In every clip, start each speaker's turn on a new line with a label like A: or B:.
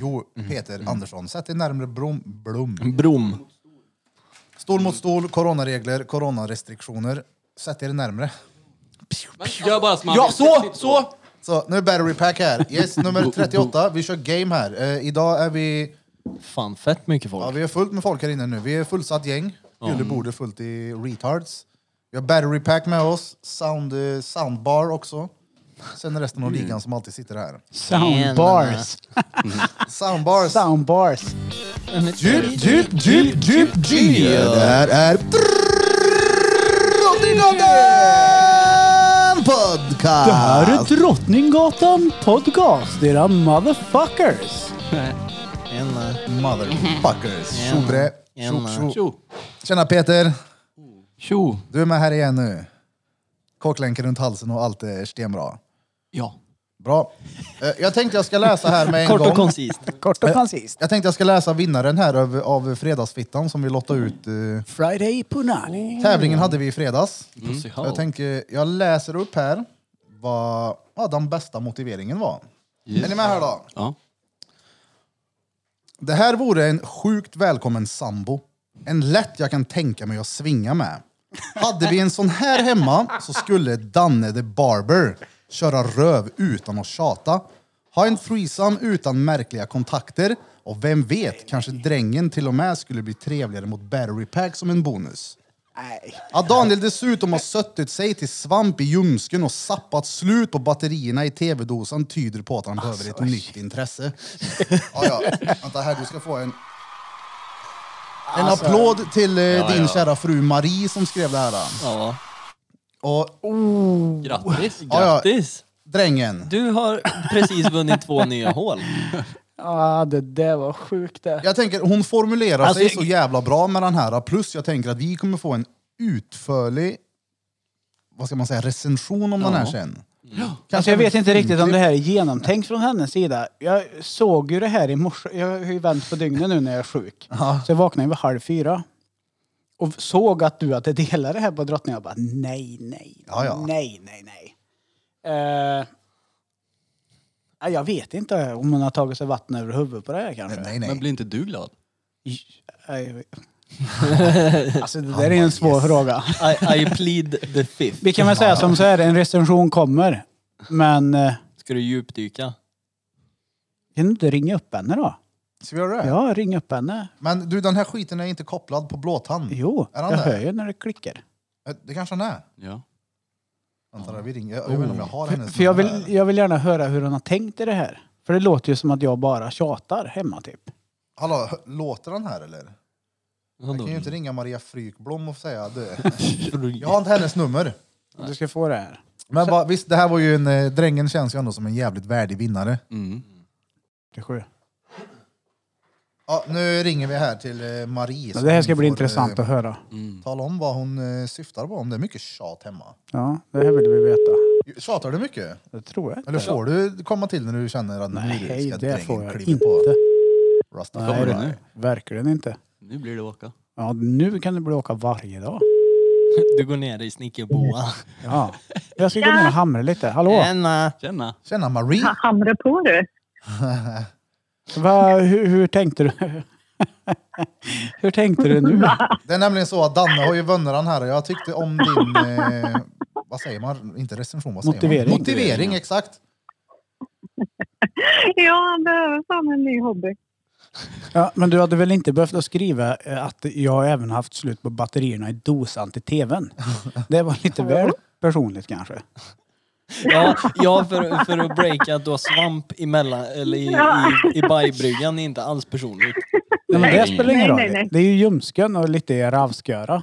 A: Jo,
B: Mhm.
A: Peter Andersson, sätt dig närmare Blom. Blom.
B: Brom.
A: Stol mot stol, coronaregler, coronarestriktioner. Sätt er närmre.
C: Gör bara som han
B: Ja,
C: vill.
B: så! Så!
A: Så, nu är battery pack här. Yes, nummer 38. Vi kör game här. Eh, idag är vi...
B: Fan, fett mycket
A: Ja,
B: folk.
A: vi är fullt med folk här inne nu. Vi är fullsatt gäng. Julle borde fullt i retards. Vi har battery pack med oss, sound, eh, soundbar också. Sen är resten av
B: Mm.
A: ligan som alltid sitter här.
D: Soundbars.
A: Soundbar.
D: Soundbars.
A: Djup, djup, djup, djup, djup. Det här är Drottninggatan podcast.
D: Det här är Drottninggatan Podcast, era motherfuckers.
A: Motherfuckers. Tjo bre. Tjo,
B: Tjena.
A: tjo.
C: Tjo.
A: Tjena Peter.
C: Tjo.
A: Du är med här igen nu. Kortlänken runt halsen och allt är stenbra.
C: Ja.
A: Bra. Eh, Jag tänkte jag ska läsa här med en
B: Kort och
A: gång.
B: koncist.
C: Mm.
D: Kort och koncist.
A: Jag tänkte jag ska läsa vinnaren här av, av Fredagsfittan som vi lottade ut. eh,
D: Friday Punani.
A: Tävlingen hade vi i fredags.
B: Alltså,
C: Pussy hole.
A: Jag tänker, jag läser upp här vad ja, den bästa motiveringen var. Är ni med här då?
C: Ja.
A: Det här vore en sjukt välkommen sambo. En lätt jag kan tänka mig att svinga med. Hade vi en sån här hemma så skulle Danne the Barber köra röv utan att tjata. Ha en threesome utan märkliga kontakter. Och vem vet, kanske drängen till och med skulle bli trevligare mot battery pack som en bonus.
D: Nej.
A: Att Daniel dessutom har suttit sig till svamp i ljumsken och sappat slut på batterierna i tv-dosan tyder på att han behöver
D: Alltså,
A: ett nytt intresse. ja, ja. Vänta här, du ska få en... En
D: Alltså-
A: applåd till eh, din kära fru Marie som skrev det här. Då.
B: Ja.
A: Och
C: Grattis.
A: ja.
B: Grattis!
A: drängen,
B: Du har precis vunnit två nya hål.
D: Ah, det där var sjukt det.
A: jag tänker hon formulerar
B: Alltså,
A: sig
B: jag-
A: så jävla bra med den här. Plus jag tänker att vi kommer få en utförlig vad ska man säga, recension om den här sen.
D: Alltså, jag
A: även
D: vet inte riktigt om
A: filmklipp.
D: det här är genomtänkt från hennes sida. Jag såg ju det här i morse. Jag har ju vänt på dygnet nu när jag är sjuk. Så jag vaknade vid halv fyra. Och såg att du hade delat det här på Drottningen. Jag bara nej, nej,
A: Ja, ja.
D: nej, nej, nej. Eh, nej, Eh, jag vet inte om hon har tagit sig vatten över huvudet på det här kanske.
A: Nej, nej.
C: Men blir inte du glad?
D: nej. Alltså det där är en svår fråga.
B: I, I plead the fifth.
D: Vi kan väl säga som så här, en recension kommer. Men eh,
B: Ska du djupdyka?
D: kan du inte ringa upp henne då?
A: Ska vi göra det?
D: Ja, ring upp henne.
A: Men du, den här skiten är inte kopplad på blåtand.
D: Jo,
A: Är
D: jag
A: han det?
D: hör ju när det klickar.
A: Eh, Det kanske han är.
C: Ja.
A: Vänta, där, vi ringer. Jag, jag vet inte om jag har hennes
D: Oh. För jag
A: nummer
D: vill,
A: här.
D: jag vill gärna höra hur hon har tänkt i det här. För det låter ju som att jag bara tjatar hemma typ.
A: Hallå, hö- låter den här eller? Jag kan ju inte ringa Maria Frykblom och säga du. Jag har inte hennes nummer.
D: Du ska få det här.
A: Men vad- visst, det här var ju en... eh, Drängen känns ju ändå som en jävligt värdig vinnare.
C: Mm.
D: Det, är sjukt.
A: Ja, nu ringer vi här till eh, Marie.
D: Ja,
A: så
D: det här
A: hon
D: ska bli
A: får,
D: intressant
A: eh,
D: att höra.
C: Mm.
A: Tala om vad hon eh, syftar på, om det är mycket tjat hemma.
D: Ja, det här vill vi veta.
A: Tjatar du mycket?
D: Det tror jag inte.
A: Eller får du komma till när du känner att nu
D: Nej,
A: ska
D: det får
A: drängen
D: jag
A: kliva
D: inte.
A: på Rastafari?
D: Nej,
C: nu?
D: det, verkligen inte.
C: Nu blir det åka.
D: Ja, nu kan du bli åka varje dag.
B: Du går ner i snickerboa.
D: Ja. Jag ska gå ner och hamra lite. Hallå?
B: Tjena!
C: Tjena.
A: Tjena Marie!
E: Ha- Hamra på du.
D: Va, hur, hur tänkte du? hur tänkte du nu?
A: Det är nämligen så att Danne har ju vunnit den här och jag tyckte om din, eh, vad säger man, inte recension, vad säger
D: Motivering.
A: man? Motivering. exakt.
E: Ja, han behöver fan en ny hobby.
D: Ja, men du hade väl inte behövt att skriva eh, att jag har även haft slut på batterierna i dosan till tvn? Det var lite väl personligt kanske.
B: Ja, ja för, för att breaka att du har svamp emellan, eller i, i, i bajbryggan är inte alls personligt.
D: Nej, men det
C: Nej.
D: spelar ingen
E: Nej,
D: roll.
E: nej, nej.
D: Det är ju ljumsken och lite ravsköra.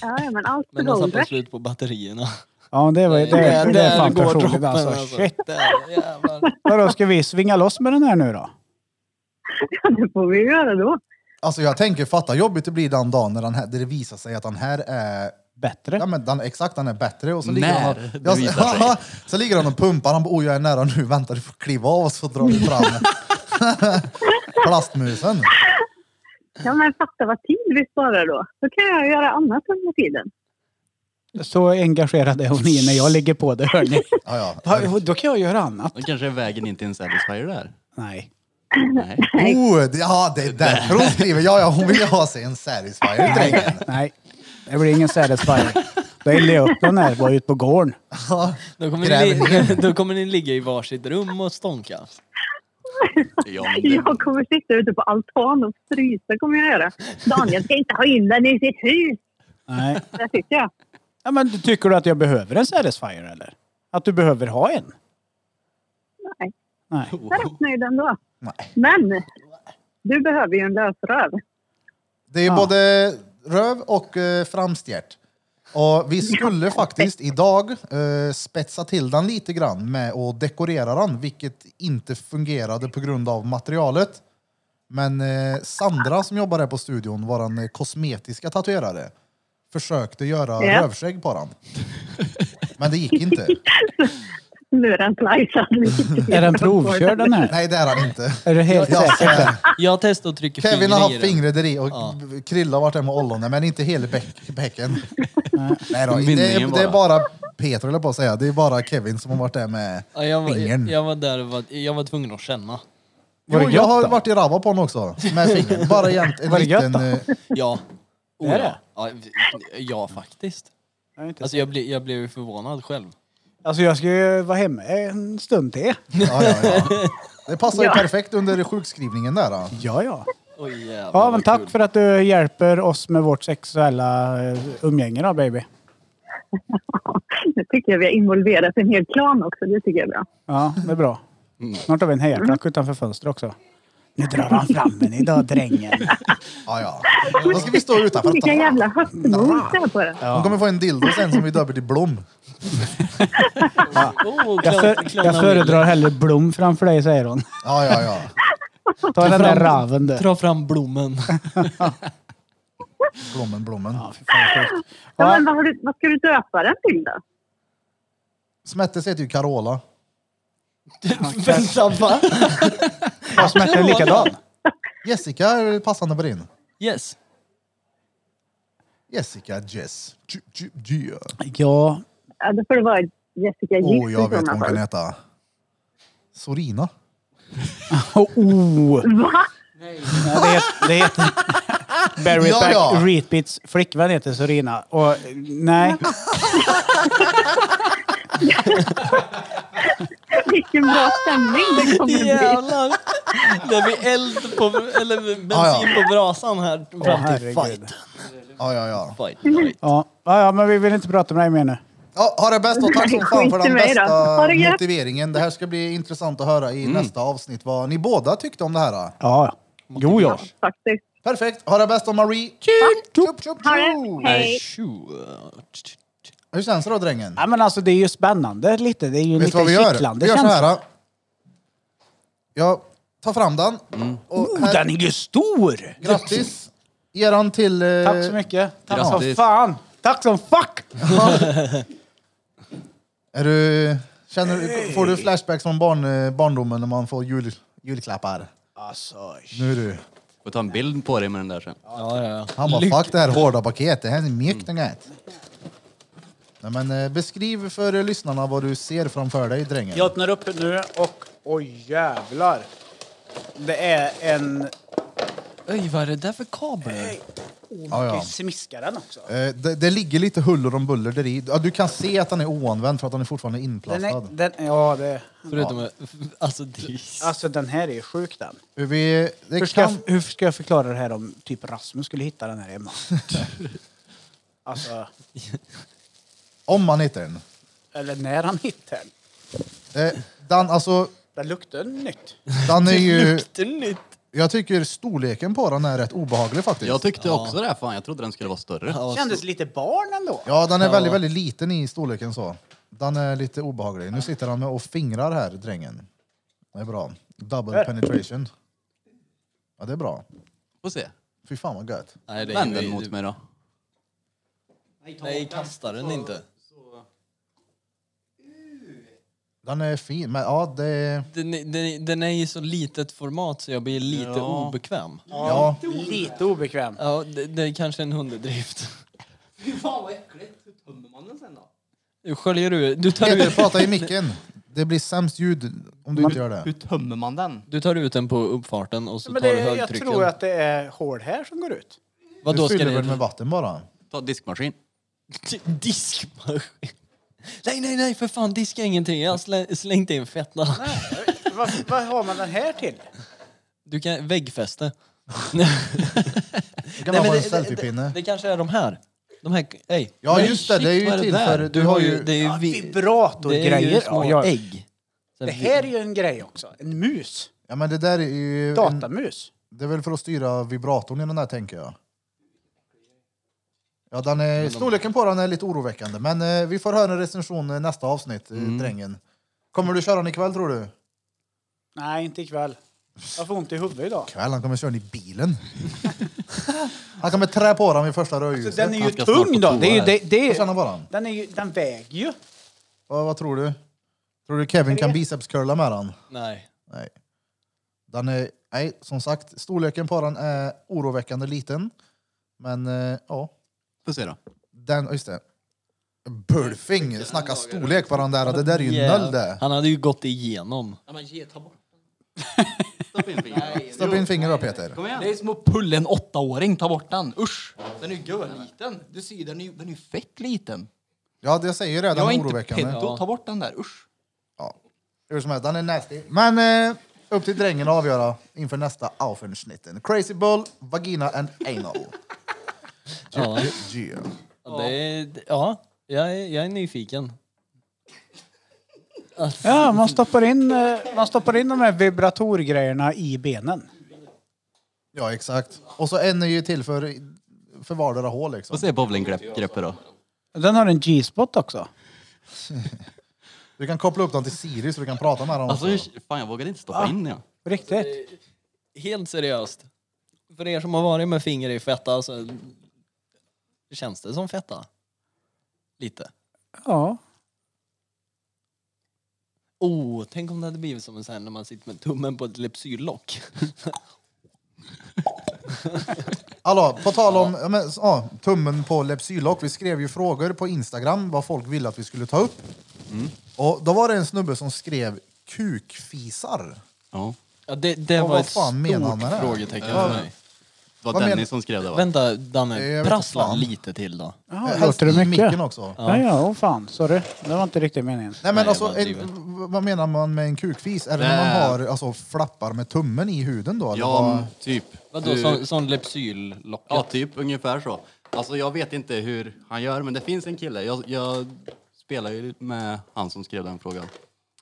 E: Ja, ja, men allt
B: Men den
E: behåller.
B: satte slut på batterierna.
D: Ja, det, var, det, det, det är fan personligt alltså. Shit.
B: Där, jävlar.
D: Vadå, ska vi svinga loss med den här nu då?
E: Ja, det får vi göra då.
A: Alltså jag tänker, fatta jobbigt det blir den dagen när den här, där det visar sig att den här är,
D: Bättre?
A: ja men den, exakt den är bättre och så
C: När
A: ligger han
C: det
A: och, ja,
C: visar
A: så, så ligger han och pumpar, han bara oj jag är nära nu, vänta du får kliva av och så drar vi fram plastmusen.
E: Ja, men fatta vad tid vi sparar då. Då kan jag göra annat under tiden.
D: Så engagerad är hon i när jag ligger på det, hörni.
A: Ja, ja.
D: Va, Då kan jag göra annat.
C: Då kanske är vägen inte är en Satisfyer där.
D: Nej.
C: Nej.
A: Oh, det- ja, det är därför hon skriver. Ja, ja, hon vill ju ha sig en satisfier, drängen.
D: Nej, det blir ingen satisfier. Då eldar jag upp den här, var ute på gården.
A: Ja.
B: Då kommer,
A: Gräver
B: ni,
A: ner
B: li- då kommer ni ligga i varsitt rum och stånka.
C: Ja, men det-
E: Jag kommer sitta ute på altan och frysa kommer jag göra. Daniel ska inte ha in den i sitt hus.
D: Nej.
E: Det tycker jag.
D: Ja, men tycker du att jag behöver en satisfier eller? Att du behöver ha en?
E: Nej.
D: Nej.
E: Jag är rätt nöjd ändå.
A: Nej.
E: Men du behöver ju en lösröv.
A: Det är ju
D: Ah.
A: både röv och eh, framstjärt. Och vi skulle faktiskt idag eh, spetsa till den lite grann med att dekorera den, vilket inte fungerade på grund av materialet. Men eh, Sandra som jobbar här på studion, vår eh, kosmetiska tatuerare, försökte göra
E: Ja.
A: rövskägg på den. Men det gick inte.
E: Nu är den plajsad.
D: Är den provkörd den här?
A: Nej, det är han inte.
D: Är du helt
A: Jag
D: säker?
A: svär.
B: Jag testar att trycka
A: Kevin har haft
B: fingret i den.
A: fingret i det och
B: Ja.
A: Krilla har varit där med ollonen, men inte hela bäck, bäcken. Nej då, det, är-
C: Bindningen
A: det är bara Peter, höll jag på att säga. Det är bara Kevin som har varit där med...
B: Ja, jag, var,
A: Fingern.
B: jag, jag var där och var, jag var tvungen att känna.
D: Var det
A: Jo, jag
D: gött
A: har
D: då?
A: varit i rabba på honom också, med fingret. Bara jämt en
D: Var det gött
A: liten...
D: då?
A: eh,
B: Ja.
D: Är
B: ja.
D: det?
B: Ja, ja, faktiskt.
D: Jag är inte
B: Alltså jag blev jag blev ju förvånad själv.
D: Alltså jag ska ju vara hemma en stund till.
A: Ja, ja, ja. Det passar ju
E: Ja.
A: perfekt under sjukskrivningen där. Då.
D: Ja, ja.
B: Oj, jävlar,
D: Ja,
B: vad
D: men
B: kul.
D: tack för att du hjälper oss med vårt sexuella eh, umgänge då, baby.
E: Nu tycker jag vi har involverat en hel klan också. Det tycker jag är bra.
D: Ja, det är bra.
B: Mm.
D: Snart har vi en hejarklack utanför fönstret också. Nu drar han fram den idag, drängen.
A: Ja, ja. Då ska vi stå utanför.
E: Vilka jävla höstmos det är på den.
A: Hon kommer få en dildo sen som vi döper till Blom.
B: Oh,
D: Jag, för, jag föredrar hellre Blom framför dig, säger hon.
A: Ja, ja, ja.
D: Ta den där raven du.
B: Dra fram blommen.
A: Blommen, Blommen.
D: Ja, fy fan, vad sjukt.
E: Ja, men
D: Ja,
E: vad, har du, vad ska du döpa den till då?
A: Smettes heter ju Carola.
B: Vänta, va?
D: har smärtan likadan?
A: Jessica är passande på din.
B: Yes.
A: Jessica Jess. Ju- ju- ju.
D: Ja,
E: Ja, då får Alltså, det vara Jessica Gift
A: Åh, jag
E: i
A: vet vad
E: sådana
A: hon kan
E: fall.
A: heta. Sorina.
D: Oh, oh.
E: Va?
D: Ja, det heter... Det heter Barry
A: Ja,
D: ja,
A: ja.
D: Reatbeats flickvän heter Sorina. Och eh, nej,
E: Vilken bra stämning det kommer bli.
B: Jävlar. Det blir eld på, eller bensin
A: Ja, ja.
B: på brasan här
D: Åh,
B: fram till
D: herregud.
B: fight.
A: Ja, ja, ja.
B: fight. fight.
D: Ja. Ja, ja, men vi vill inte prata med dig mer nu.
A: ja ha det bäst och tack som fan för
E: Skit i
A: den
E: mig då.
A: bästa
E: Ha det gött.
A: motiveringen. Det här ska bli intressant att höra i
D: Mm.
A: nästa avsnitt vad ni båda tyckte om det här. då.
D: Ja, jo, ja.
E: Faktiskt.
A: Perfekt. Ha det bäst och Marie. Tjup, tjup, tjup.
E: Ha det. Hej.
B: Tjo.
A: Hur känns det då drängen?
D: ja. men alltså det är ju spännande lite. Det är ju
A: Vet du
D: lite
A: vad vi gör?
D: kittlande
A: Vi gör så
D: känsla.
A: här. då. Jag tar fram den. Och
D: Oh,
A: här,
D: den är ju stor!
A: grattis. Ger den till... eh,
D: Tack så mycket. Tack som
C: Grattis.
D: fan! Tack som fuck!
A: Är du, känner, du- får du flashbacks från barn, eh, barndomen när man får jul, julklappar?
D: Alltså,
A: Nu du.
C: Får ta en bild på dig med den där sen.
B: Ja, ja, ja.
A: Han bara, fuck det här hårda paketet, det här är mjukt mm. Nej, men eh, Beskriv för eh, lyssnarna vad du ser framför dig, drängen.
D: jag öppnar upp nu och oj jävlar. Det är en...
B: Oj, vad är det där för kabel?
D: Oh,
A: Ja, ja.
D: ja. Smiskar den också.
A: Eh, det, det ligger lite huller om buller där i. Ja, du kan se att den är oanvänd för att den är fortfarande
D: Den
A: inplastad.
D: är, den, ja, det,
B: Förutom att- alltså det är-
D: alltså den här är ju sjuk den.
A: Hur Vi, det
D: Hur ska, jag,
A: kan,
D: hur ska jag förklara det här om typ Rasmus skulle hitta den här hemma? alltså,
A: om man hittar den.
D: eller när han hittar den.
A: Eh, den, alltså,
D: Den luktar nytt.
A: den är ju...
B: luktar nytt.
A: Jag tycker storleken på den är rätt obehaglig faktiskt.
C: Jag tyckte också det här fan. Jag trodde den skulle vara större.
B: Ja,
D: Kändes lite barn ändå.
A: Ja, den är
B: Ja.
A: väldigt, väldigt liten i storleken så. Den är lite obehaglig. Nu sitter han med och fingrar här, drängen. Det är bra. Double
B: Äh.
D: Här.
A: penetration. Ja, det är bra.
C: Får se.
A: Fy fan vad gött.
B: Nej, det är-
C: Vänd den mot mig då.
B: Nej, kasta den inte.
A: Den är fin, men ja, det...
B: Den, är- den, är- den är i så litet format så jag blir lite
C: Ja.
B: obekväm.
A: Ja.
D: Lite obekväm.
B: Ja, det, det är kanske en underdrift.
F: Fy faen, vad ekkelt. Hur tømmer man den sen, da?
B: Sköljer du? Du tar
A: Peter,
B: ut...
A: prata i micken. Det blir sämst ljud om du inte gör det.
G: Hur tömmer man den?
B: Du tar ut den på uppfarten och så
D: Men
B: tar
D: det,
B: du
D: jag
B: högtrycken.
D: tror att det är hål här som går ut.
B: Vad
A: Du
B: då ska
A: fyller
B: det...
A: väl med vatten bara?
C: Ta diskmaskin.
B: Diskmaskin. Nej, nej, nej, för fan diska ingenting. Jag har slä- slängt in fettan.
D: Vad, vad har man den här till?
B: Du kan väggfäste.
A: Det kan
B: Nej,
A: man
B: men
A: ha en
B: det- det- Det,
A: selfiepinne.
B: det kanske är de här. De här... Ej.
A: Ja
C: Men
A: just det,
C: shit,
A: det är
C: vad
A: ju
C: är det
A: till
C: där?
A: för... Du har ju...
B: Det är ju vi- det är ju
D: Vibratorgrejer.
B: små
D: Ja, jag-
B: ägg.
D: Det här är ju en grej också. En mus.
A: Ja men det där är ju... en-
D: Datamus.
A: Det är väl för att styra vibratorn i den där tänker jag. Ja, den är, storleken på den är lite oroväckande, men eh, vi får höra en recension i nästa avsnitt, mm. drängen. Kommer du köra den ikväll tror du?
D: Nej, inte ikväll. Jag får ont i huvudet idag.
A: Ikväll? Han kommer köra den i bilen. han kommer trä på den vid första
D: Så
A: rödljuset.
D: Alltså, den är ju
C: Jag ska snart
D: tung
C: på
D: då.
C: toa
D: Det är ju,
C: här.
D: det, det
A: Får känna
D: är,
A: på den.
D: den, är ju, den väger ju.
A: Vad, vad tror du? Tror du Kevin kan bicepscurla med den?
B: Nej.
A: Nej. Den är, nej, som sagt, storleken på den är oroväckande liten. Men eh, ja,
C: Får se då.
A: Den, ja, just det. Burfing, snacka storlek på den där. Det där är ju noll det.
B: Han hade ju gått igenom.
G: Ja, men ge, ta bort.
C: Stopp in
A: Stoppa in fingret då Peter.
C: Kom igen.
G: Det är som att pulla en åttaåring. Ta bort den. Usch! Den är ju liten. Du ser ju, den är ju den är ju fett liten.
A: Ja, det jag säger ju det. Den
G: Jag är
A: är
G: inte
A: oroväckande.
G: pedo. Ta bort den där. Usch!
A: Hur som helst, den är nasty. Men eh, upp till drängen att avgöra inför nästa avsnitten. Crazy Bull, Vagina and Anal.
B: Ja,
A: Yeah.
B: ja. Det är, ja jag, är, jag är nyfiken.
D: Ja, man stoppar in, eh, man stoppar in de här vibratorgrejerna i benen.
A: Ja, exakt. Och så en är ju till för, för vardera hål liksom.
C: Får se bowlinggreppet då.
D: Den har en G-spot också.
A: Du kan koppla upp den till Siri så du kan prata med den
C: Alltså,
A: också.
C: hur- fan jag vågade inte
G: Ah.
C: stoppa in den.
D: På Riktigt.
B: Helt seriöst. För er som har varit med fingrar i fetta så känns det som fetta. Lite.
D: Ja.
B: Oh, tänk om det hade blivit som en sån här när man sitter med tummen på ett lepsyllock.
A: Hallå, på tal om ja, men, ja, tummen på Lepsylock. Vi skrev ju frågor på Instagram vad folk ville att vi skulle ta upp. Och då var det en snubbe som skrev kukfisar.
C: Ja.
B: Ja, det, det
A: Och
B: var
A: vad
B: ett
A: fan menar han
B: stort
A: med det?
B: frågetecken
A: Ja.
B: för mig.
C: Det var
A: Vad men-
C: Dennis som skrev det va?
B: Vänta
A: Jag vet
B: Danne,
A: inte
B: prassla
A: fan.
B: lite till då.
D: Ja,
A: Eh, helst
D: låter det
A: i
D: mycket?
A: micken också.
D: Ja, ja, åh fan. Sorry. Det var inte riktigt meningen.
A: Nej, men
B: Nej, jag
A: alltså,
B: bara
A: en-
B: driver.
A: v- vad menar man med en kukfis? Är det när
C: Nej.
A: man har alltså, flappar med tummen i huden då? eller vad?
C: Ja, typ.
B: Vadå,
C: Du-
B: sån, sån lepsyllocket?
C: Ja, typ ungefär så. Alltså jag vet inte hur han gör, men det finns en kille. Jag, jag spelar ju med han som skrev den frågan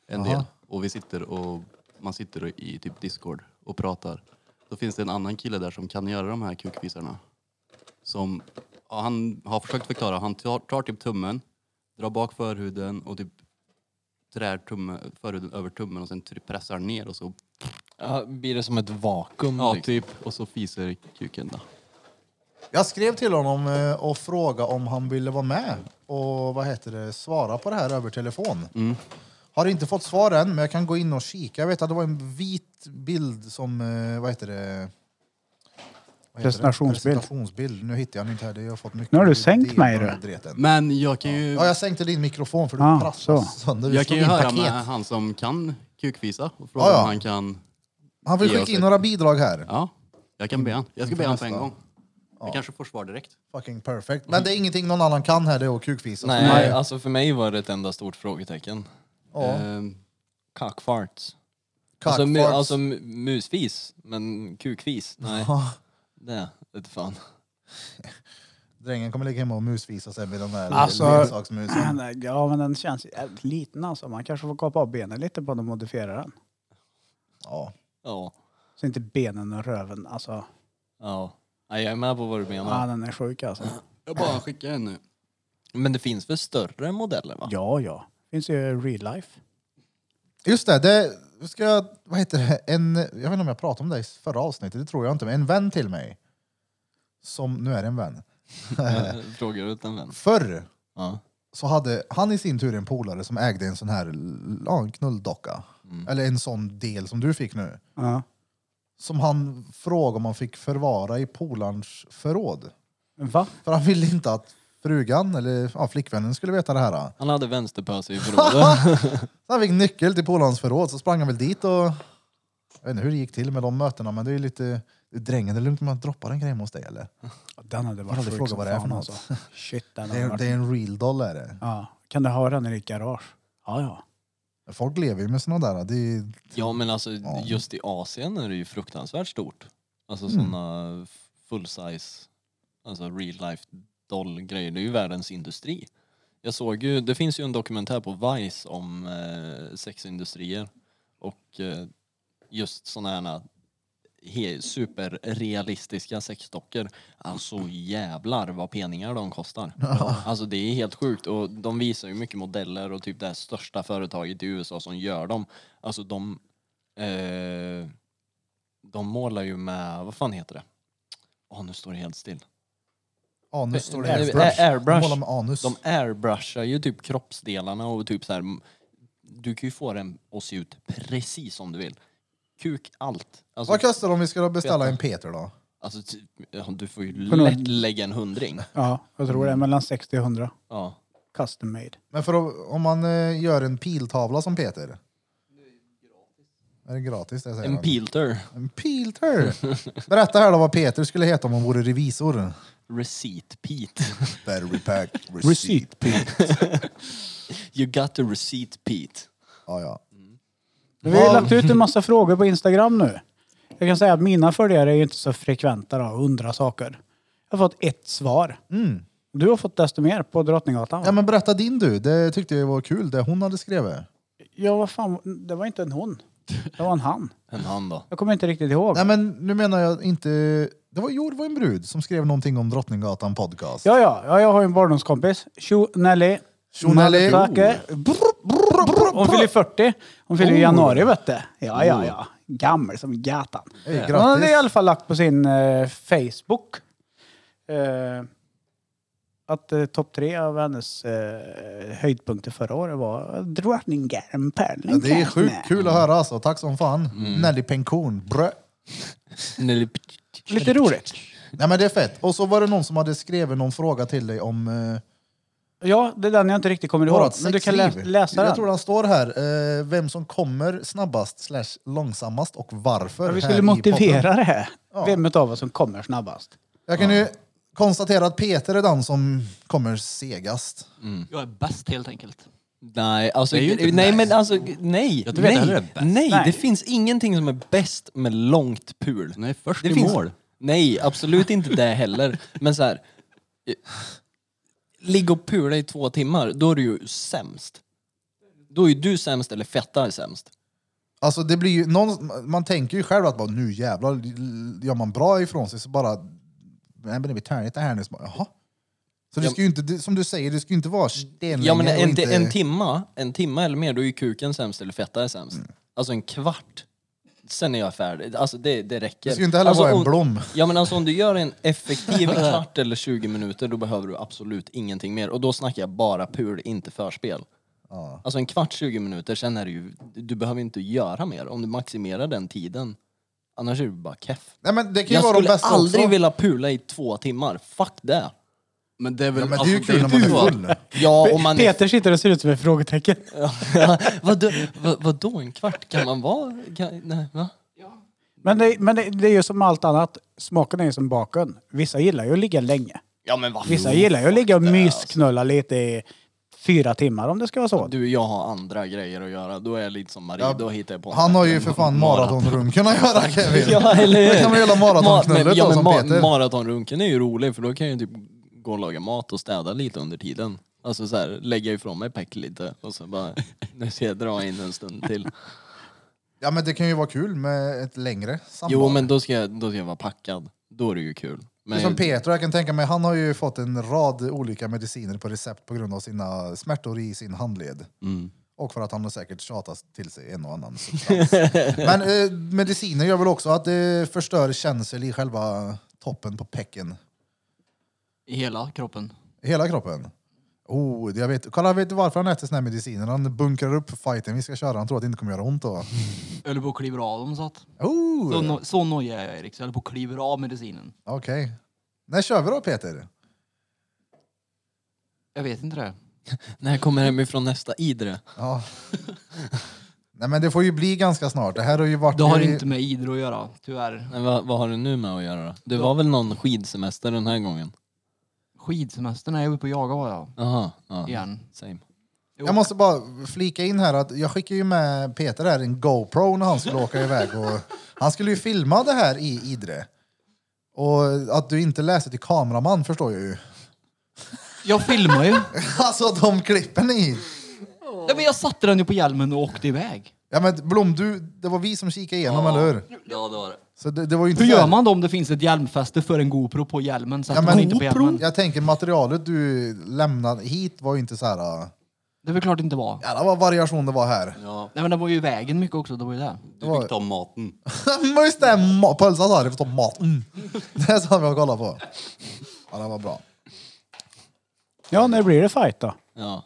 C: en del. Och vi sitter och, man sitter i typ Discord och pratar. Då finns det en annan kille där som kan göra de här kukvisarna. Som, ja, han har försökt förklara. Han tar, tar typ tummen, drar bak förhuden och typ trär tumme, förhuden över tummen och sen try- pressar ner och så,
B: Ja, blir det som ett vakuum?
C: ja
B: liksom?
C: typ, och så fiser kuken då.
A: Jag skrev till honom eh, och frågade om han ville vara med och vad heter det, svara på det här över telefon.
C: Mm.
A: Har inte fått svar än, men jag kan gå in och kika. Jag vet att det var en vit bild som... eh, Vad heter det? Vad heter det?
D: Presentationsbild.
A: Presentationsbild. Nu hittar jag den inte här. Det har jag fått mycket
D: Nu har du sänkt
A: idéer
D: mig,
A: och
D: du.
A: dreten.
C: Men jag kan ju...
A: Ja, jag sänkte din mikrofon för du
D: Ah,
A: prasslar
D: så.
A: sönder. Du
C: Jag
A: slog
C: kan ju
A: in
C: höra
A: paket.
C: med han som kan kukvisa och fråga
A: Ja, ja.
C: om han kan...
A: Han vill
C: Ge
A: skicka
C: oss
A: in
C: ett-
A: några bidrag här.
C: Ja, jag kan be han. Jag ska be han på en
A: nästa.
C: gång. Jag kanske får svar direkt.
A: Fucking perfect. Men det är ingenting någon annan kan här, det är att kukfisa.
B: Nej, alltså för mig var det ett enda stort frågetecken.
A: Ja,
C: Ehm,
B: Cockfarts.
A: Cockfarts.
B: Alltså, mu, alltså mu- musfis, men kukfis? Nej. Det vete fan.
A: Drängen kommer ligga hemma och musvisa sen vid den där
D: Alltså-
A: leksaksmusen.
D: Nej, Ja, men den känns jävligt liten alltså. Man kanske får kapa av benen lite på den och modifiera den.
A: Ja.
B: Ja.
D: Så inte benen och röven alltså.
B: ja. Nej, jag är med på vad du menar.
D: Ja, den är sjuk alltså.
C: jag bara skickar en nu.
B: Men det finns väl större modeller va?
D: Ja, ja. Finns ju real life.
A: Just det, det ska jag, vad heter det, en, jag vet inte om jag pratade om det i förra avsnittet, det tror jag inte, men en vän till mig. Som, nu är det en vän.
B: Eh, Frågar ut en vän.
A: Förr
B: Ja.
A: så hade han i sin tur en polare som ägde en sån här ja, en knulldocka. Eller en sån del som du fick nu.
D: Ja.
A: Som han frågade om han fick förvara i polarns förråd.
D: Va?
A: För han ville inte att frugan, eller ja, flickvännen skulle veta det här. Då.
B: Han hade vänsterpöse i förrådet.
A: Så han fick nyckel till polarns förråd, så sprang han väl dit och... Jag vet inte hur det gick till med de mötena, men det är ju lite... Drängen, det är lugnt om jag droppar en grej hos dig eller?
D: Den hade
A: aldrig
D: varit sjuk
A: frågat
D: som
A: vad det är för
D: fan, alltså.
A: något.
D: Shit, den
A: Det
D: hade
A: är,
D: varit...
A: det är en real doll är det.
D: Ja. Kan du ha den i ditt garage? Ja, ja.
A: Folk lever ju med såna där. Det är,
B: ja men alltså just i Asien är det ju fruktansvärt stort. Alltså såna full size, alltså real life doll grejer. Det är ju världens industri. Jag såg ju, det finns ju en dokumentär på Vice om eh, sexindustrier och eh, just sådana här he- superrealistiska sexdockor. Alltså jävlar vad peningar de kostar. Alltså det är helt sjukt och de visar ju mycket modeller och typ det här största företaget i USA som gör dem. Alltså de eh, de målar ju med, vad fan heter det? Åh nu står det helt still.
A: anus står det.
B: Airbrush. Airbrush.
A: Måla med anus.
B: De airbrushar ju typ kroppsdelarna och typ så här. Du kan ju få den att se ut precis som du vill. Kuk, allt. Alltså,
A: Vad kostar det om vi ska beställa en Peter då?
B: alltså, typ, ja, du får ju
D: För någon-
B: lätt lägga en hundring.
D: Ja, jag tror det är mellan 60 och 100.
B: Ja.
D: Custom made.
A: Men för att, om man eh, gör en piltavla som Peter? Är det gratis det säger
B: En
A: han?
B: pilter.
A: En pilter! Berätta här då vad Peter skulle heta om han vore revisor.
B: Receipt Pete.
A: Battery pack
D: Receipt
B: You got the receipt Pete.
A: Ja, ja.
D: Vi har ju lagt ut en massa frågor på Instagram nu. Jag kan säga att mina följare är ju inte så frekventa då och undrar saker. Jag har fått ett svar. Du har fått desto mer på Drottninggatan.
A: Mm. ja
D: Ja,
A: men berätta din du, det tyckte jag var kul det hon hade skrivit.
D: ja, vad fan. Det var inte en hon. Det var en han.
B: En han då.
D: Jag kommer inte riktigt ihåg.
A: Nej men nu menar jag inte... Det var, jo, det var en brud som skrev någonting om Drottninggatan podcast.
D: Ja, ja, ja, jag har ju en barndomskompis. Tjo Nelly.
A: Tjo, Nelly. Oh.
D: Motherfucker. Hon fyller 40. Hon fyller i januari vet du. Ja, ja, ja. Gammal som gatan.
A: Hej,
D: Hon hade i
A: grattis!
D: alla fall lagt på sin eh, Facebook eh, att eh, topp tre av hennes eh, höjdpunkter förra året var Drottninggatan
A: Ja,
D: Perlen.
A: det är sjukt kul att höra alltså, tack som fan.
D: Mm.
A: Nelly Penkorn, brö.
B: Nelly-
D: Lite roligt.
A: Nej men det är fett. Och så var det någon som hade skrivit någon fråga till dig om eh,
D: Ja, det är den jag inte riktigt kommer ihåg.
A: vårat
D: Men du kan lä
A: sexliv.
D: läsa
A: Jag
D: den.
A: tror den står här. Eh, vem som kommer snabbast slash långsammast och varför.
D: Ja,
A: här
D: Vi skulle
A: i podden.
D: motivera det här.
A: Ja.
D: Vem av oss som kommer snabbast.
A: Jag kan ju konstatera att Peter är den som kommer segast.
C: Jag är bäst helt enkelt.
B: Nej, alltså,
H: Det är ju inte
B: nej
H: nice.
B: men alltså, nej,
H: Jag vet
B: nej,
H: hellre bäst.
B: nej,
D: Nej.
B: det finns ingenting som är bäst med långt pul.
H: Nej, först
B: det
H: i
B: finns,
H: mål.
B: Nej, absolut inte det heller. Men så här, eh, ligga och pula i två timmar, då är du ju sämst. Då är ju du sämst eller fetta är sämst.
A: Alltså det blir ju, någon, man tänker ju själv att bara, nu jävlar, gör man bra ifrån sig så bara, nej men det blir tärnigt det här nu. Så bara, Jaha. Så det
B: Ja.
A: ska ju inte, det- som du säger, det ska ju inte vara stenlänge
B: Ja men
A: och
B: en,
A: inte...
B: en timma, en timma eller mer, då är ju kuken sämst eller fetta är sämst.
A: Mm.
B: Alltså en kvart, sen är jag färdig. Alltså det, det räcker.
A: Det ska ju inte heller
B: alltså,
A: vara en
B: om-
A: blom.
B: Ja men alltså om du gör en effektiv kvart eller 20 minuter då behöver du absolut ingenting mer. Och då snackar jag bara pul, inte förspel.
A: Ja.
B: Alltså en kvart, 20 minuter, sen är det ju, du behöver inte göra mer om du maximerar den tiden. Annars är du bara keff.
A: Nej men det kan ju
B: Jag
A: vara de
B: skulle
A: bästa
B: aldrig
A: också.
B: vilja pula i två timmar, fuck det.
H: Men det är väl...
A: Ja, men det är
H: alltså,
A: ju kul när man
H: så
A: är
H: att-
A: full.
B: Ja, om man
D: Peter sitter och ser ut som ett frågetecken.
B: vadå, vad, vadå en kvart? Kan man vara... Kan, nej, va?
D: Men, det, men det, det är ju som allt annat. Smaken är ju som baken. Vissa gillar ju att ligga länge.
B: Ja men vad
D: Vissa gillar ju att ligga och mysknulla lite i fyra timmar om det ska vara så.
B: alltså. Du, jag har andra grejer att göra. Då är jag lite som Marie,
A: Ja,
B: då hittar jag på
A: Han
B: något.
A: har ju för fan maratonrum kunnat göra Kevin.
B: Ja, eller hur?
A: Det kan man göra maratonknullet
B: Ma- men-
A: då, som
B: ma-
A: Peter.
B: Maratonrunken är ju rolig för då kan jag ju typ gå och laga mat och städa lite under tiden. Alltså så här, lägga ifrån mig peck lite och så bara, nu ska jag dra in en stund till.
A: Ja men det kan ju vara kul med ett längre samtal.
B: Jo men då ska jag, då ska jag vara packad. Då är det ju kul. Men
A: Som
B: jag-
A: Peter, jag kan tänka mig, han har ju fått en rad olika mediciner på recept på grund av sina smärtor i sin handled. Och för att han har säkert tjatat till sig en och annan substans. Men eh, mediciner gör väl också att det förstör känsel i själva toppen på pecken.
C: I hela kroppen.
A: I Hela kroppen. Oh, det jag vet. Kolla, vet du varför han äter såna här mediciner? Han bunkrar upp för fighten vi ska köra. Han tror att det inte kommer göra ont då.
C: Jag höll på att kliva av dem så att.
A: Oh,
C: Så,
A: Okej.
C: no, så nojig är jag Erik, så jag höll på att kliva av medicinen.
A: När kör vi då Peter?
C: Jag vet inte det.
B: När jag kommer hemifrån nästa Idre.
A: Ja. Nej men det får ju bli ganska snart. Det här har ju varit...
G: Det har
A: i-
G: inte med Idre att göra, tyvärr.
B: Nej, vad, vad har du nu med att göra då? Det var väl någon skidsemester den här gången?
G: Skidsemestern är jag uppe och jagar var jag.
B: Jaha. Ja.
G: Igen.
B: Same.
A: Jag måste bara flika in här att jag skickade ju med Peter här en GoPro när han skulle åka iväg. Och han skulle ju filma det här i Idre. Och att du inte läser till kameraman förstår jag ju.
G: Jag filmar ju.
A: Alltså de klippen i.
G: ja, men jag satte den ju på hjälmen och åkte iväg.
A: Ja men Blom, du, det var vi som kikade igenom, eller hur?
C: Ja, det var det.
A: Så det, det var ju inte
G: Hur
A: så här-
G: gör man då om det finns ett hjälmfäste för en GoPro på hjälmen? Sätter
A: Ja, men-
G: man inte på hjälmen?
A: Jag tänker materialet du lämnade hit var ju inte så här... äh,
G: Det är väl klart det inte var.
A: Jävlar vad variation det var här.
C: Ja,
G: Nej men det var ju vägen mycket också, det var ju det.
C: du fick ta maten.
A: Men Just det, ma- pölsa sa det, för att ta mat. Mm. Det sa vi och kollade på. Ja, det var bra.
D: Ja, när blir det fight då?
B: Ja.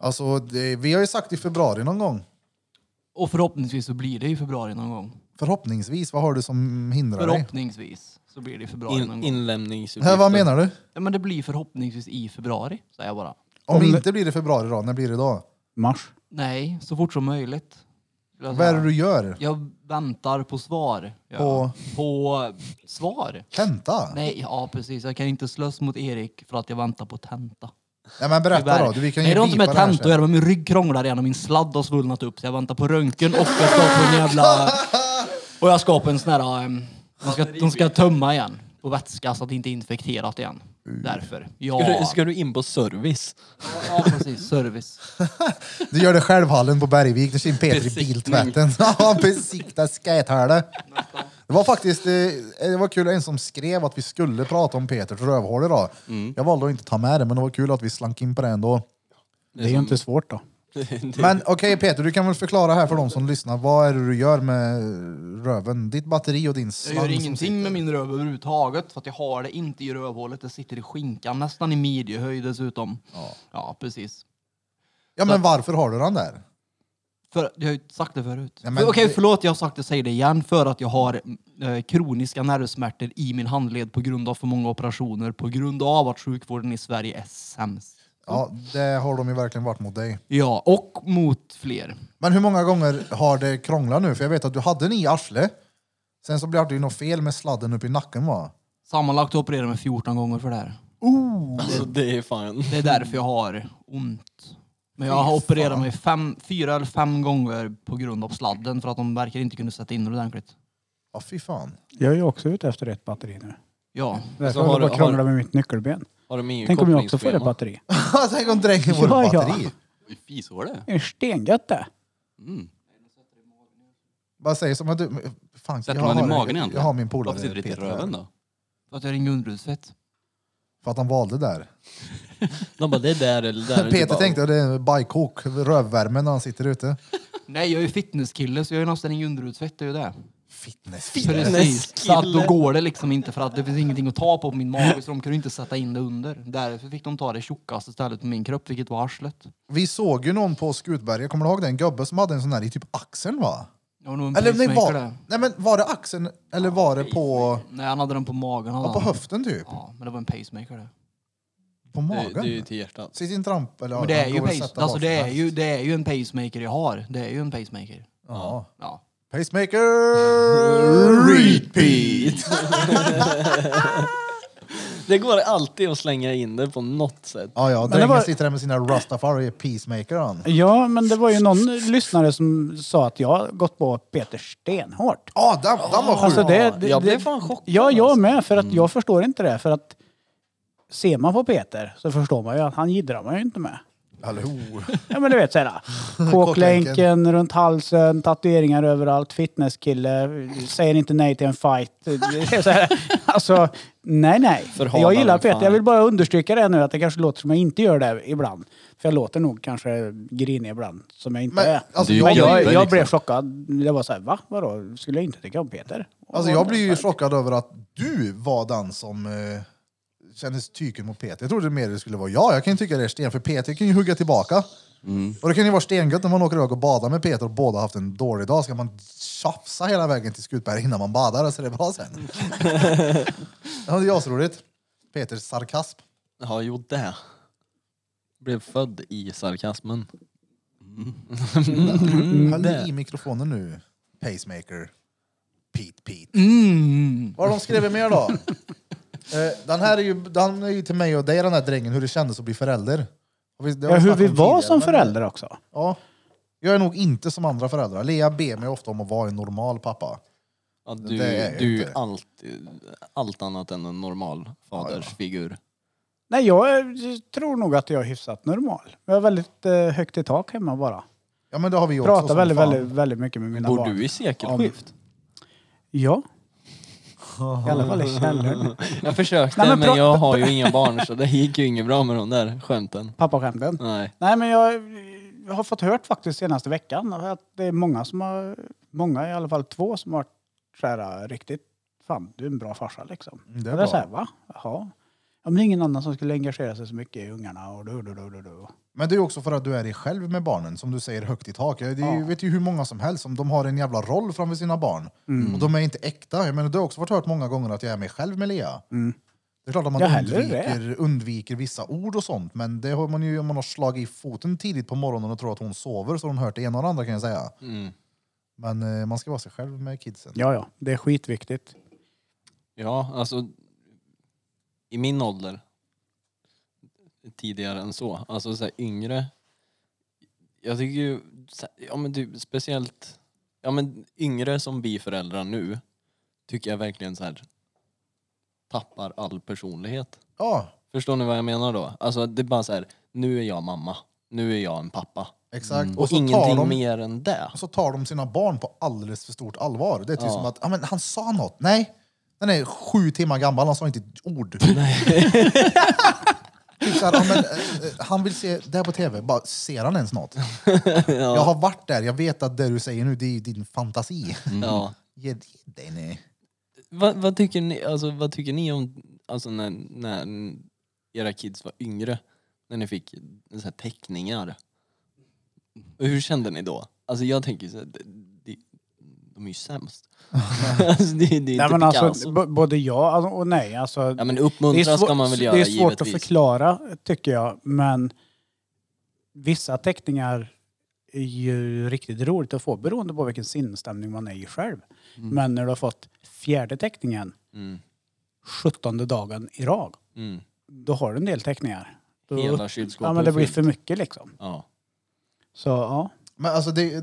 A: Alltså, det, vi har ju sagt i februari någon gång.
G: Och förhoppningsvis så blir det i februari någon gång.
A: Förhoppningsvis, vad har du som hindrar dig?
G: Förhoppningsvis så blir det i februari någon
B: In,
G: gång.
B: inlämningsuppgifter.
A: Äh, vad menar du?
G: Ja men det blir förhoppningsvis i februari, säger jag bara.
A: Om,
D: Om det-
A: inte blir det februari då, när blir det då?
D: Mars.
G: Nej, så fort som möjligt. vill jag
A: Vad är
G: säga.
A: det du gör?
G: Jag väntar på svar. Ja.
A: På-
G: på svar?
A: Tenta? Nej.
G: Nej, ja precis. Jag kan inte slåss mot Erik för att jag väntar på tenta.
A: men berätta
G: Tyvärr.
A: då. Du, vi kan ju
G: Nej, det har inte med
A: bipa det här
G: tenta att
A: sen.
G: göra, men min rygg krånglar igen och min sladd har svullnat upp så jag väntar på röntgen och jag ska på en jävla... Och jag ska på en sån här... ehm, De ska, de ska tömma igen på vätska så att det inte är infekterat igen. Därför. Ja,
B: Ska du, ska du in på service?
G: ja precis. Service.
A: Du gör det självhallen på Bergvik, du kör in Peter i
B: Besiktning.
A: biltvätten. Ja, besikta skäthålet. Det var faktiskt eh, det var kul, en som skrev att vi skulle prata om Peters rövhål idag.
G: Mm.
A: Jag valde att inte ta med det, men det var kul att vi slank in på det ändå.
D: Det är ju inte svårt då.
C: typ.
A: Men okej Peter, du kan väl förklara här för de som lyssnar. Vad är det du gör med röven? Ditt batteri och din
G: Jag
A: slang
G: gör
A: som
G: ingenting med min röv överhuvudtaget för att jag har det inte i rövhålet. Det sitter i skinkan, nästan i midjehöjd dessutom. Ja, precis.
A: Ja men varför har du den där?
G: För, jag har ju sagt det förut.
A: Ja, men
G: Okej,
A: det-
G: förlåt jag har sagt det, säg det igen. För att jag har eh, kroniska nervsmärtor i min handled på grund av för många operationer, på grund av att sjukvården i Sverige är sämst.
A: Ja, det har de ju verkligen varit mot dig.
G: Ja, och mot fler.
A: Men hur många gånger har det krånglat nu? För jag vet att du hade den i arslet. Sen så blev det ju något fel med sladden upp i nacken va?
G: Sammanlagt opererar jag mig 14 gånger för det här.
B: Alltså det är fan...
G: Det är därför jag har ont. Men jag har opererat mig fem, fyra eller fem gånger på grund av sladden för att de verkar inte kunna sätta in det ordentligt.
A: Ja fy fan.
D: Jag är ju också ute efter ett batteri nu.
G: Ja.
D: Därför
B: har
D: håller jag
B: du-
D: på att
B: har-
D: krångla med mitt nyckelben.
B: Har de ingen
D: Tänk om jag också får ett
B: kopplingsschema?
D: batteri.
A: Tänk om Alltså, drängen vore
D: Ja,
A: ett
D: ja.
A: batteri.
C: I fishålet?
D: Det är stengött det.
C: Mm.
A: Vad säger som att du... men, Fan,
C: Sätter
A: jag
C: man i
A: har-
C: magen
A: Jag
C: egentligen?
A: har min polare
C: Varför sitter det inte i
A: Peter
C: röven
A: här.
C: då?
G: För att jag ringer underhudsfett.
A: För att han valde där.
B: De bara, det är där eller där. Du
A: Peter
B: bara,
A: tänkte att det är bajkok, rövvärme när han sitter ute.
G: Nej, jag är ju fitnesskille så jag är nästan ingen underhudsfett, det är ju det.
A: Fitness.
G: Precis. Så att då går det liksom inte för att det finns ingenting att ta på på min mage så de kunde inte sätta in det under. Därför fick de ta det tjockaste stället på min kropp, vilket var arslet.
A: Vi såg ju någon på Skutberget, kommer du ihåg den gubbe som hade en sån här i typ axeln va?
G: Jag var nog en
A: Eller nej,
G: pacemaker
A: var,
G: där.
A: nej men var det axeln eller var det på,
G: Nej, han hade den på magen. hade
A: ja, på
G: han.
A: höften typ?
G: Ja, men det var en pacemaker det.
A: På
B: Det, det är ju
A: magen?
B: till hjärtat.
A: Sitt inte ramp eller ja,
G: Men det är,
A: han
G: ju,
A: går väl
G: pace,
A: sätta
G: alltså
A: bak
G: det,
A: där.
G: är ju, det är ju en pacemaker jag har. Det är ju en pacemaker.
A: Ja.
G: Ja.
A: Pacemaker repeat!
B: Det går alltid att slänga in det på något sätt.
A: Ja, ja,
D: det
A: drängen
D: var-
A: sitter där med sina rastafari peacemaker han.
D: Ja, men det var ju någon lyssnare som sa att jag har gått på Peter stenhårt.
A: Ja, den, den var sjuk!
D: Alltså det, det,
B: jag blev
D: det-
B: fan chockad, alltså. Mm.
D: Ja, jag med. För att jag förstår inte det. För att ser man på Peter så förstår man ju att han jiddrar man ju inte med.
A: Hallå.
D: Ja men du vet såhär. Kåklänken runt halsen, tatueringar överallt, fitnesskille, säger inte nej till en fight. Det är så här, Alltså, nej nej.
B: Förhalar
D: Jag gillar
B: den
D: Peter.
B: fan.
D: Jag vill bara understryka det nu att det kanske låter som jag inte gör det ibland. För jag låter nog kanske grinig ibland, som jag inte
A: Men,
D: är.
A: alltså,
C: Du-
A: jag,
D: Men
A: blir-
D: jag,
C: grinig,
D: jag
C: liksom.
D: blev chockad. Jag var såhär, va? Vadå? Skulle jag inte tycka om Peter?
A: alltså jag blir ju chockad över att du var den som eh, kändes tyken mot Peter. Jag trodde mer det skulle vara jag. Jag kan ju tycka det är sten, för Peter kan ju hugga tillbaka. Och det kan ju vara stengött när man åker iväg och badar med Peter och båda haft en dålig dag. Ska man tjafsa hela vägen till Skutberg innan man badar så är det bra sen. ja, det är asroligt. Peters sarkasm.
B: Ja, jo det. Blev född i sarkasmen.
D: Mm,
A: Håll i mikrofonen nu, pacemaker. Pete, Pete.
I: Mm.
A: Vad har de skrivit mer då? Eh, den här är ju, den är ju till mig och dig den här drängen, hur det kändes att bli förälder. Har vi- det har
D: Ja, hur
A: snackat
D: vi
A: om
D: var
A: tidigare,
D: som
A: men-
D: föräldrar också.
A: Ja. Jag är nog inte som andra föräldrar. Lea ber mig ofta om att vara en normal pappa.
B: Ja, du
A: Det är jag
B: du är ju
A: inte.
B: allt, allt annat än en normal fadersfigur.
D: Nej, jag är- tror nog att jag är hyfsat normal. Jag har väldigt eh, högt i tak hemma bara.
A: Ja men det har vi ju också.
D: Pratar
A: som
D: väldigt,
A: fan.
D: väldigt, väldigt mycket med mina
B: Bor
D: barn.
B: du i sekelskift?
D: Ja. I alla fall i källaren.
B: Jag försökte
D: Nej, men
B: men,
D: pra-
B: jag har ju inga barn så det gick ju inget bra med de där skämten.
D: Pappaskämten.
B: Nej.
D: Nej, men jag eh, har fått hört faktiskt senaste veckan att det är många som har, många i alla fall två som har varit så här eh, riktigt, fan du är en bra farsa liksom.
A: Mm, det är
D: Och
A: bra.
D: så här, va? Jaha. Ja, men det är ingen annan som skulle engagera sig så mycket i ungarna och du, du, du, du, du.
A: Men det är ju också för att du är dig själv med barnen, som du säger högt i tak. Jag det är ju- vet ju hur många som helst som de har en jävla roll framför sina barn. Och de är inte äkta. Jag menar, det har också varit hört många gånger att jag är mig själv med Lea. Det är klart att man
D: Ja, hellre
A: undviker, undviker vissa ord och sånt, men det har man ju om man har slagit i foten tidigt på morgonen och tror att hon sover så har hon hört det ena och det andra kan jag säga.
B: Mm.
A: Men eh, man ska vara sig själv med kidsen.
D: Ja, ja, det är skitviktigt.
B: Ja, alltså i min ålder tidigare än så, alltså så här yngre. Jag tycker ju, så här, ja men typ speciellt, ja men yngre som blir föräldrar nu tycker jag verkligen så här tappar all personlighet.
A: Ja,
B: Förstår ni vad jag menar då? Alltså det är bara så här, nu är jag mamma, nu är jag en pappa.
A: exakt.
B: Mm. Och,
A: så tar
B: ingenting
A: de-
B: mer än det.
A: så tar de sina barn på alldeles för stort allvar. Det är typ
B: Ja.
A: som att ah, men han sa något. Nej, den är sju timmar gammal, han sa inte ett ord. typ så här, ah, men, eh, eh, han vill se det här på tv, bara ser han ens något? Jag har varit där, jag vet att det du säger nu det är ju din fantasi.
B: Ja.
A: Ge ge dig nu.
B: Vad, vad, tycker ni, alltså, vad tycker ni om alltså, när, när era kids var yngre? När ni fick så här, teckningar? Och hur kände ni då? Alltså jag tänker så här, det- det- de är ju sämst. alltså, det, det är inte
D: Nej, men
B: Picasso.
D: alltså, b- både ja alltså, och nej. Alltså,
B: Ja men uppmuntra
D: svår-
B: ska man väl göra
D: Det är svårt
B: givetvis.
D: att förklara tycker jag, men vissa teckningar är ju riktigt roligt att få beroende på vilken sinnesstämning man är i själv. Men när du har fått fjärde teckningen,
B: Mm,
D: 17 dagen i rad,
B: mm.
D: då har du en del teckningar. Då,
B: Hela kylskåpet
D: ja, men det
B: är
D: blir
B: fyllt.
D: för mycket liksom.
B: Ja.
D: Så ja.
A: Men alltså det,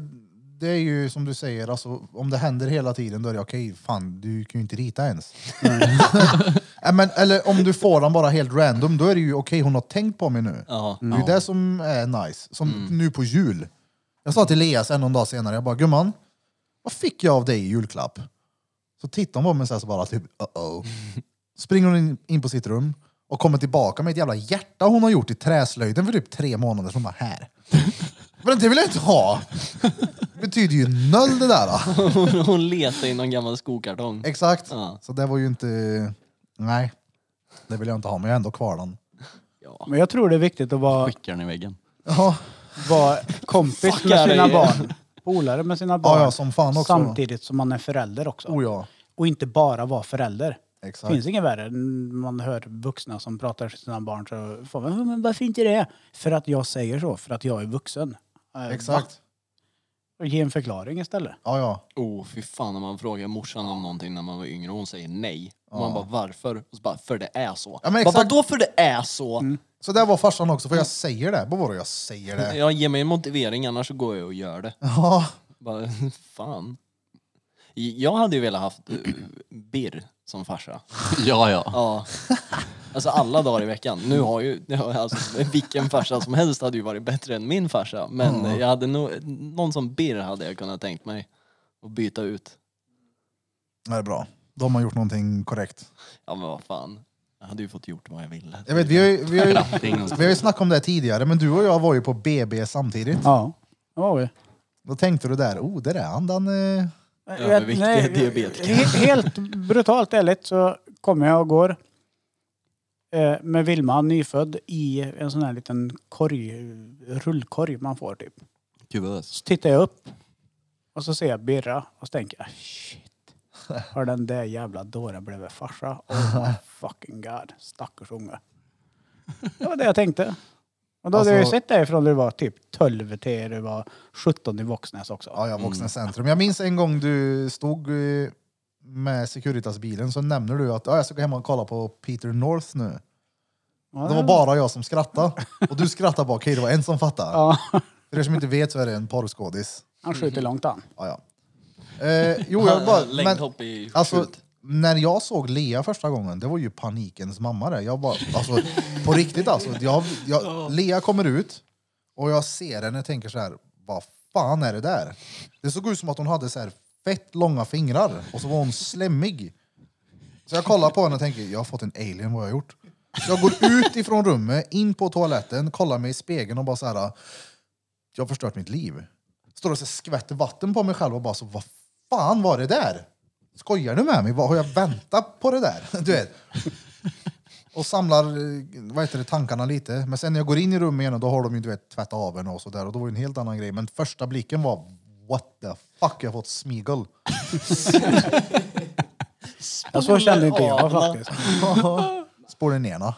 A: det är ju som du säger, alltså, om det händer hela tiden då är det okej, fan du kan ju inte rita ens. Nej, men, eller om du får den bara helt random, då är det ju okej, hon har tänkt på mig nu.
B: Ja. Mm.
A: Det är ju det som är nice. Som nu på jul. Jag sa till Lea sen någon dag senare, jag bara gumman, vad fick jag av dig i julklapp? Så tittar hon på mig så här så bara typ uh-oh. Springer hon in, in på sitt rum och kommer tillbaka med ett jävla hjärta hon har gjort i träslöjden för typ tre månader som bara här. Men det vill jag inte ha! Det betyder ju noll det där. Då.
B: Hon letar i någon gammal skokartong.
A: Exakt.
B: Ja.
A: Så det var ju inte... Nej. Det vill jag inte ha, men jag har ändå kvar den.
B: Ja.
D: Men jag tror det är viktigt att vara,
C: Skickar den i väggen.
A: Ja,
D: vara kompis med
B: Fuckar
D: sina
B: dig.
D: barn. Polare med sina barn.
A: ja, ja som fan också.
D: Samtidigt som man är förälder också.
A: Oh ja,
D: Och inte bara vara förälder. Det
A: exakt.
D: finns inget värre. än Man hör vuxna som pratar till sina barn så får man, men varför inte det? För att jag säger så, för att jag är vuxen. Eh, va?
A: Exakt.
D: Och Ge en förklaring istället.
A: Ja, ja.
B: Oh, fy fan när man frågar morsan om någonting när man var yngre och hon säger nej. Och man bara varför? Och så bara för det är så.
A: Ja, men
B: Bara,
A: exakt. Mm.
B: Vadå för det är så?
A: Så där var farsan också, för jag säger det. Vad var det jag säger det?
B: Jag ger mig en motivering annars så går jag och gör det.
A: Ja,
B: Bara, fan. Jag hade ju velat haft eh, Birr som farsa.
C: Ja, ja.
B: Ja. Alltså alla dagar i veckan. Nu har ju, nu har jag alltså, vilken farsa som helst hade ju varit bättre än min farsa. Men jag hade nog, någon som Birr hade jag kunnat tänkt mig. Och byta ut.
A: det är bra. De har gjort någonting korrekt.
B: Ja men vad fan. Jag hade ju fått gjort vad jag ville.
A: Jag vet, vi har ju, vi har ju,
C: Det är ingen som-
A: vi har ju snackat om det här tidigare, men du och jag var ju på BB samtidigt.
D: Ja, det var vi.
A: Då tänkte du där, oh, där är han. Den, eh,
B: Överviktiga
D: Jag-
B: diabetiker.
D: he- Helt brutalt ärligt så kommer jag och går eh, med Vilma, nyfödd, i en sån här liten korg, rullkorg man får typ.
C: Kuvös.
D: Så tittar jag upp och så ser jag Birra och så tänker jag "Ah, shit. Har den där jävla dåren blivit farsa? Oh my fucking god. Stackars unge. Det var det jag tänkte. Och då hade jag ju
A: Alltså-
D: sett dig från när du var typ 12 till du var 17 i Våxnäs också.
A: Ja, ja, vuxna centrum. Jag minns en gång du stod eh, med Securitas-bilen så nämner du att "Ja, jag ska gå hem och kolla på Peter North nu.
D: Ja,
A: Det var bara jag som skrattade. Och du skrattade bara, okej det var en som fattade.
D: Ja,
A: För er som inte vet så är det en porrskådis.
D: han skjuter långt han.
A: Ja, ja. Eh, jo, jag bara... Men,
B: Längdhopp i
A: alltså,
B: skjut.
A: när jag såg Lea första gången, det var ju panikens mamma det. Jag bara, alltså, på riktigt alltså. Jag, jag, Lea kommer ut och jag ser henne och tänker så här, vad fan är det där? Det såg ut som att hon hade så här fett långa fingrar och så var hon slemmig. Så jag kollar på henne och tänker, jag har fått en alien, vad har jag gjort? Så jag går ut ifrån rummet, in på toaletten, kollar mig i spegeln och bara så här, jag har förstört mitt liv. Står och så skvätter vatten på mig själv och bara så, vad fan var det där? Skojar du med mig? Vad har jag väntat på det där? Du vet. Och samlar eh, vad heter det, tankarna lite. Men sen när jag går in i rummet igen och då har de ju du vet, tvättat av en och sådär. Och då var det en helt annan grej. Men första blicken var what the fuck, jag har fått smigel.
D: Ja, så kände inte jag faktiskt.
A: Spår ner na.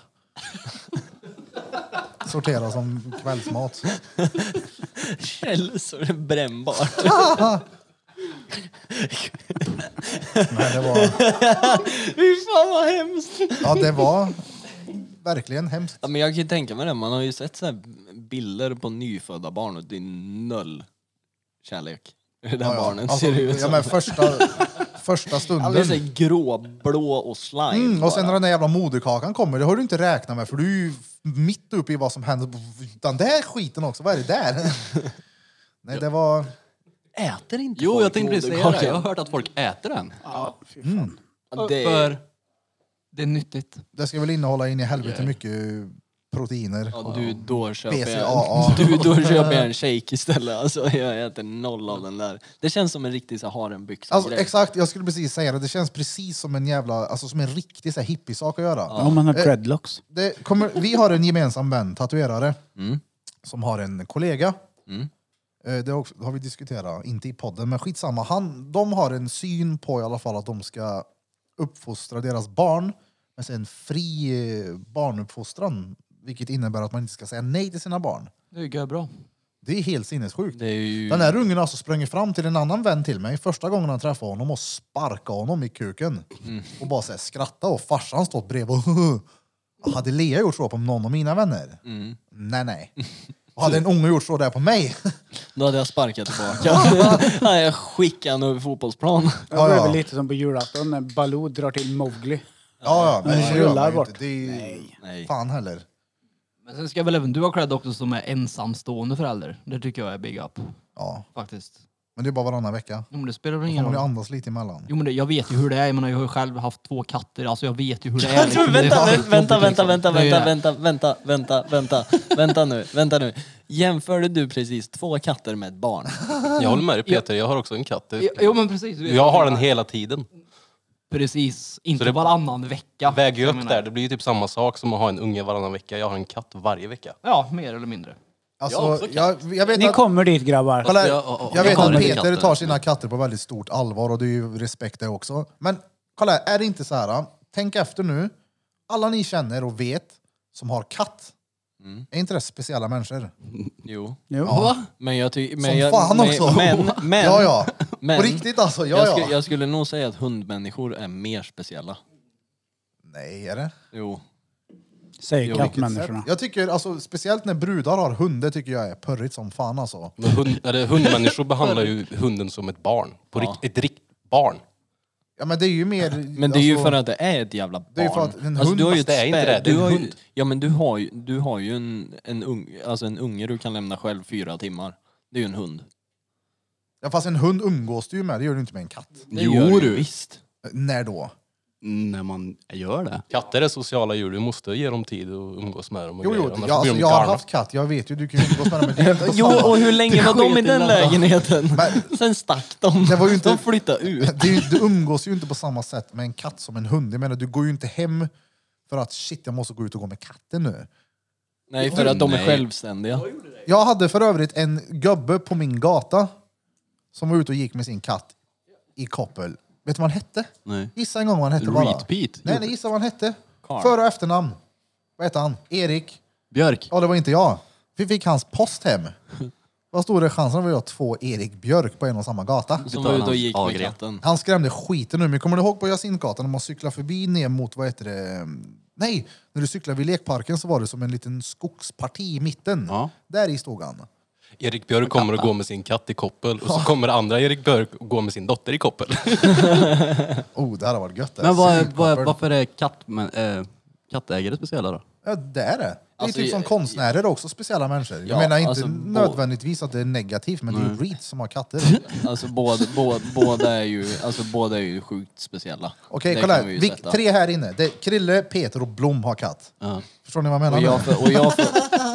A: Sortera som kvällsmat.
B: Källsor, brännbart.
A: Nej, det var,
B: Fy fan vad hemskt!
A: ja, det var verkligen hemskt.
B: Ja, men jag kan ju tänka mig det, man har ju sett så här bilder på nyfödda barn och det är noll kärlek. Hur det där barnet
A: Alltså,
B: ser ut
A: ja,
B: som.
A: men första, första
B: Han blir
A: stunden.
B: såhär gråblå och slime
A: Mm, och sen när
B: bara.
A: den där jävla moderkakan kommer, det har du inte räknat med för du är ju mitt uppe i vad som händer. Den där skiten också, vad är det där? Nej, det var...
B: Äter inte
C: Jo,
B: folk
C: jag tänkte precis säga det.
B: moderkakan?
C: Jag har hört att folk äter den.
B: Ja, det är,
G: För det är nyttigt.
A: Det ska väl innehålla in i helvete mycket proteiner.
B: ja, du, då köper
A: BCAA.
B: jag, du, då köper jag en shake istället. Alltså, jag äter noll av den där. Det känns som en riktig så här, harenbyxa
A: Alltså,
B: grej.
A: exakt, jag skulle precis säga det. Det känns precis som en jävla, alltså som en riktig så här, hippiesak att göra.
D: Om man har dreadlocks.
A: det kommer, vi har en gemensam vän, tatuerare, som har en kollega. Eh, Det har också- har vi diskuterat, inte i podden, men skitsamma. Han, de har en syn på i alla fall att de ska uppfostra deras barn med en fri eh, barnuppfostran. Vilket innebär att man inte ska säga nej till sina barn.
G: Det är ju bra.
A: Det är helt sinnessjukt.
B: Det är ju...
A: Den här ungen alltså sprang fram till en annan vän till mig första gången han träffade honom och sparkade honom i kuken. Och bara så här, skrattade och farsan stått bredvid och Hade Lea gjort så på någon av mina vänner? Nej, nej. Och hade en unge gjort så där på mig?
B: Då hade jag sparkat tillbaka. Nej, jag skickade honom över fotbollsplan.
D: Det
A: Ja,
D: blev
A: ja.
D: väl lite som på julafton när Baloo drar till Mowgli.
A: Ja, ja, men
D: Mm.
A: det gör man ju
D: Rullar
A: inte. Det är ju
B: Nej.
A: fan heller.
G: Men sen ska väl även du ha cred också som är ensamstående förälder. Det tycker jag är big up.
A: Ja,
G: Faktiskt.
A: men det är bara varannan vecka.
G: Jo men det spelar väl
A: Man
G: ingen
A: får ju
G: roll.
A: andas lite emellan.
G: Jo men det, jag vet ju hur det är. Jag menar jag har ju själv haft två katter. Alltså jag vet ju hur det är.
B: Jag tror,
G: liksom. Det är
B: vänta,
G: fan
B: vänta, vänta,
G: jobbigt,
B: vänta, vänta,
G: liksom. Det är ju
B: vänta,
G: det.
B: vänta, vänta, vänta, vänta, vänta nu, vänta nu. Jämförde du precis två katter med ett barn?
J: Jag håller med dig Peter, jag har också en katt. Det-
G: Jo men precis.
J: Jag har den hela tiden.
G: Precis. Inte
J: Så det-
G: varannan vecka.
J: Väger ju
G: Jag
J: upp
G: menar.
J: där, det blir ju typ samma sak som att ha en unge varannan vecka. Jag har en katt varje vecka.
G: Ja, mer eller mindre.
A: Alltså, jag, jag vet
D: Ni
A: att,
D: kommer dit grabbar.
A: kolla, här.
C: Ja, ja, ja.
A: jag
C: Jag
A: vet
C: har
A: att
C: inte
A: Peter
C: katter.
A: tar sina katter på väldigt stort allvar och det är ju respekt det också. Men kolla, här, är det inte så här? ah, Tänk efter nu. Alla ni känner och vet som har katt,
B: Mm.
A: är inte det speciella människor?
B: Jo.
D: Jo.
B: Men jag tycker...
A: Som
B: jag,
A: fan
B: men,
A: också!
B: Men, men,
A: ja, ja.
B: men-
A: På riktigt alltså, ja,
B: jag,
A: ja.
B: sku, jag skulle nog säga att hundmänniskor är mer speciella.
A: Nej, är det?
B: Jo.
D: Säger
B: Jo,
D: kattmänniskorna.
A: Jag tycker, alltså, speciellt när brudar har hundar tycker jag är pörrigt som fan alltså.
J: Men hund, eller hundmänniskor behandlar ju hunden som ett barn. På rikt, ett riktigt barn.
A: Ja, men det är ju mer...
B: Men det är ju
A: alltså,
B: för att det är ett jävla barn.
A: Det är ju för att en
B: alltså,
A: hund-
B: du har ju
J: Fast det är inte
B: spä-
J: det, det är
B: du
J: en
B: har ju-
J: hund.
B: Ja men du har ju, du har ju en, en, ung, alltså en unge du kan lämna själv fyra timmar. Det är ju en hund.
A: Ja, fast en hund umgås du ju med, det gör du inte med en katt.
B: Det
C: Jo,
B: gör
C: du.
B: Visst.
A: När då?
C: När man gör det.
J: Katter är sociala djur, du måste ge dem tid och umgås med dem. Och
A: Jo, jo,
J: grejer, annars
A: jag, alltså,
J: blir de
A: jag har
J: galna.
A: haft katt, jag vet ju, du kan ju umgås med dem. Men det, är inte
B: Jo,
A: samma.
B: och hur länge var de i den lägenheten?
A: Men-
B: Sen stack de.
A: Det var ju inte-
B: De flyttade ut.
A: det är, ju- du umgås ju inte på samma sätt med en katt som en hund. Jag menar, du går ju inte hem för att shit, jag måste gå ut och gå med katten nu.
B: Nej, för att de är
C: Nej.
B: självständiga.
A: Jag hade för övrigt en gubbe på min gata som var ute och gick med sin katt i koppel. Vet du vad han hette?
C: Nej.
A: Gissa en gång vad han hette bara.
C: Repeat?
A: Nej, nej, gissa vad han hette.
B: Carl.
A: För och efternamn. vad hette han? Erik?
C: Björk.
A: Ja, det var inte jag. Vi fick hans post hem. Vad stor är chansen att vi har två Erik Björk på en och samma gata?
B: Som
C: tar
B: var ute och
C: hans
B: gick med
C: Agria.
B: katten.
A: Mm. Han skrämde skiten ur mig. Kommer du ihåg på Jacintgatan när man cyklade förbi ner mot, vad heter det? Nej, när du cyklade vid lekparken så var det som en liten skogsparti i mitten.
C: Ja.
A: Där i stod han.
J: Erik Björk kommer att gå med sin katt i koppel och så kommer andra Erik Björk och gå med sin dotter i koppel.
A: Oh, det här har varit gött. det.
C: Men vad, är- vad, är-
A: Svinkoppel.
C: varför är katt, men, eh, kattägare speciella då?
A: Ja, det är det. Det är
B: Alltså,
A: typ som
B: jag-
A: konstnärer också, speciella människor. Jag
B: Ja,
A: menar inte
B: alltså, bo-
A: nödvändigtvis att det är negativt, men det är ju Reeds som har katter.
B: Alltså båda, båda, båda, är ju, alltså, båda är ju sjukt speciella.
A: Okej,
B: Det
A: kolla
B: kan
A: här.
B: vi ju
A: Vi,
B: sätta.
A: tre här inne. Det är Krille, Peter och Blom har katt.
C: Ja.
A: Förstår ni vad jag
B: Och,
A: menar?
B: jag,
A: nu?
B: för, och jag, för,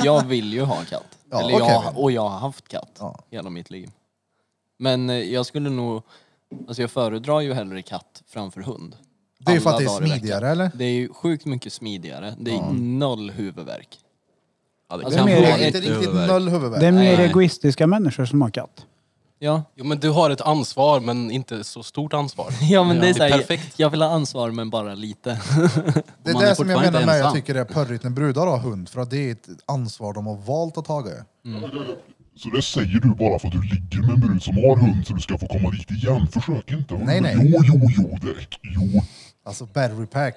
B: jag vill ju ha katt.
A: Ja,
B: Eller jag,
A: okej.
B: och jag har haft katt
A: Ja.
B: hela mitt liv. Men eh, jag skulle nog... Alltså jag föredrar ju hellre katt framför hund.
A: Det är ju för att
B: Alla
A: det är
B: dagar i veckan.
A: smidigare, eller?
B: Det är ju sjukt mycket smidigare. Det är noll huvudvärk.
C: Ja, det
B: Alltså,
C: kan
B: mer-
A: Det
C: vara
A: är
B: Nej,
A: inte
C: lite
A: riktigt
C: huvudvärk.
A: noll
D: Det är
A: huvudvärk.
D: mer
B: Nej.
D: egoistiska människor som har katt.
B: Ja,
J: Jo, men du har ett ansvar, men inte så stort ansvar.
B: ja men det är
J: Det är
B: såhär, jag,
J: perfekt.
B: jag vill ha ansvar men bara lite.
A: Det är
C: Man är
A: det som jag
C: fortfarande
A: menar med jag
C: ensam.
A: tycker det är pörrigt när brudar har hund, för att det är ett ansvar de har valt att ta.
K: Så det säger du bara för att du ligger med en brud som har hund så du ska få komma dit igen. Försök inte.
A: Nej, nej.
K: Jo, jo, jo, Dirk. Jo.
A: Alltså battery pack.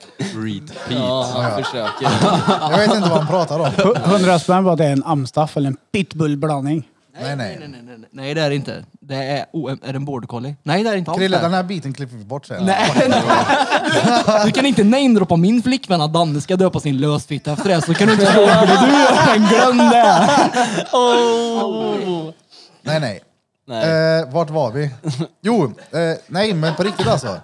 B: Ja, han försöker.
A: Jag vet inte vad han pratar om.
D: 100 spänn var det en amstaff eller en pitbull-blandning.
A: Nej, nej.
G: nej, nej, nej. Nej, det är det inte. Det är, oh, är det en border collie? Nej, det är det inte. alls
A: Krille,
G: det.
A: den här biten klipper vi bort sen.
G: Nej, Du kan inte namedroppa min flickvän att Danne ska döpa sin lösfitta efter det, så kan du inte få det du gör. Glöm det!
A: Nej, nej.
B: Nej.
A: Eh, vart var vi? Jo, eh, nej men på riktigt alltså.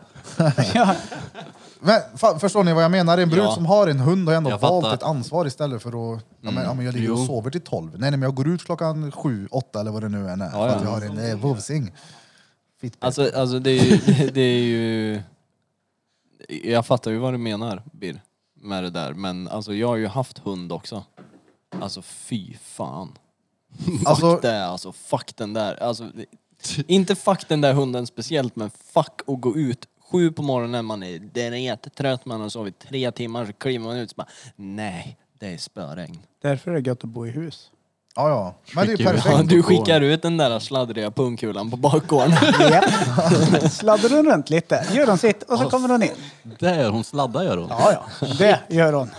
A: men, fa- förstår ni vad jag menar? En brud
B: Ja.
A: som har en hund har ändå
C: Jag
A: valt
C: fattar. Mm.
A: ett ansvar istället för att ja, men, ja, men jag ligger och
C: Jo.
A: sover till tolv. Nej, nej men jag går ut klockan sju, åtta eller vad det nu än är. för
B: ja.
A: att jag har en eh, vovsing. Fittbit.
B: Alltså, alltså det, är ju, det, det är ju... Jag fattar ju vad du menar, Bir, med det där. Men alltså, jag har ju haft hund också. Alltså fy fan.
A: Alltså,
B: Det är alltså fuck den där. Alltså, det, inte fuck den där hunden speciellt, men fuck att gå ut sju på morgonen, man är drettrött, man har sovit tre timmar, så kliver man ut så bara nej, det är spöregn.
D: Därför är det gött att bo i hus.
A: ja, ja. Men det är ju
C: Skickar vi
A: perfekt.
B: Ja, du skickar ut den där sladdriga pungkulan på bakgården.
D: Sladdar hon runt lite, gör hon sitt och så kommer hon in.
C: Det gör hon, sladdar gör hon.
D: Ja, ja. Det gör hon.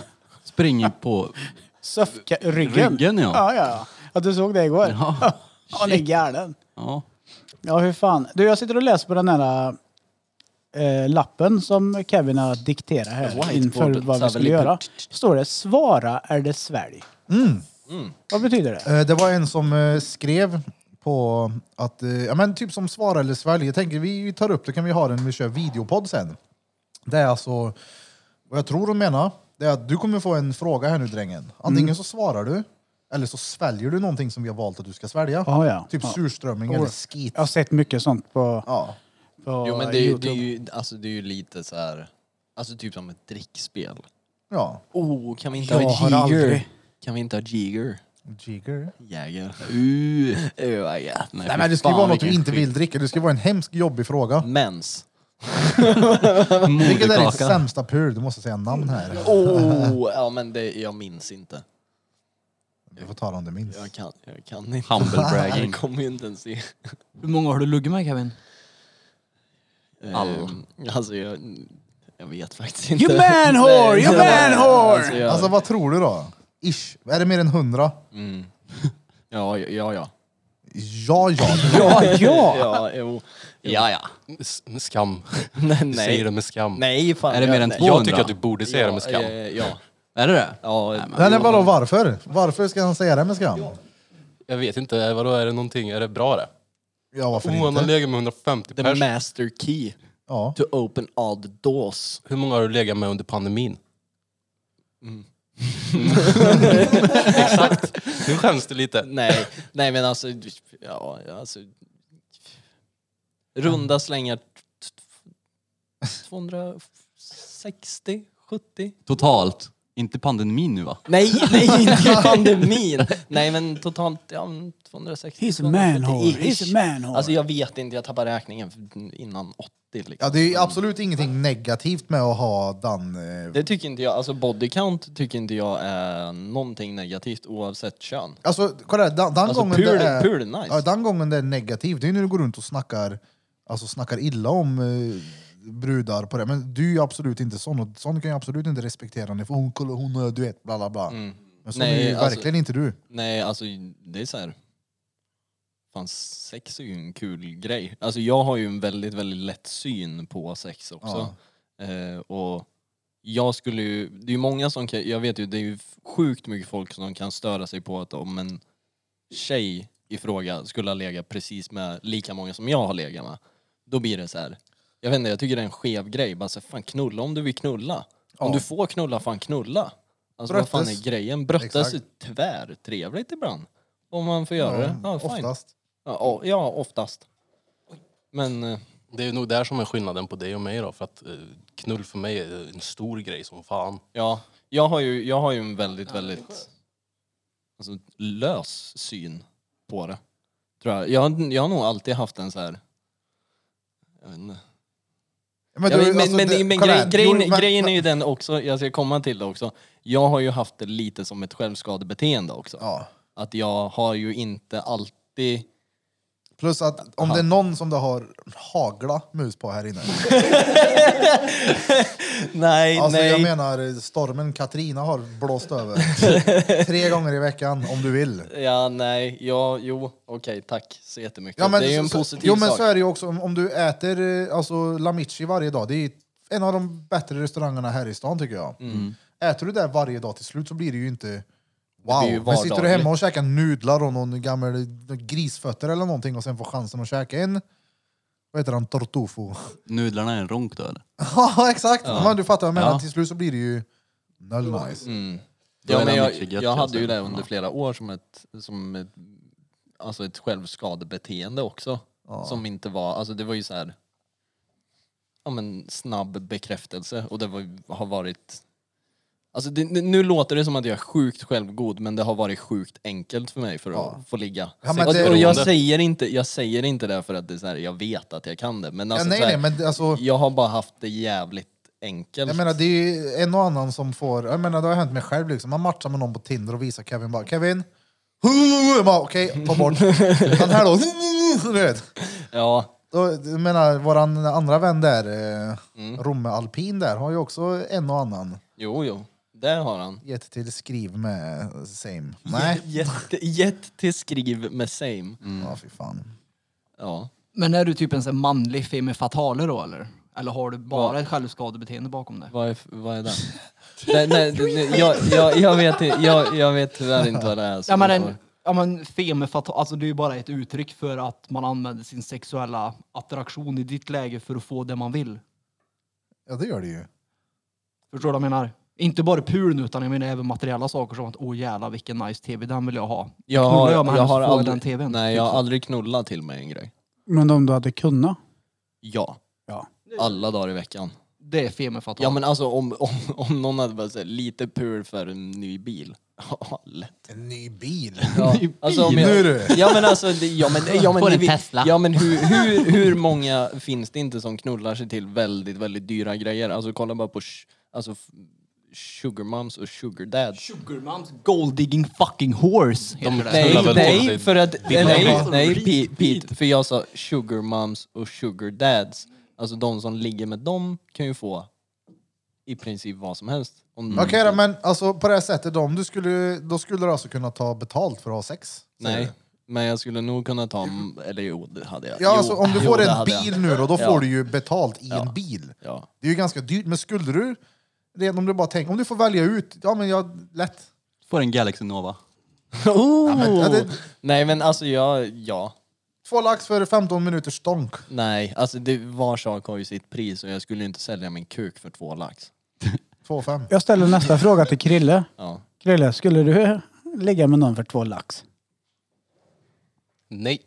C: Springer på...
D: Söfka, ryggen.
C: Ryggen, ja.
D: Ja, ja, ja. ja. Du såg det igår. Ja,
C: Ja.
D: hon är galen.
C: ja.
D: Ja, hur fan. Du, jag sitter och läser på den här eh, lappen som Kevin har dikterat här
B: Whiteboard,
D: inför vad vi skulle
B: Saveli-
D: göra. Står det svara är det svälj.
B: Mm.
D: Vad betyder det?
A: Eh, Det var en som eh, skrev på att, eh, ja men typ som svara eller svälj. Jag tänker vi tar upp det, kan vi ha den, vi kör videopodd sen. Det är alltså, vad jag tror hon menar, det är att du kommer få en fråga här nu drängen. Antingen
B: Mm.
A: så svarar du, eller så sväljer du någonting som vi har valt att du ska svälja.
B: Ah,
D: Ja, ja.
A: Typ
D: Ja.
A: surströmming
D: Oh.
A: eller skit.
D: Jag
B: Alltså-
D: har sett mycket sånt på,
A: Ja.
D: på
B: Jo men det är, ju, det, är
D: Youtube.
B: ju, alltså, det är ju lite så här, alltså typ som ett drickspel.
A: Ja.
B: Oh, kan vi inte
D: Jag har
B: ha Jigger?
D: aldrig-
B: Kan vi inte ha Jigger?
A: Jigger.
B: Jäger. Uh, uh, yeah.
A: Nej men det ska ju
B: fan,
A: vara något du
B: vilken
A: inte vill dricka, det ska vara en hemsk jobbig fråga.
B: skit. Mens.
A: Vilket är ditt
C: Moderkaka.
A: sämsta pur? Du måste säga namn här.
B: Oh, ja men det, jag minns inte.
A: Du får ta det om du minns.
B: Jag kan, jag kan inte.
C: Humble
B: Jag
C: bragging.
B: kommer ju inte ens se.
G: Hur många har du luggit med Kevin?
B: All. Alltså jag, jag vet faktiskt inte.
D: You man whore! You
B: Nej,
D: man whore!
B: Alltså, jag,
A: Alltså vad tror du då? Ish. Är det mer än hundra?
B: ja, ja, ja, ja.
A: Ja, ja.
D: Ja, ja!
B: Ja, jo.
C: Ja, ja.
J: S- Med skam.
B: Nej,
J: Du
B: nej.
J: säger det med skam.
B: Nej, fan.
C: Är det mer
B: jag-
C: än
B: nej.
C: två?
J: Jag tycker att du borde säga
B: Ja,
J: det med skam.
B: eh, Ja.
C: Är det det?
B: ja.
A: Nej, nej, vadå varför? Varför ska han säga det med skam?
J: Jag vet inte, vadå är det någonting, är det bra det?
A: Ja, varför
J: Oh, han har
A: inte?
J: legat med 150
B: The
J: pers.
B: master key
A: Ja.
B: to open all the doors.
J: Hur många har du legat med under pandemin?
B: Mm.
J: Exakt, nu skäms du lite.
B: Nej, nej men alltså, ja, alltså... Runda slängar... t- t- 260? 70?
C: Totalt. Inte pandemin nu va?
B: Nej, nej, inte i pandemin! Nej, men totalt ja, 260.
D: He's a manhole,
B: 270 -ish.
D: he's a manhole.
B: Alltså jag vet inte, jag tappar räkningen för- innan 80 liksom.
A: Ja, det är ju absolut ingenting negativt med att ha den... eh,
B: Det tycker inte jag, alltså body count tycker inte jag är någonting negativt oavsett kön.
A: Alltså, kolla här, den, den
B: Alltså,
A: gången
B: pure-
A: det är...
B: pure nice.
A: Ja, den gången det är negativt, det är ju när du går runt och snackar, alltså, snackar illa om eh, brudar på det. Men du är ju absolut inte sån, och sån kan jag absolut inte respektera henne för hon, kolla hon, är- du vet, bla bla bla. Men sån
B: Mm. Nej,
A: är ju
B: alltså-
A: verkligen inte du.
B: Nej, alltså det är så här. Fan, sex är ju en kul grej. Alltså jag har ju en väldigt, väldigt lätt syn på sex också. Eh, och jag skulle ju, det är ju många som kan, jag vet ju det är ju sjukt mycket folk som kan störa sig på att om en tjej i fråga skulle ha legat precis med lika många som jag har legat med. Då blir det så här. jag vet inte, jag tycker det är en skev grej. Bara så här, fan knulla om du vill knulla. Om du får knulla, fan knulla. Alltså vad fan
A: Bröttes.
B: är grejen? Bröttas är
A: Exakt.
B: tvär trevligt ibland. Om man får göra det. Ja, fine.
A: Oftast.
B: Ja, o- ja, oftast. Men eh,
J: Det är nog där som är skillnaden på dig och mig då, för att eh, knull för mig är en stor grej som fan.
B: ja, jag har ju, jag har ju en väldigt, väldigt alltså, lös syn på det. Tror jag. Jag, jag har nog alltid haft en så här... Jag vet inte.
A: Men,
B: Ja,
A: du,
B: men
A: alltså,
B: men,
A: det-
B: men
A: kolla
B: grej,
A: här,
B: grejen,
A: jo, men-
B: grejen är ju den också, jag ska komma till det också. Jag har ju haft det lite som ett självskadebeteende också.
A: Ja.
B: Att jag har ju inte alltid...
A: Plus att om det är någon som du har hagla mus på här inne.
B: Nej,
A: Alltså
B: nej.
A: jag menar stormen Katrina har blåst över. Tre gånger i veckan om du vill.
B: Ja, nej, ja, jo, okej, tack så jättemycket.
A: Ja, men
B: det är ju en
A: så- så-
B: positiv
A: Jo men
B: sak.
A: så är det ju också om, om du äter eh, alltså, lamichi varje dag. Det är ju en av de bättre restaurangerna här i stan tycker jag.
B: Mm.
A: Äter du där varje dag till slut så blir det ju inte wow.
B: blir ju
A: men sitter du hemma
B: vardagligt.
A: och käkar nudlar och någon gammal eh, grisfötter eller någonting och sen får chansen att käka en vad heter han? Tortofo.
C: Nudlarna är en ronk då eller?
A: ja exakt! Men du fattar vad jag menar.
C: Ja.
A: Till slut så blir det ju noll nice.
B: Mm, alltså,
C: Då
B: ja,
C: är
B: men
C: det
B: jag,
C: mycket gött,
B: jag
C: kan
B: hade ju
A: alltså.
C: säga.
B: det under flera år som ett, som ett, alltså ett självskadebeteende också. Som inte var, alltså det var ju så här, ja men snabb bekräftelse och det var, har varit Alltså det, nu låter det som att jag är sjukt självgod men det har varit sjukt enkelt för mig för att få ligga.
A: Ja, men
B: och,
A: det-
B: och jag, säger inte, jag säger inte det för att det är så här, jag vet att jag kan det. Men alltså,
A: ja, nej,
B: så här,
A: nej, men alltså,
B: Jag har bara haft det jävligt enkelt.
A: jag menar, det är ju en och annan som får... Jag menar, det har hänt mig själv. Liksom. Man matchar med någon på Tinder och visar Kevin bara Kevin! Jag bara, Okej, ta bort. Den här då. Du vet.
B: Ja,
A: Då, jag menar, våran andra vän där, eh, Romme Alpin där, har ju också en och annan
B: jo, jo. Där har han.
A: gett till skriv med same. Nej.
B: Jätte, jätt till skriv med same.
A: Ja, fy fan.
B: Ja.
G: Men är du typ en sån här manlig femme fatale då eller? Eller har du bara ett självskadebeteende bakom det?
B: Vad är, vad är det? nej, nej, nej, jag, jag, jag, vet, i- jag, jag vet tyvärr inte vad det är. så
G: Ja men,
B: vi
G: en,
B: får-
G: ja, men femme fatale, alltså det är ju bara ett uttryck för att man använder sin sexuella attraktion i ditt läge för att få det man vill.
A: Ja, det gör det ju.
G: Förstår du vad jag menar? Inte bara pulen utan jag menar även materiella saker som att åh jävlar vilken nice tv, den vill jag ha.
B: jag
G: knullar
B: har,
G: jag med
B: jag
G: henne så
B: har
G: får jag
B: aldrig,
G: den TVn. Typ
B: Nej, jag har aldrig knullat till mig en grej.
D: Men om du hade kunnat?
B: Ja.
D: Ja.
B: Alla dagar i veckan.
G: Det är femme fatale.
B: Ja men alltså om, om, om någon hade bara sagt lite pur för en ny bil. Ja, lätt.
A: En ny bil.
B: Ja, alltså, om
A: Nu du.
B: Ja men alltså, det- ja men, ja, men,
G: Får en
B: ni vet-
G: Tesla.
B: Ja men hur, hur, hur många finns det inte som knullar sig till väldigt, väldigt dyra grejer? Alltså kolla bara på sh- alltså, f- sugar moms och sugar dads.
G: Sugarmums gold digging fucking horse heter det.
B: Nej,
J: knullar väl till
B: nej,
J: sig
B: för att, nej, nej,
G: mamma.
B: nej Pe- Pete, för jag sa sugar moms och sugar dads. Alltså de som ligger med dem kan ju få i princip vad som helst. Om de-
A: Okej då, men alltså, på det här sättet, då, om du skulle, då skulle du alltså kunna ta betalt för att ha sex? säger
B: Nej,
A: du?
B: men jag skulle nog kunna ta, m- eller jo det hade jag.
A: Ja,
B: jo,
A: alltså, om du
B: jo,
A: får
B: det
A: en
B: hade jag.
A: bil nu då, då
B: Ja.
A: får du ju betalt i en bil.
B: Ja.
A: Det är ju ganska dyrt, men skulle du, redan om du bara tänker, om du får välja ut, ja men jag, lätt.
C: Får en Galaxy Nova.
B: Oh.
A: ja, det-
B: Nej men alltså jag, ja.
A: Två lax för 15 minuters stonk.
B: Nej, alltså det, var sak har ju sitt pris och jag skulle ju inte sälja min kuk för två lax.
A: Två fem.
D: Jag ställer nästa fråga till Krille.
B: Ja.
D: Krille, skulle du ligga med någon för två lax?
J: Nej.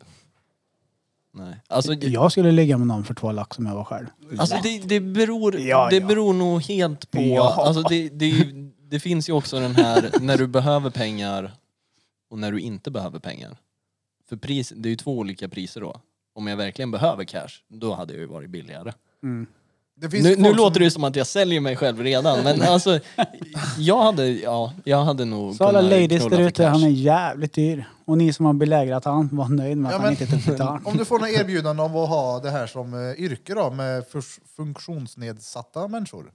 B: Nej. Alltså, det,
D: Jag skulle ligga med någon för två lax om jag var själv.
B: alltså det, det beror,
D: Ja,
B: det
D: ja.
B: beror nog helt på,
D: Ja.
B: alltså det, det, är ju- det finns ju också den här när du behöver pengar och när du inte behöver pengar. För pris, det är ju två olika priser då. Om jag verkligen behöver cash, då hade jag ju varit billigare.
A: Det finns
B: Nu,
A: folk
B: nu
A: som-
B: låter det ju som att jag säljer mig själv redan, men alltså jag hade, ja, jag hade nog
D: Så alla
B: kunnat
D: ladies
B: knulla
D: där
B: för
D: ute,
B: cash.
D: han är jävligt dyr. Och ni som har belägrat han, var nöjd med att
A: Ja,
D: han
A: men-
D: inte tog betalt.
A: Om du får några erbjudanden om att ha det här som eh, yrke då, med furs- funktionsnedsatta människor.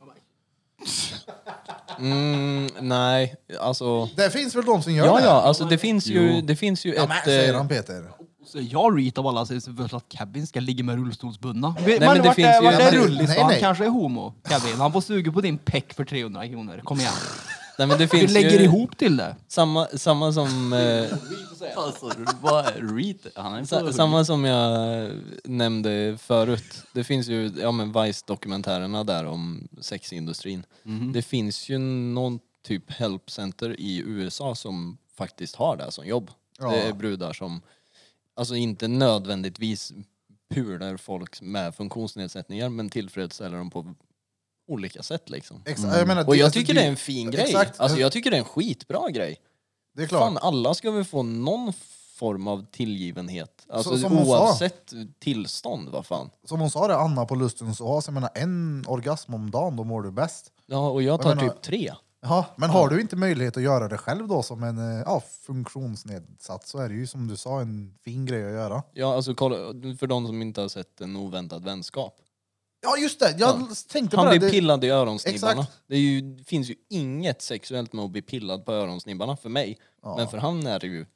B: Mm, nej, alltså...
A: Det finns väl de som gör
B: Ja,
A: det?
B: ja, alltså det finns ju,
C: Jo.
B: det finns ju
A: Ja,
B: ett...
A: men, säger
B: eh,
A: han Peter.
G: Så jag reet av alla säger väl att Kevin ska ligga med rullstolsbundna. Nej,
B: men det finns ju-
G: vart
B: nej,
G: är
A: men-
G: rullis?
A: nej,
G: Han
A: nej.
G: kanske är homo, Kevin. Han får suga på din peck för 300 kronor. Kom igen.
B: nej, men det
G: Du
B: finns
G: lägger
B: ju
G: ihop till det.
B: Samma, samma som... Eh,
C: Alltså, vad är Reet? Han är
B: Sa-
C: så
B: Samma som jag eh, nämnde förut. Det finns ju ja, men Vice-dokumentärerna där om sexindustrin. Det finns ju någon typ helpcenter i USA som faktiskt har det här som jobb. Det är brudar som, alltså inte nödvändigtvis pular folk med funktionsnedsättningar men tillfredsställer dem på olika sätt liksom.
A: Exa- jag menar,
B: Och jag
A: alltså,
B: tycker det är en fin grej.
A: Exakt.
B: Alltså jag tycker det är en skitbra grej.
A: Det är klart.
B: Fan, alla ska väl få någon form av tillgivenhet. Alltså,
A: som hon sa.
B: oavsett tillstånd, vad fan.
A: Som hon sa det, Anna på lustens oas, jag menar en orgasm om dagen, då mår du bäst.
B: Ja, och jag tar
A: Jag menar-
B: typ tre.
A: Ja, men har du inte möjlighet att göra det själv då som en eh, ja, funktionsnedsatt så är det ju som du sa en fin grej att göra.
B: Ja, alltså, kolla, för de som inte har sett En oväntad vänskap.
A: Ja just det, jag tänkte
B: Han
A: bara...
B: blir
A: Det,
B: pillad i öronsnibbarna.
A: Exakt.
B: Det, är ju, det finns ju inget sexuellt med att bli pillad på öronsnibbarna för mig. Men för han är det ju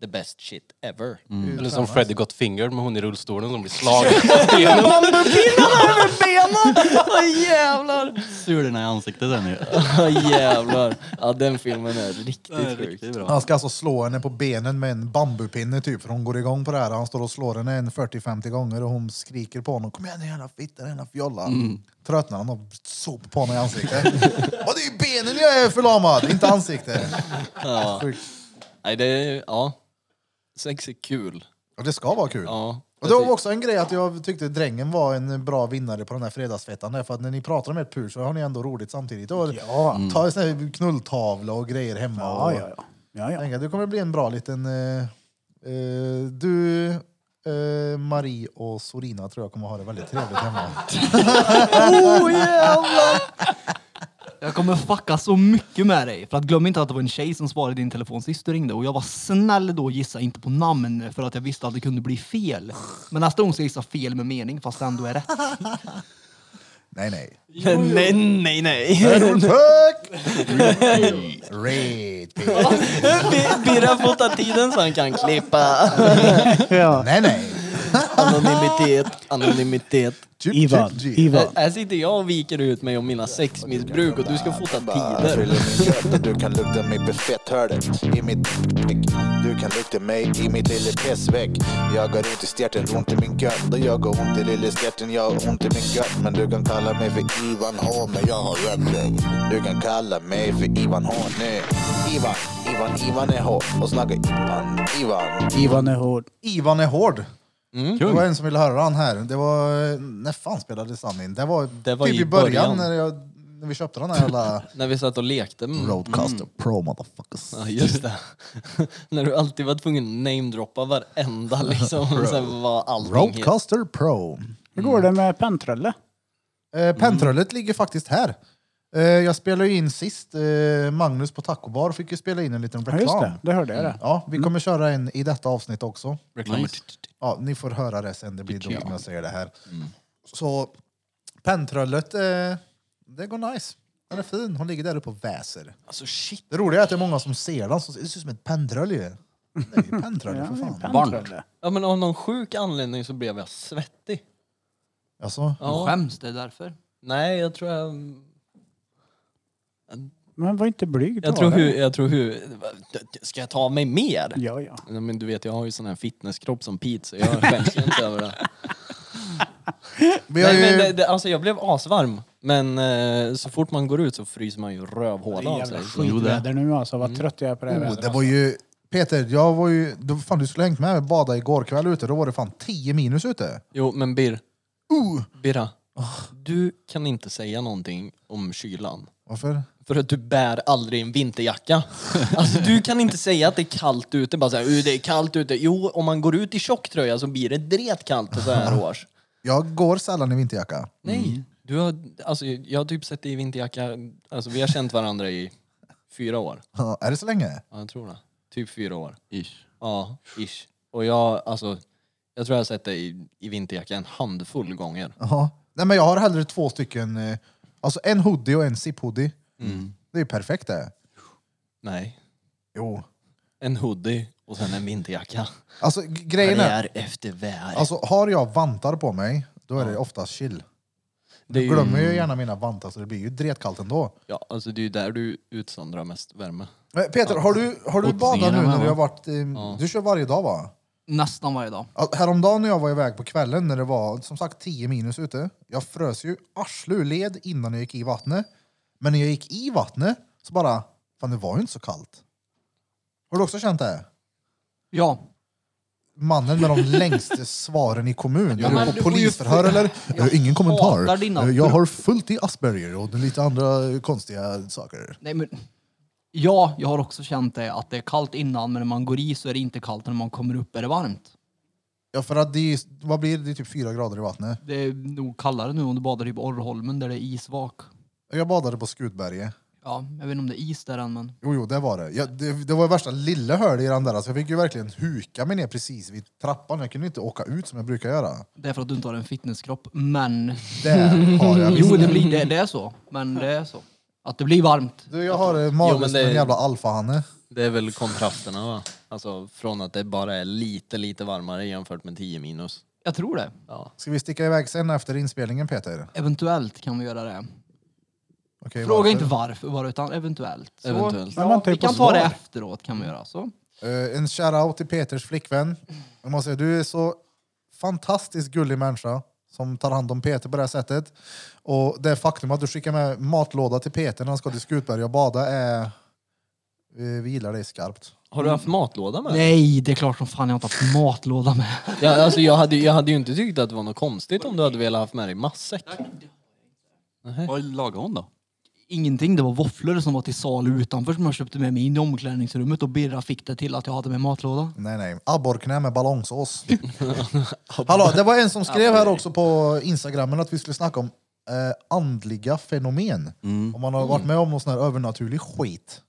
B: the best shit ever.
J: Eller som Freddy Got Finger med hon i rullstolen som blir slagen.
C: Sulorna i ansiktet där nu.
B: Oh, jävlar. Ja, den filmen är riktigt sjuk.
C: Riktigt bra.
A: han ska alltså slå henne på benen med en bambupinne typ, för hon går igång på det här. Han står och slår henne en 40-50 gånger och hon skriker på honom. Kom igen nu jävla fitta, jävla fjolla.
B: Mm.
A: Tröttnar han och sop på honom i ansiktet. och det är ju benen jag är förlamad, inte ansiktet. Sjukt.
B: Nej, det är, ja. Sex är kul.
A: Och det ska vara kul.
B: Ja.
A: Och det var också en grej att jag tyckte drängen var en bra vinnare på den här fredagsfettan. där, För att när ni pratar om ert pur så har ni ändå roligt samtidigt. Och
D: Ja.
A: Ta en sån här knulltavla och grejer hemma.
D: Ja,
A: och
D: ja, ja. ja, ja.
A: Tänka, du kommer bli en bra liten... Eh, eh, du, eh, Marie och Sorina tror jag kommer ha det väldigt trevligt hemma.
G: Jag kommer fucka så mycket med dig. För att glöm inte att det var en tjej som svarade din telefon sist du ringde. Och jag var snäll då och gissa inte på namn för att jag visste att det kunde bli fel. Men nästa gång ska jag gissa fel med mening fast det ändå är rätt.
A: nej, nej.
B: nej, nej, nej.
A: Fuck! Red pill.
B: Birra får ta tiden så han kan klippa.
D: ja.
A: Nej, nej.
B: Anonymitet, anonymitet.
A: Chip,
D: Ivan,
A: chip, chip.
D: Ivan.
B: Här sitter jag och viker ut mig om mina sexmissbruk och du ska få ta tider.
L: Fyller min göt och du kan lukta mig på fetthörnet i mitt däck. Du kan lukta mig i mitt lilla pissväck. Jag har ont i stjärten, ont i min gött. Och jag har ont i lilla stjärten, jag har ont i min gött. Men du kan kalla mig för Ivan H, men jag har rödklägg. Du kan kalla mig för Ivan H nu. Ivan, Ivan, Ivan är H. Och snacka Ivan, Ivan.
D: Ivan är hård.
A: Ivan är hård.
B: Mm.
A: Det var en som ville höra han här. Det var, när fan spelades han in? Det var,
B: Det var
A: typ
B: i
A: i början,
B: början.
A: När, jag, när vi köpte den här jävla...
B: När vi satt och lekte. Mm.
A: Roadcaster Pro motherfuckers.
B: Ja, just det. När du alltid var tvungen att namedroppa varenda liksom. Och sen var allting helt...
A: Roadcaster Pro.
D: Hur går det med pentrulle?
A: Eh, Pentrullet ligger faktiskt här. Eh, jag spelade ju in sist, eh, Magnus på Taco Bar fick ju spela in en liten
D: Ja, just
A: reklam. Mm.
D: det. Det hörde jag det.
A: Ja,
B: Mm.
A: vi kommer köra en i detta avsnitt också.
C: Reklam.
A: Ja, ni får höra det sen, det blir dumt om jag säger det här.
B: Mm.
A: Så pentrullet, eh, det går nice. Den är fin, hon ligger där uppe och väser.
B: Alltså shit.
A: Det roliga är att det är många som ser den som säger, det ser ut som ett pendröll ju. Det är ju pendröll för fan.
D: Pentrulle.
B: Ja men av någon sjuk anledning så blev jag svettig.
A: Alltså,
G: Du
B: Ja.
G: skäms, det är därför.
B: Nej jag tror jag...
D: Men var inte blyg.
B: Jag
D: ta
B: tror
D: det.
B: hur... Jag tror hur... Ska jag ta mig mer?
D: Ja, ja.
B: Nej, men du vet jag har ju sån här fitnesskropp som Pete så jag skäms ju inte över det.
A: vi har
B: Nej, men
A: ju,
B: det, det, alltså jag blev asvarm, men eh, så fort man går ut så fryser man ju rövhåla av sig.
D: Jävla skitväder nu alltså. Vad trött jag är på det här
A: oh,
D: vädret.
A: det var ju, Peter, jag var ju, du, fan du skulle hängt med och bada igår kväll ute, då var det fan 10 minus ute.
B: Jo, men Bir,
A: Uh,
B: Birra, Du kan inte säga någonting om kylan.
A: Varför?
B: För att du bär aldrig en vinterjacka. Alltså du kan inte säga att det är kallt ute, bara såhär, "Uh, det är kallt ute. Jo, om man går ut i tjock tröja så blir det dretkallt på så här års.
A: Jag går sällan i vinterjacka.
B: Nej, du har, alltså, jag har typ sett dig i vinterjacka, alltså vi har känt varandra i fyra år.
A: Ja, Är det så länge?
B: Ja, jag tror det. Typ fyra år.
C: Ish.
B: Ja, ish. Och jag, alltså, jag tror jag har sett dig i, i vinterjacka en handfull gånger.
A: Jaha. Nej men jag har hellre två stycken, eh, alltså en hoodie och en zip-hoodie. Det är ju perfekt det.
B: Nej,
A: Jo.
B: en hoodie och sen en vinterjacka.
A: Alltså g- grejen är,
B: Karriär efter vär.
A: alltså har jag vantar på mig, då är det oftast chill.
B: det är
A: Jag glömmer ju gärna mina vantar så det blir ju dretkallt ändå.
B: Ja, alltså det är ju där du utsöndrar mest värme.
A: Men Peter, har du, har du badat nu
G: med,
A: när du
G: va?
A: har varit... eh, Du kör varje dag va?
G: Nästan varje dag.
A: Ja, Häromdagen när jag var iväg på kvällen när det var som sagt 10 minus ute. Jag frös ju arsle ur led innan jag gick i vattnet. Men när jag gick i vattnet så bara, fan det var ju inte så kallt. Har du också känt det?
G: Ja.
A: Mannen med de längsta svaren i kommun.
G: Ja,
A: är
G: men
A: du
G: du
A: på
G: får ju
A: polisförhör eller? Eh, ingen kommentar.
G: hatar dina
A: Eh, Jag har fullt i Asperger och lite andra eh, konstiga saker.
G: Nej, men, ja, jag har också känt det att det är kallt innan, men när man går i så är det inte kallt. När man kommer upp är det varmt.
A: Ja, för att det är, vad blir det? det är typ fyra grader i vattnet.
G: Det är nog kallare nu om du badar i typ Orrholmen där det är isvak.
A: Jag badade på Skutberget.
G: Ja, jag vet inte om det är is där än, men
A: Jo, jo, det var det. Jag, det, det var värsta lilla hörde i den där, så jag fick ju verkligen huka mig ner precis vid trappan. Jag kunde inte åka ut som jag brukar göra.
G: det är för att du inte har en fitnesskropp. Men
A: Där har jag
G: jo, det, blir, det, det är så. Men det är så. Att det blir varmt.
A: Du, jag har eh, mage
B: Jo, men
A: som
B: det-
A: en jävla alfahanne.
B: Det är väl kontrasterna va? Alltså från att det bara är lite, lite varmare jämfört med 10 minus.
G: Jag tror det.
B: Ja.
A: Ska vi sticka iväg sen efter inspelningen, Peter?
G: Eventuellt kan vi göra det.
A: Okej,
G: Fråga
A: varför?
G: inte varför bara, utan eventuellt. Så,
B: Eventuellt.
D: Men vänta
G: Vi
D: ju på
G: kan ta det
D: svar.
G: efteråt kan vi göra. Så.
A: Eh, en shoutout till Peters flickvän. Jag måste säga, du är så fantastiskt gullig människa som tar hand om Peter på det här sättet. Och det faktum att du skickar med matlåda till Peter när han ska till Skutberg och bada är... Eh, Vi, vi gillar dig skarpt.
B: Har du haft matlåda med?
G: Nej, det är klart som fan jag inte har haft matlåda med.
B: Ja, alltså, jag, hade, jag hade ju inte tyckt att det var något konstigt om du hade velat haft med dig matsäck.
C: Vad lagar hon då?
G: Ingenting, det var våfflor som var till salu utanför som jag köpte med mig in i omklädningsrummet och Birra fick det till att jag hade med matlåda.
A: Nej, nej. Abborrknä med ballongsås. Hallå, det var en som skrev här också på Instagrammen att vi skulle snacka om eh, andliga fenomen. Om man har varit med om någon sån här övernaturlig skit.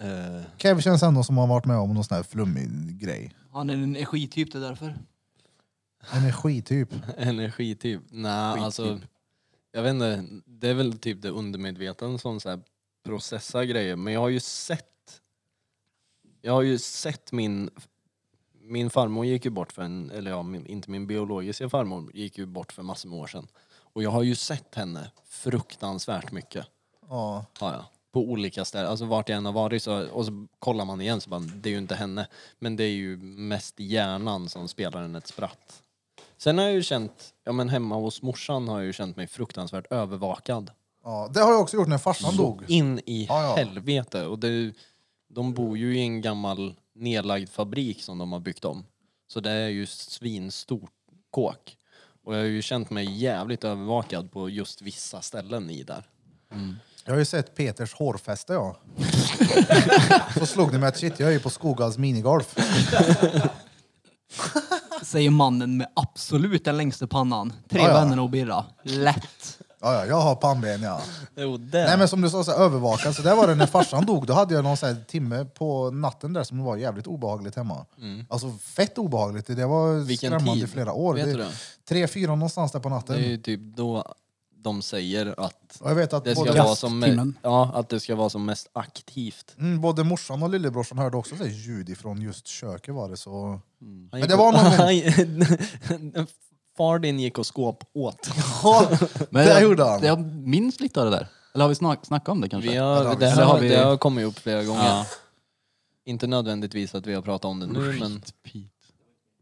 B: Eh,
A: Kev känns ändå som han varit med om någon sån här flummig grej.
G: Han är en energityp, det är därför.
A: Energityp.
B: energityp. Nej, typ. alltså.
C: typ.
B: Jag vet inte. Det är väl typ det undermedvetna som så här processar grejer. Men jag har ju sett. Jag har ju sett min. Min farmor gick ju bort för en, eller ja, min, inte min biologiska farmor gick ju bort för massor med år sedan. Och jag har ju sett henne fruktansvärt mycket.
A: Ja.
B: har jag. På olika ställen, alltså vart jag än har varit så, och så kollar man igen så bara, det är ju inte henne. Men det är ju mest hjärnan som spelar en ett spratt. Sen har jag ju känt, ja men hemma hos morsan har jag ju känt mig fruktansvärt övervakad.
A: Ja, det har jag också gjort när farsan dog.
B: In i
A: Ja, ja.
B: helvete. Och det, är ju- de bor ju i en gammal nedlagd fabrik som de har byggt om. Så det är ju svinstort kåk. Och jag har ju känt mig jävligt övervakad på just vissa ställen i där.
A: Jag har ju sett Peters hårfäste jag. Så slog det mig att shit, jag är ju på Skoghals minigolf.
G: Säger mannen med absolut den längsta pannan. Tre
A: Ja, ja.
G: vänner och Birra. Lätt.
A: Ja, ja, jag har pannben ja.
B: Jo, det.
A: Nej men som du sa, så här, övervakad. Så där var det när farsan dog. Då hade jag någon så här, timme på natten där som var jävligt obehagligt hemma. Alltså fett obehagligt. Det var
B: Mm. Vilken
A: skrämmande i
B: tid?
A: flera år.
B: Vet
A: Det-
B: du det?
A: Tre, fyra någonstans där på natten.
B: Det är ju typ då de säger att
A: Och jag vet att
B: det
A: både,
B: ska, vara som,
D: Jakttimmen.
B: ja, att det ska vara som mest aktivt.
A: mm, både morsan och lillebrorsan hörde också så här, ljud ifrån just köket var det så...
B: Han
A: Men
B: gick
A: det var
B: och-
A: någon
B: Far din gick och skåp åt.
C: Men
A: Det
C: jag,
A: gjorde han.
C: Jag minns lite av det där. Eller har vi snack, snackat om det kanske?
B: Vi har, det,
C: Eller
B: här,
C: har vi-
B: det har kommit upp flera gånger.
C: Ja.
B: Inte nödvändigtvis att vi har pratat om det nu men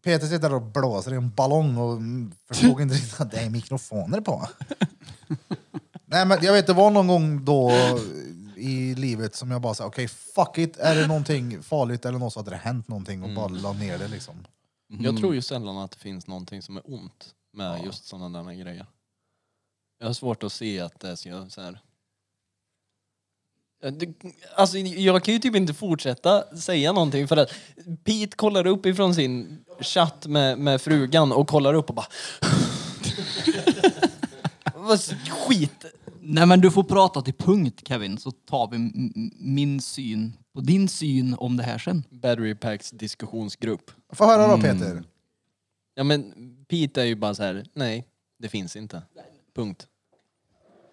A: Peter sitter där och blåser i en ballong och mm, förstod inte riktigt att det är mikrofoner på. Nej men jag vet, det var någon gång då i livet som jag bara sa okej fuck it, är det någonting farligt eller något så
B: Mm.
A: hade det hänt någonting och bara la ner det liksom.
B: jag tror ju sällan att det finns någonting som är ont. med just sådana där grejer. Jag har svårt att se att det ska så här. Ja, det- Alltså jag kan ju typ inte fortsätta säga någonting för att Pete kollar upp ifrån sin chatt med, med frugan och kollar upp och bara Vad s- skit!
G: Nej men du får prata till punkt Kevin, så tar vi m- m- min syn på din syn om det här sen.
B: Battery Packs diskussionsgrupp.
A: Få höra
B: Mm.
A: då Peter.
B: Ja men Pete är ju bara så här, nej det finns inte. Punkt.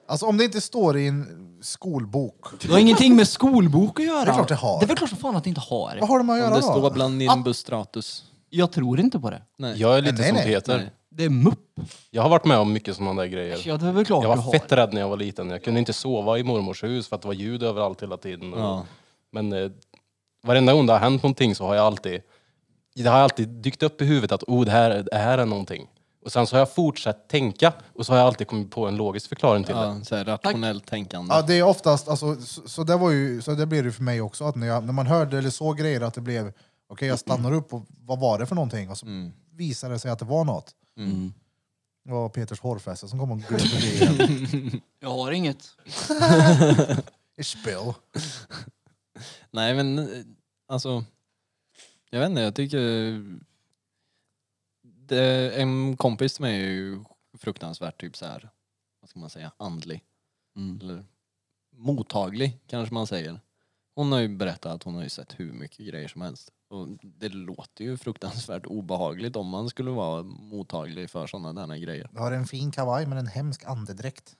A: Alltså om det inte står i en skolbok.
G: Det har ingenting med skolbok att göra.
A: Det är klart det har.
G: Det är väl klart som fan att det inte har.
A: Vad har de att
B: Om
A: göra
B: det
A: då? Ah!
B: står bland Nimbus Stratus.
G: Jag tror inte på det.
B: Nej.
J: Jag är lite
A: Nej,
J: som
A: nej.
J: Peter.
B: Nej.
G: Det är mupp.
J: Jag har varit med om mycket sådana där grejer.
G: Ja det är väl klart
J: Jag
G: du
J: var
G: Alltså, har.
J: fett rädd när jag var liten. Jag kunde inte sova i mormors hus för att det var ljud överallt hela tiden. Och,
B: Ja.
J: Men eh, varenda gång det har hänt någonting så har jag alltid, det har alltid dykt upp i huvudet att oh, det, här, det här är någonting. Och sen så har jag fortsatt tänka och så har jag alltid kommit på en logisk förklaring till det.
B: Ja, så här, rationellt tänkande.
A: Ja, det är oftast, alltså, så, så, det var ju, så det blev det för mig också, att när, jag, när man hörde eller såg grejer att det blev, okej jag stannar upp och vad var det för någonting? Och så visade det sig att det var något. Det var Peters hårfäste som kom och gled förbi igen.
G: Jag har inget.
A: Ett Spill.
B: Nej men eh, alltså, jag vet inte, jag tycker... eh, Det, en kompis med mig är ju fruktansvärt typ så här, vad ska man säga, andlig.
A: Mm.
B: Eller mottaglig kanske man säger. Hon har ju berättat att hon har ju sett hur mycket grejer som helst. Och det låter ju fruktansvärt obehagligt om man skulle vara mottaglig för sådana där grejer.
A: Du har en fin kavaj men en hemsk andedräkt.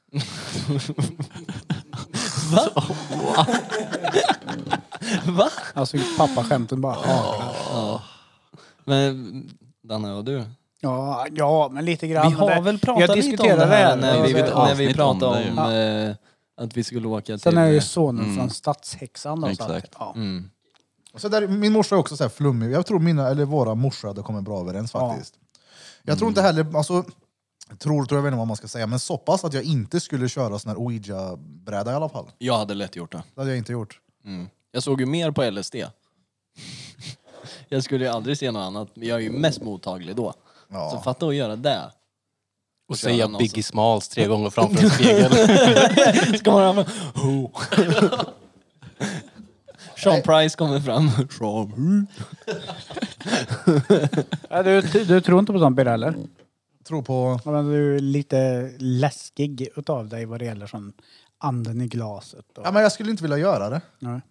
B: Va?
D: Alltså pappaskämten bara. Ja.
B: Men Danne och du?
D: Ja, ja, men lite grann.
B: Vi har
D: Men det-
B: väl pratat lite om
D: diskuterar
B: det här när
D: alltså,
B: vi, när vi
C: avsnitt
B: pratade
C: om det
B: om, eh, att vi skulle åka till...
D: Sen är det ju sonen
C: Mm.
D: från stadshäxan. Då, så att,
C: Exakt.
D: ja.
B: Mm.
A: Så där, min morsa är också så här flummig. Jag tror mina, eller våra morsor hade kommit bra överens
D: Ja.
A: faktiskt. Jag tror inte heller, alltså, tror, tror jag vet inte vad man ska säga, men så pass att jag inte skulle köra sån här ouija-bräda i alla fall.
B: Jag hade lätt gjort det.
A: Det hade jag inte gjort.
B: Mm. Jag såg ju mer på LSD. jag skulle ju aldrig se något annat. men Jag är ju mest mottaglig då.
A: Ja.
B: Så fatta att göra det.
J: Och
B: köra
J: säga
B: någon
J: Biggie Smalls tre gånger framför en spegel.
B: Ska man ha... Ho. Sean Price kommer fram. Sean. Hu.
D: Ja, du, du tror inte på sånt Birre heller?
A: Tror på...
D: Mm. Ja, men du är lite läskig utav dig vad det gäller sån anden i glaset. Och,
A: Ja, men jag skulle inte vilja göra det.
D: Nej.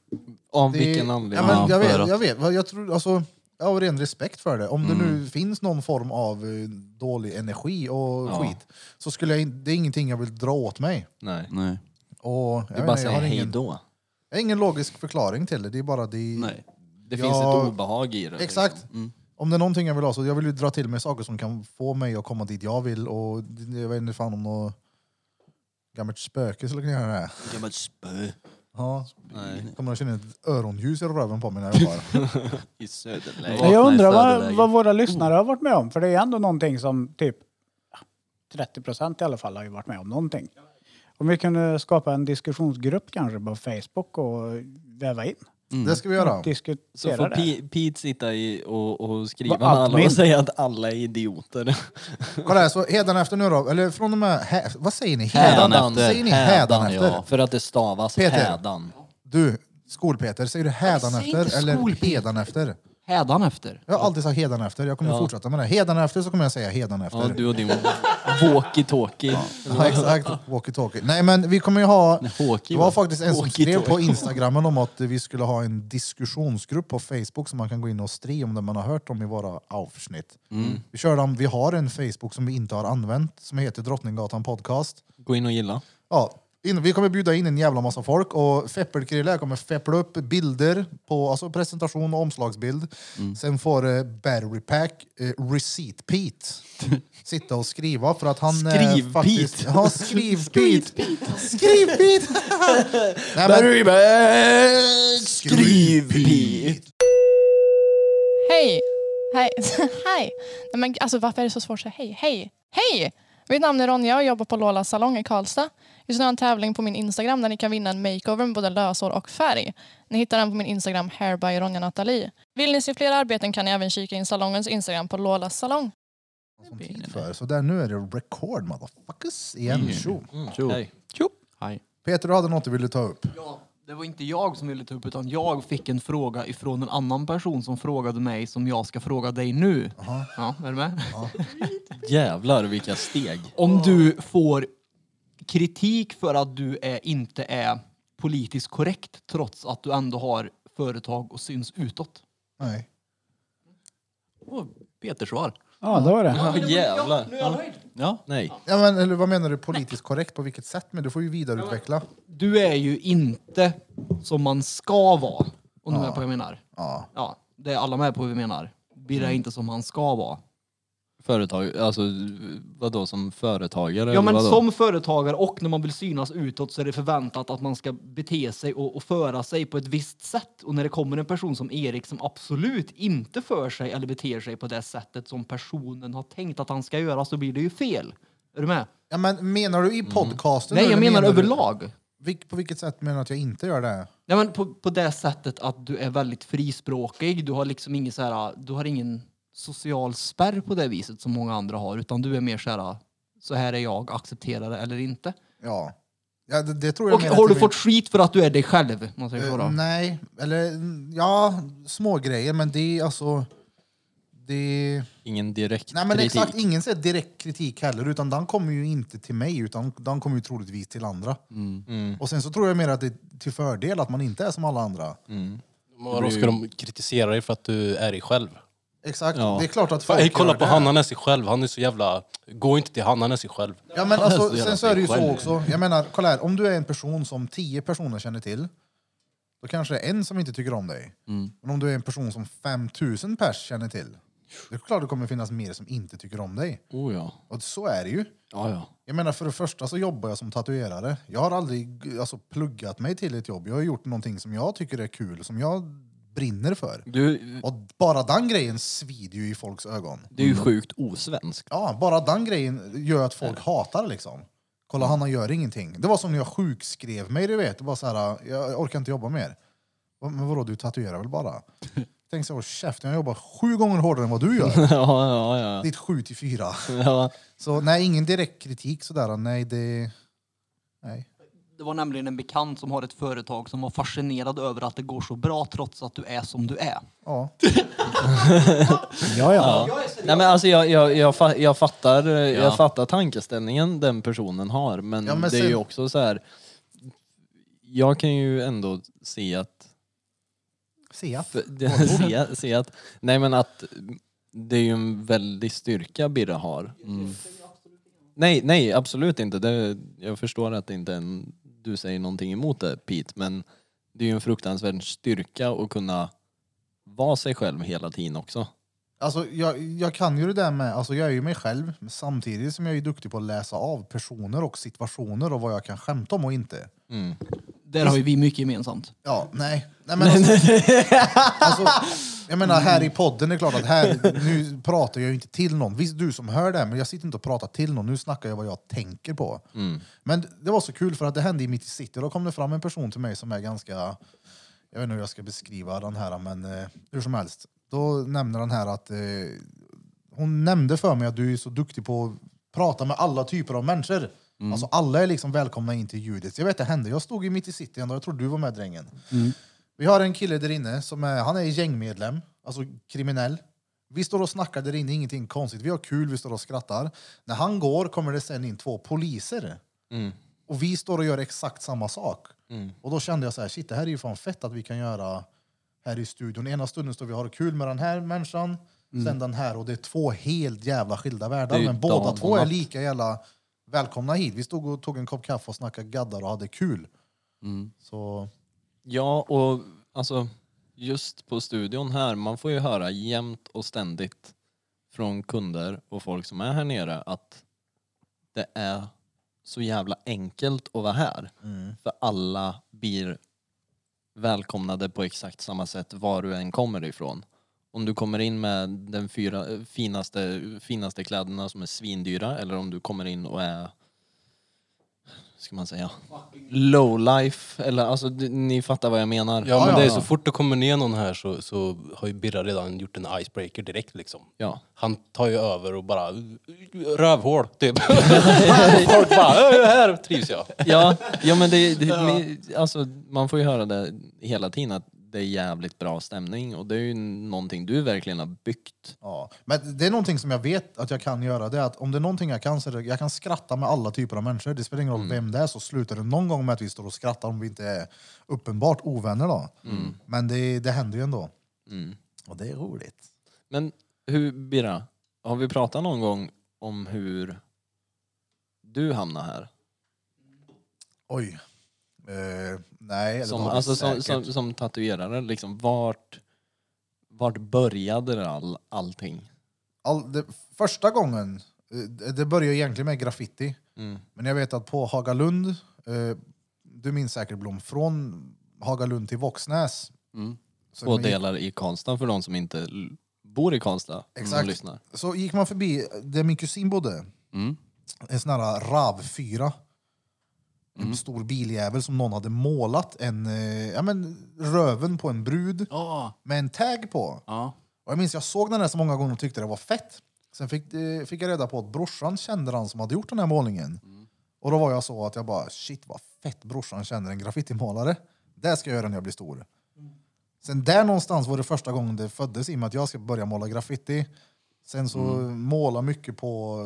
B: Av
A: det
B: vilken anledning?
A: Ja, men jag,
C: Ja, för
A: vet,
C: att-
A: jag vet. Vad Jag tror, alltså, jag har ren respekt för det. Om det nu finns någon form av eh, dålig energi och skit så skulle jag, in- det är ingenting jag vill dra åt mig.
B: Nej.
C: Nej.
A: Och,
B: Det
A: jag,
B: är
A: vet,
B: bara att
A: inte, jag,
B: säga
A: har
B: hej
A: ingen,
B: då.
A: jag har ingen logisk förklaring till det. Det är bara det...
C: Nej.
B: Det
A: Ja.
B: finns ett obehag i det.
A: Exakt.
B: Liksom.
A: Om det är någonting jag vill ha så jag vill ju dra till mig saker som kan få mig att komma dit jag vill. Och det- jag vet inte fan om något gammalt spöke skulle kunna göra det. här.
B: Gammalt spö.
A: Ja.
B: Nej.
A: Kommer att känna ett öronljus i röven på mig när jag jobbar.
B: I
D: Men
B: söderläge.
C: Vakna
D: jag
C: i
D: undrar vad,
C: söderläge.
D: vad våra lyssnare har varit med om. För det är ändå någonting som typ 30 procent i alla fall har ju varit med om någonting. Om vi kunde skapa en diskussionsgrupp kanske på Facebook och väva in.
B: Mm.
A: Det ska vi göra.
D: Diskutera
B: Så får
D: det.
B: Pete, Pete sitta i och, och skriva
D: Vad
B: med alla
D: admin.
B: och säga att alla är idioter.
A: Kolla här, så hädanefter nu då, eller från och med, hä- vad säger ni?
B: Hädanefter.
A: Säger ni hädanefter?
C: Ja.
B: För att det stavas
A: Peter.
B: hädan.
A: Du, skol-Peter, säger du
G: Jag
A: hädanefter
G: säger inte
A: eller
G: skol-Peter.
A: hedanefter?
G: Hädanefter.
A: Jag har alltid sagt hedanefter, jag kommer fortsätta med det. Hedanefter så kommer jag säga hedanefter.
B: Ja, du och din walkie-talkie.
A: Ja, exakt, walkie-talkie. Nej men vi kommer ju ha, det
C: walkie,
A: var
C: va?
A: faktiskt en som skrev
B: Walkie-talkie.
A: på instagrammen om att vi skulle ha en diskussionsgrupp på Facebook som man kan gå in och stri om det man har hört om i våra avsnitt.
B: Mm.
A: Vi, kör dem, vi har en Facebook som vi inte har använt som heter Drottninggatan podcast.
B: Gå in och gilla.
A: Ja, in, vi kommer bjuda in en jävla massa folk och Feppelkrille kommer feppla upp bilder på alltså presentation och omslagsbild. Sen får eh, Battery Pack, eh, Receipt Pete, sitta och skriva för att han...
B: Skriv-Pete.
A: eh, faktiskt- Ja, skriv Pete! Skriv Pete! Nej, men,
B: Skriv Pete!
L: Hej! Hej! Hej! Nej, men alltså varför är det så svårt att säga hej? Hej! Hej! Mitt namn är Ronja och jag jobbar på Lolas salong i Karlstad. Just nu har jag en tävling på min Instagram där ni kan vinna en makeover med både lösår och färg. Ni hittar den på min Instagram hair by Ronja Nathalie. Vill ni se fler arbeten kan ni även kika in salongens Instagram på Lolas salong.
A: gott om tid för. Så där, nu är det record motherfuckers igen.
G: Mm.
A: Tjo.
G: Mm.
C: Tjo.
G: Hej.
A: Peter, du hade något du ville ta upp.
G: Det var inte jag som ville ta upp utan jag fick en fråga ifrån en annan person som frågade mig som jag ska fråga dig nu. Ja, är du med?
B: Jävlar vilka steg.
G: Om du får kritik för att du är, inte är politiskt korrekt trots att du ändå har företag och syns utåt.
A: Nej.
C: Oh, Peters svar.
D: Ja, det var det.
B: Ja, jävlar. Nu är jag
G: nöjd.
C: Ja.
B: Nej.
A: Ja, men, eller vad menar du politiskt korrekt? På vilket sätt? Men du får ju vidareutveckla.
G: Du är ju inte som man ska vara. Om du är med på vad jag menar.
A: Ja.
G: ja. Det är alla med på vad vi menar. Birra är inte som han ska vara.
B: Företag, alltså vadå som företagare?
G: Ja men
B: vadå?
G: som företagare och när man vill synas utåt så är det förväntat att man ska bete sig och, och föra sig på ett visst sätt. Och när det kommer en person som Erik som absolut inte för sig eller beter sig på det sättet som personen har tänkt att han ska göra så blir det ju fel. Är du med?
A: Ja, men menar du i podcasten?
G: Nej,
A: eller
G: jag menar
A: du-
G: överlag.
A: Vilk, på vilket sätt menar du att jag inte gör det?
G: Nej, men på, på det sättet att du är väldigt frispråkig. Du har liksom ingen, så här, du har ingen social spärr på det viset som många andra har. Utan du är mer så här, så här är jag, acceptera det eller inte.
A: Ja. ja det, det tror jag
G: Och
A: menar
G: har du
A: till min-
G: fått skit för att du är dig själv? om Man säger
A: Eh,
G: så då.
A: nej, eller mm, ja, små grejer men det är alltså... Det...
B: Ingen direkt
A: Nej men
B: kritik.
A: exakt, ingen säger direkt kritik heller utan den kommer ju inte till mig utan den kommer ju troligtvis till andra.
G: Mm.
A: Och sen så tror jag mer att det är till fördel att man inte är som alla andra.
G: Mm.
J: Då ska de kritisera dig för att du är dig själv.
A: Exakt,
J: Ja.
A: det är klart att
J: Fan,
A: folk
J: Ey, kolla
A: gör
J: på
A: det.
J: han, han är sig själv. Han är så jävla... Gå inte till han, han är sig själv.
A: Ja, men
J: Han
A: alltså,
J: jävla
A: sen så är det ju
J: sig själv.
A: så också. Jag menar, kolla här. Om du är en person som tio personer känner till, då kanske det är en som inte tycker om dig. Men om du är en person som 5000 pers känner till, det är klart det kommer finnas mer som inte tycker om dig.
B: Oh, ja.
A: Och så är det ju.
B: Ja, ja.
A: Jag menar, för det första så jobbar jag som tatuerare. Jag har aldrig alltså, pluggat mig till ett jobb. Jag har gjort någonting som jag tycker är kul, som jag brinner för.
B: Du,
A: Och bara den grejen svider ju i folks ögon.
B: det är ju sjukt osvenskt.
A: Ja, bara den grejen gör att folk hatar det liksom. Kolla, Hanna gör ingenting. Det var som när jag sjukskrev mig, du vet. Det var så här, jag orkar inte jobba mer. Va- Men vadå, du tatuerar väl bara? Tänk så, käften, jag jobbar sju gånger hårdare än vad du gör.
B: ja, ja, ja.
A: Ditt 7 till 4.
B: ja.
A: Så nej, ingen direkt kritik sådär. Nej, det... Nej.
G: Det var nämligen en bekant som har ett företag som var fascinerad över att det går så bra trots att du är som du är.
A: Ja.
D: Ja, ja.
B: Ja. Nej, men alltså, jag, jag, jag, fa- jag, fattar, eh, jag
G: Ja.
B: fattar tankeställningen den personen har, men,
A: Ja, men
B: det är
A: sen-
B: ju också så här. Jag kan ju ändå se att
A: Se att.
B: För- det- se, se att, nej men att det är ju en väldig styrka Birra har. Mm. Nej, nej absolut inte. Det, jag förstår att det inte är en, du säger någonting emot det Pete, men det är ju en fruktansvärd styrka att kunna vara sig själv hela tiden också.
A: Alltså, jag, jag kan ju det där med, alltså jag är ju mig själv men samtidigt som jag är duktig på att läsa av personer och situationer och vad jag kan skämta om och inte.
G: Där har ju vi mycket gemensamt.
A: Ja, nej. nej Mm. men alltså, alltså, jag menar, här i podden är det klart att här, nu pratar jag ju inte till någon. Visst, du som hör det här, men jag sitter inte och pratar till någon. Nu snackar jag vad jag tänker på. Men det var så kul för att det hände i mitt i city. Då kom det fram en person till mig som är ganska... Jag vet inte hur jag ska beskriva den här, men eh, hur som helst. Då nämner den här att... Eh, hon nämnde för mig att du är så duktig på att prata med alla typer av människor. Alltså alla är liksom välkomna in till ljudet. Jag vet det hände. Jag stod i mitt i city en dag, jag tror du var med drängen. Vi har en kille där inne som är, han är gängmedlem, alltså kriminell. Vi står och snackar där inne, ingenting konstigt. Vi har kul, vi står och skrattar. När han går kommer det sen in två poliser.
B: Mm.
A: Och vi står och gör exakt samma sak. Och då kände jag så här, shit det här är ju fan fett att vi kan göra här i studion. Ena stunden står vi och har kul med den här människan, sen den här och det är två helt jävla skilda
B: Mm. Det är
A: världar.
B: ju
A: Men båda
B: dag
A: två
B: och
A: är
B: natt.
A: lika jävla välkomna hit. Vi stod och tog en kopp kaffe och snackade gaddar och hade kul.
B: Mm.
A: Så
B: Ja, och alltså just på studion här, man får ju höra jämt och ständigt från kunder och folk som är här nere att det är så jävla enkelt att vara här. För alla blir välkomnade på exakt samma sätt var du än kommer ifrån. Om du kommer in med den fyra, finaste, finaste kläderna som är svindyra eller om du kommer in och är ska man säga? Lowlife, eller alltså d- ni fattar vad jag menar.
J: Ja, men det är så fort det kommer ner någon här så, så har ju Birra redan gjort en icebreaker direkt liksom.
B: Ja.
J: Han tar ju över och bara rövhål typ. Folk bara "Äh, här trivs jag.
B: Ja, ja men det, det, men, alltså, man får ju höra det hela tiden att det är jävligt bra stämning och det är ju någonting du verkligen har byggt.
A: Ja. Men det är någonting som jag vet att jag kan göra. Det är att om det är någonting jag kan så är det, jag kan skratta med alla typer av människor. Det spelar ingen roll
B: Mm.
A: vem det är så slutar det någon gång med att vi står och skrattar om vi inte är uppenbart ovänner. Då.
B: Mm.
A: Men det, det händer ju ändå.
B: Mm.
A: Och det är roligt.
B: Men hur, Birra, har vi pratat någon gång om hur du hamnade här?
A: Oj. Eh, nej, det
B: Som,
A: har vi
B: alltså, som,
A: säkert.
B: som, som tatuerare, liksom, vart, vart började det all, allting?
A: All, det, första gången, eh, det det började egentligen med graffiti.
B: Mm.
A: Men jag vet att på Hagalund, eh, du minns säkert Blom, från Hagalund till Våxnäs.
B: Mm.
A: Så
B: Två
A: man gick-
B: delar i Karlstad för de som inte l- bor i Karlstad. Exakt.
A: Exakt.
B: Lyssnar.
A: Så gick man förbi där min kusin bodde.
B: Mm.
A: En sån här RAV4. En stor biljävel som någon hade målat en, eh, ja, men, röven på en brud med en tag på. Och jag minns jag såg den här så många gånger och tyckte det var fett. Sen fick, eh, fick jag reda på att brorsan kände han som hade gjort den här målningen. Och då var jag så att jag bara shit vad fett brorsan känner en graffitimålare. Det ska jag göra när jag blir stor. Sen där någonstans var det första gången det föddes i mig att jag ska börja måla graffiti. Sen så måla mycket på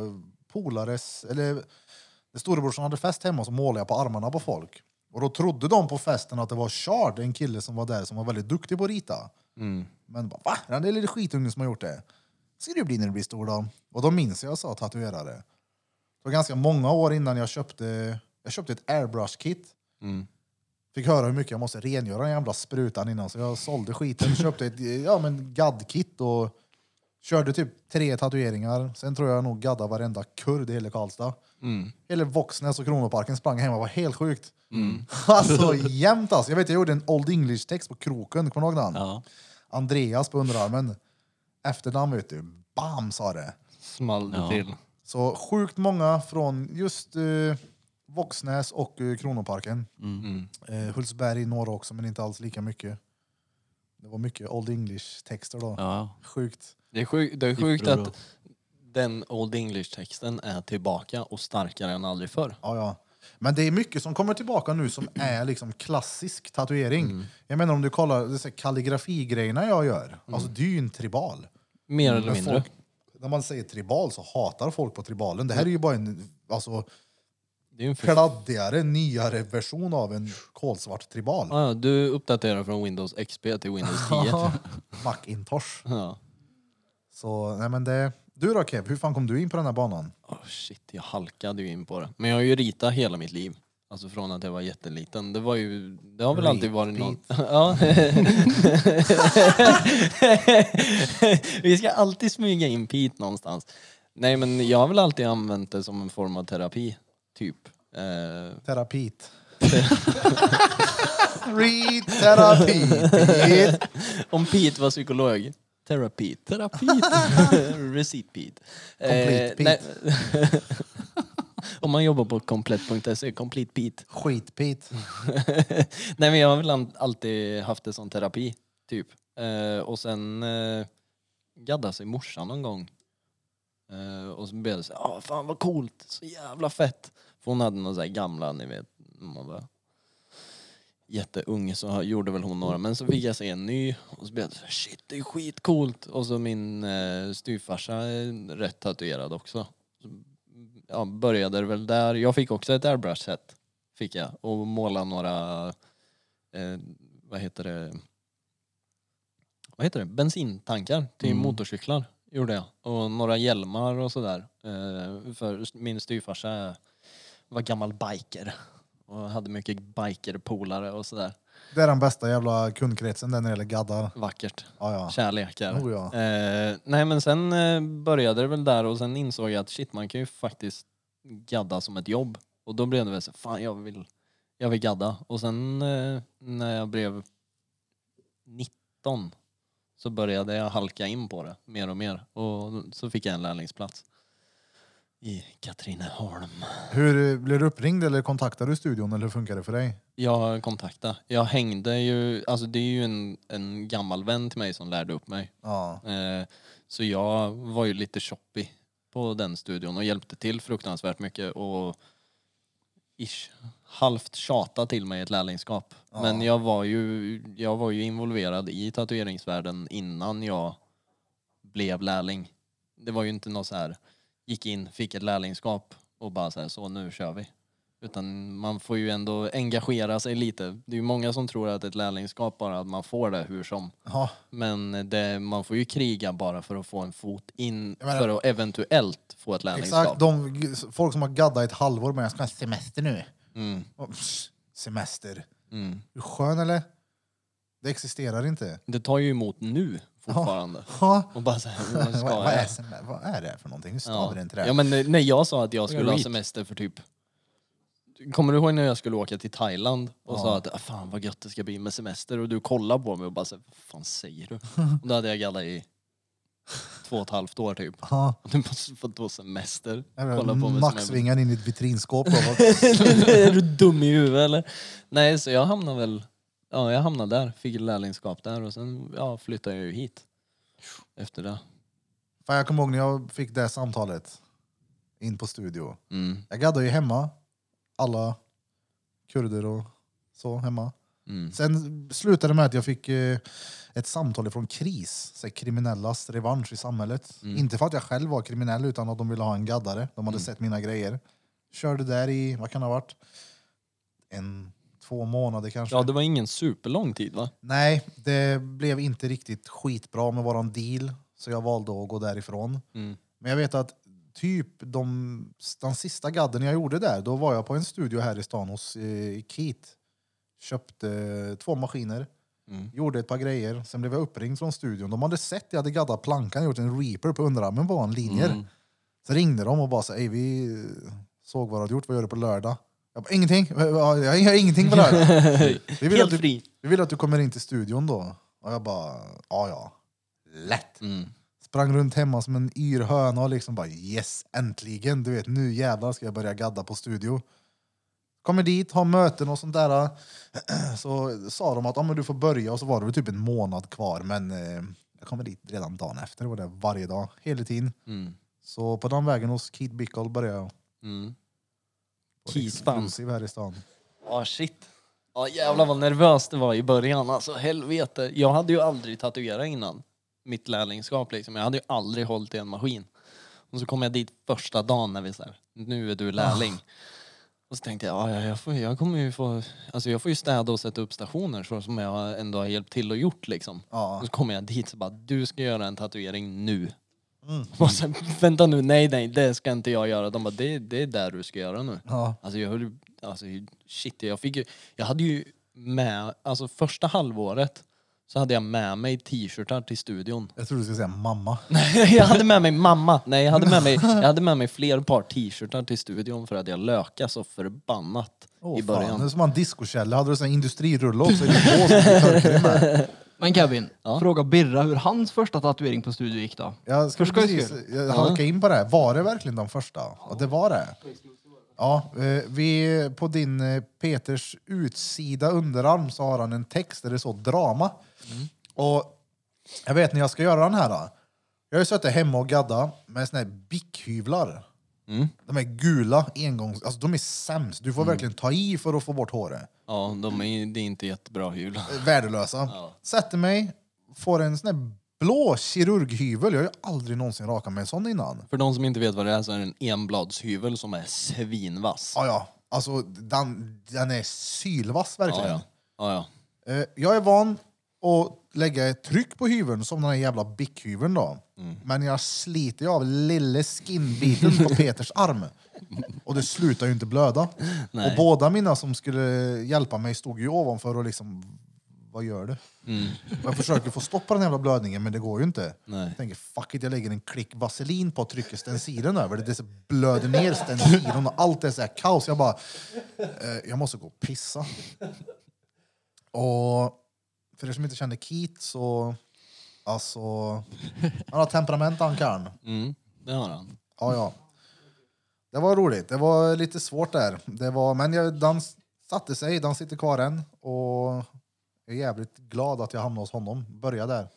A: polares, eller när storebrorsan hade fest hemma så målade jag på armarna på folk. Och då trodde de på festen att det var Chard, en kille som var där som var väldigt duktig på att rita. Men bara, va? Den där lilla skitungen som har gjort det. Ska du bli när du blir stor då? Och då minns jag sa tatuerare. Det var ganska många år innan jag köpte, jag köpte ett airbrush-kit.
B: Mm.
A: Fick höra hur mycket jag måste rengöra den jävla sprutan innan så jag sålde skiten. Köpte ett ja, men gadd-kit och körde typ tre tatueringar. Sen tror jag nog gadda varenda kurd i hela Karlstad.
B: Mm.
A: Hela Våxnäs och Kronoparken sprang hem och var helt sjukt.
B: Mm.
A: Alltså jämt alltså. Jag vet jag gjorde en Old English-text på kroken, kommer du ihåg den?
B: Ja.
A: Andreas på underarmen. Efternamn vet du, bam sa det.
B: Small det till.
A: Så sjukt många från just eh, Våxnäs och eh, Kronoparken.
B: Mm.
A: Eh, Hultsberg några också, men inte alls lika mycket. Det var mycket Old English-texter då.
C: Ja.
A: Sjukt.
B: Det är, sjuk, det är
A: Siffror
B: sjukt
A: då.
B: att den Old English-texten är tillbaka och starkare än aldrig förr.
A: Ja, ja. Men det är mycket som kommer tillbaka nu som är liksom klassisk tatuering.
B: Mm.
A: Jag menar om du kollar det är så här kalligrafigrejerna jag gör, alltså det är ju en tribal.
B: Mer Mm. eller
A: Mm. Men
B: mindre.
A: Folk, när man säger tribal så hatar folk på tribalen. Det
B: Mm.
A: här är ju bara en alltså,
B: Det är en för...
A: kladdigare, nyare version av en kolsvart tribal.
B: ja, ja, du uppdaterar från Windows XP till Windows 10.
A: Macintosh.
B: ja.
A: Så, nej men det... Du då Kev, hur fan kom du in på den här banan?
B: Oh shit, jag halkade ju in på det. Men jag har ju ritat hela mitt liv. Alltså från att jag var jätteliten. Det var ju, det har väl alltid varit någon... ja. Vi ska alltid smyga in Pete någonstans. Nej men jag har väl alltid använt det som en form av terapi, typ. Eh,
A: Terapit. Reterapi. Pete.
B: Om Pete var psykolog. Terapeut. Terapeut. Receipt Pete. Eh,
A: Complete Pete.
B: nej. Om man jobbar på komplett.se, E, Complete Pete.
A: Skit-Pete.
B: nej men jag har väl an- alltid haft det som terapi, typ. Eh, och sen eh, gaddade sig morsan någon gång. Eh, och så blev det så ah fan vad coolt, så jävla fett. För hon hade någon så här gamla, ni vet, man bara jätteung så gjorde väl hon några. Men så fick jag se en ny och så blev jag så här, shit det är skitcoolt. Och så min eh, styvfarsa är rätt tatuerad också. Så, ja, började det väl där. Jag fick också ett airbrush set. Fick jag. Och måla några, eh, vad heter det, vad heter det, bensintankar till
J: Mm.
B: motorcyklar. Gjorde jag. Och några hjälmar och sådär. Eh, för min styvfarsa är- var gammal biker. Och hade mycket bikerpolare och sådär.
A: Det är den bästa jävla kundkretsen där när det gäller gaddar.
B: Vackert.
A: Ja, ja.
B: Kärlekar.
A: Oh, ja.
B: Eh, nej men sen eh, började det väl där och sen insåg jag att shit man kan ju faktiskt gadda som ett jobb. Och då blev det väl så fan jag vill, jag vill gadda. Och sen eh, när jag blev 19 så började jag halka in på det mer och mer. Och så fick jag en lärlingsplats. I Katrineholm.
A: Hur eh, blev du uppringd eller kontaktade du studion eller hur funkar det för dig?
B: Jag kontaktade. Jag hängde ju, alltså det är ju en, en gammal vän till mig som lärde upp mig. Eh, så jag var ju lite shoppy på den studion och hjälpte till fruktansvärt mycket och ish, halvt tjata till mig ett lärlingskap. Men jag var, ju, jag var ju involverad i tatueringsvärlden innan jag blev lärling. Det var ju inte något så här, gick in, fick ett lärlingskap och bara så här, så nu kör vi. Utan man får ju ändå engagera sig lite. Det är ju många som tror att ett lärlingskap bara att man får det hur som.
A: Ja.
B: Men det, man får ju kriga bara för att få en fot in,
A: menar-
B: för att eventuellt få ett lärlingskap.
A: Exakt, de, g- folk som har gaddat i ett halvår med jag ska ha semester nu.
B: Mm.
A: Och, pss, semester.
B: Mm.
A: Är du skön eller? Det existerar inte.
B: Det tar ju emot nu fortfarande.
A: Ja.
B: Och bara så här,
A: vad,
B: vad ska
A: vad, är,
B: jag?
A: sem- vad är det för någonting? Hur stavar
B: Ja.
A: det inte det?
B: ja men eh, när jag sa att jag
A: Vad
B: skulle
A: gör
B: ha
A: du?
B: semester för typ Kommer du ihåg när jag skulle åka till Thailand och sa att "Ah, fan vad gött det ska bli med semester och du kollade på mig och bara så, här, vad fan säger du? Och då hade jag gaddat i två och ett halvt år typ.
A: Ja.
B: Och du bara, vadå semester?
A: Jag
B: Kolla på mig som en-
A: Maxvingar in i ett vitrinskåp. då.
B: är du dum i huvudet eller? Nej, så jag hamnade väl... Ja, jag hamnade där. Fick ett lärlingskap där och sen ja, flyttade jag ju hit. Efter det.
A: Fan, jag kommer ihåg när jag fick det samtalet in på studio.
B: Mm.
A: Jag gaddade ju hemma. Alla kurder och så hemma. Sen slutade det med att jag fick eh, ett samtal från KRIS, så här, kriminellas revansch i samhället. Inte för att jag själv var kriminell utan att de ville ha en gaddare. De hade sett mina grejer. Körde där i, vad kan det ha varit? En, två månader kanske.
B: Ja, det var ingen superlång tid va?
A: Nej, det blev inte riktigt skitbra med våran deal, så jag valde att gå därifrån.
B: Mm.
A: Men jag vet att typ de, den sista gadden jag gjorde där, då var jag på en studio här i stan hos eh, Keith. Köpte eh, två maskiner,
B: Mm.
A: gjorde ett par grejer, sen blev jag uppringd från studion. De hade sett jag hade gaddat plankan och gjort en reaper på underarmen på en linjer.
B: Mm.
A: Så ringde de och bara sa, "Ey, vi eh, såg vad du hade gjort, vad gör du på lördag? Jag bara, ingenting, jag gör ingenting på lördag. Vi vill,
B: Helt
A: att du,
B: fri.
A: vi vill att du kommer in till studion då. Och jag bara, ja ja. Lätt.
B: Mm.
A: Sprang runt hemma som en yr höna och liksom bara yes, äntligen. Du vet, nu jävlar ska jag börja gadda på studio. Kommer dit, har möten och sånt där. Så sa de att ah, men du får börja och så var det väl typ en månad kvar. Men eh, jag kommer dit redan dagen efter. Det var det varje dag, hela tiden.
B: Mm.
A: Så på den vägen hos Keith Bickle började jag.
B: Mm.
A: På
B: Keith, fan.
A: Exclusive här i stan.
B: Ja, shit. Ja, jävlar vad nervöst det var i början. Alltså helvete. Jag hade ju aldrig tatuerat innan. Mitt lärlingskap liksom. Jag hade ju aldrig hållit i en maskin. Och så kom jag dit första dagen när vi så här, nu är du lärling.
A: Ah.
B: Och så tänkte jag, ja, ja, jag, får, jag kommer ju få, alltså jag får ju städa och sätta upp stationer så som jag ändå har hjälpt till och gjort liksom.
A: Ja.
B: Och så kommer jag dit så bara, du ska göra en tatuering nu.
A: Mm.
B: Och sen, vänta nu, nej nej det ska inte jag göra. De bara, det, det är där du ska göra nu.
A: Ja.
B: Alltså jag höll ju- alltså shit, jag fick ju, jag hade ju med, alltså första halvåret så hade jag med mig t-shirtar till studion.
A: Jag trodde du skulle säga mamma.
B: jag hade med mig mamma, nej jag hade med mig, jag hade med mig fler par t-shirtar till studion för att jag lökade så förbannat
A: Åh,
B: i början.
A: Fan, det är som en discokälla. Hade du en industrirulle också i din bås med torkare med?
G: Men Kevin, fråga Birra hur hans första tatuering på studio gick då?
A: Jag skulle
G: För skojs
A: precis
G: skull.
A: jag
G: Ja.
A: halka in på det. här. Var det verkligen de första? Ja, det var det. Ja, eh, vi, på din eh, Peters utsida underarm så har han en text där det står drama.
B: Mm.
A: Och jag vet när jag ska göra den här. Då, jag har ju suttit hemma och gadda med såna här bickhyvlar.
B: Mm.
A: De är gula engångs... Alltså de är sämst. Du får verkligen ta i för att få bort håret.
B: Ja, de är, det är inte jättebra hjul.
A: värdelösa. Sätter mig, får en sån här blå kirurghyvel. Jag har ju aldrig någonsin rakat mig en sån innan.
B: För de som inte vet vad det är så är det en enbladshyvel som är svinvass.
A: Ja, ja. Alltså, den, den är sylvass verkligen.
B: Ja, ja. ja,
A: Eh, Jag är van att lägga ett tryck på hyveln, som den här jävla bickhyveln då.
B: Mm.
A: Men jag sliter ju av lille skinbiten på Peters arm. Och det slutar ju inte blöda.
B: Nej.
A: Och båda mina som skulle hjälpa mig stod ju ovanför och liksom, vad gör du?
B: ja. Mm.
A: Jag försöker få stopp på den jävla blödningen, men det går ju inte.
B: Nej.
A: Jag tänker, fuck it, jag lägger en klick vaselin på och trycker stencilen över det. Det så blöder ner stencilen och allt är så här kaos. Jag bara, eh, jag måste gå och pissa. Och för er som inte känner Keith så, alltså, han har temperament han kan.
B: Mm, det har han.
A: Ja, ja. Det var roligt. Det var lite svårt där. Det var, men jag, den satte sig, den sitter kvar än. Och jag är jävligt glad att jag hamnade hos honom. Börja där.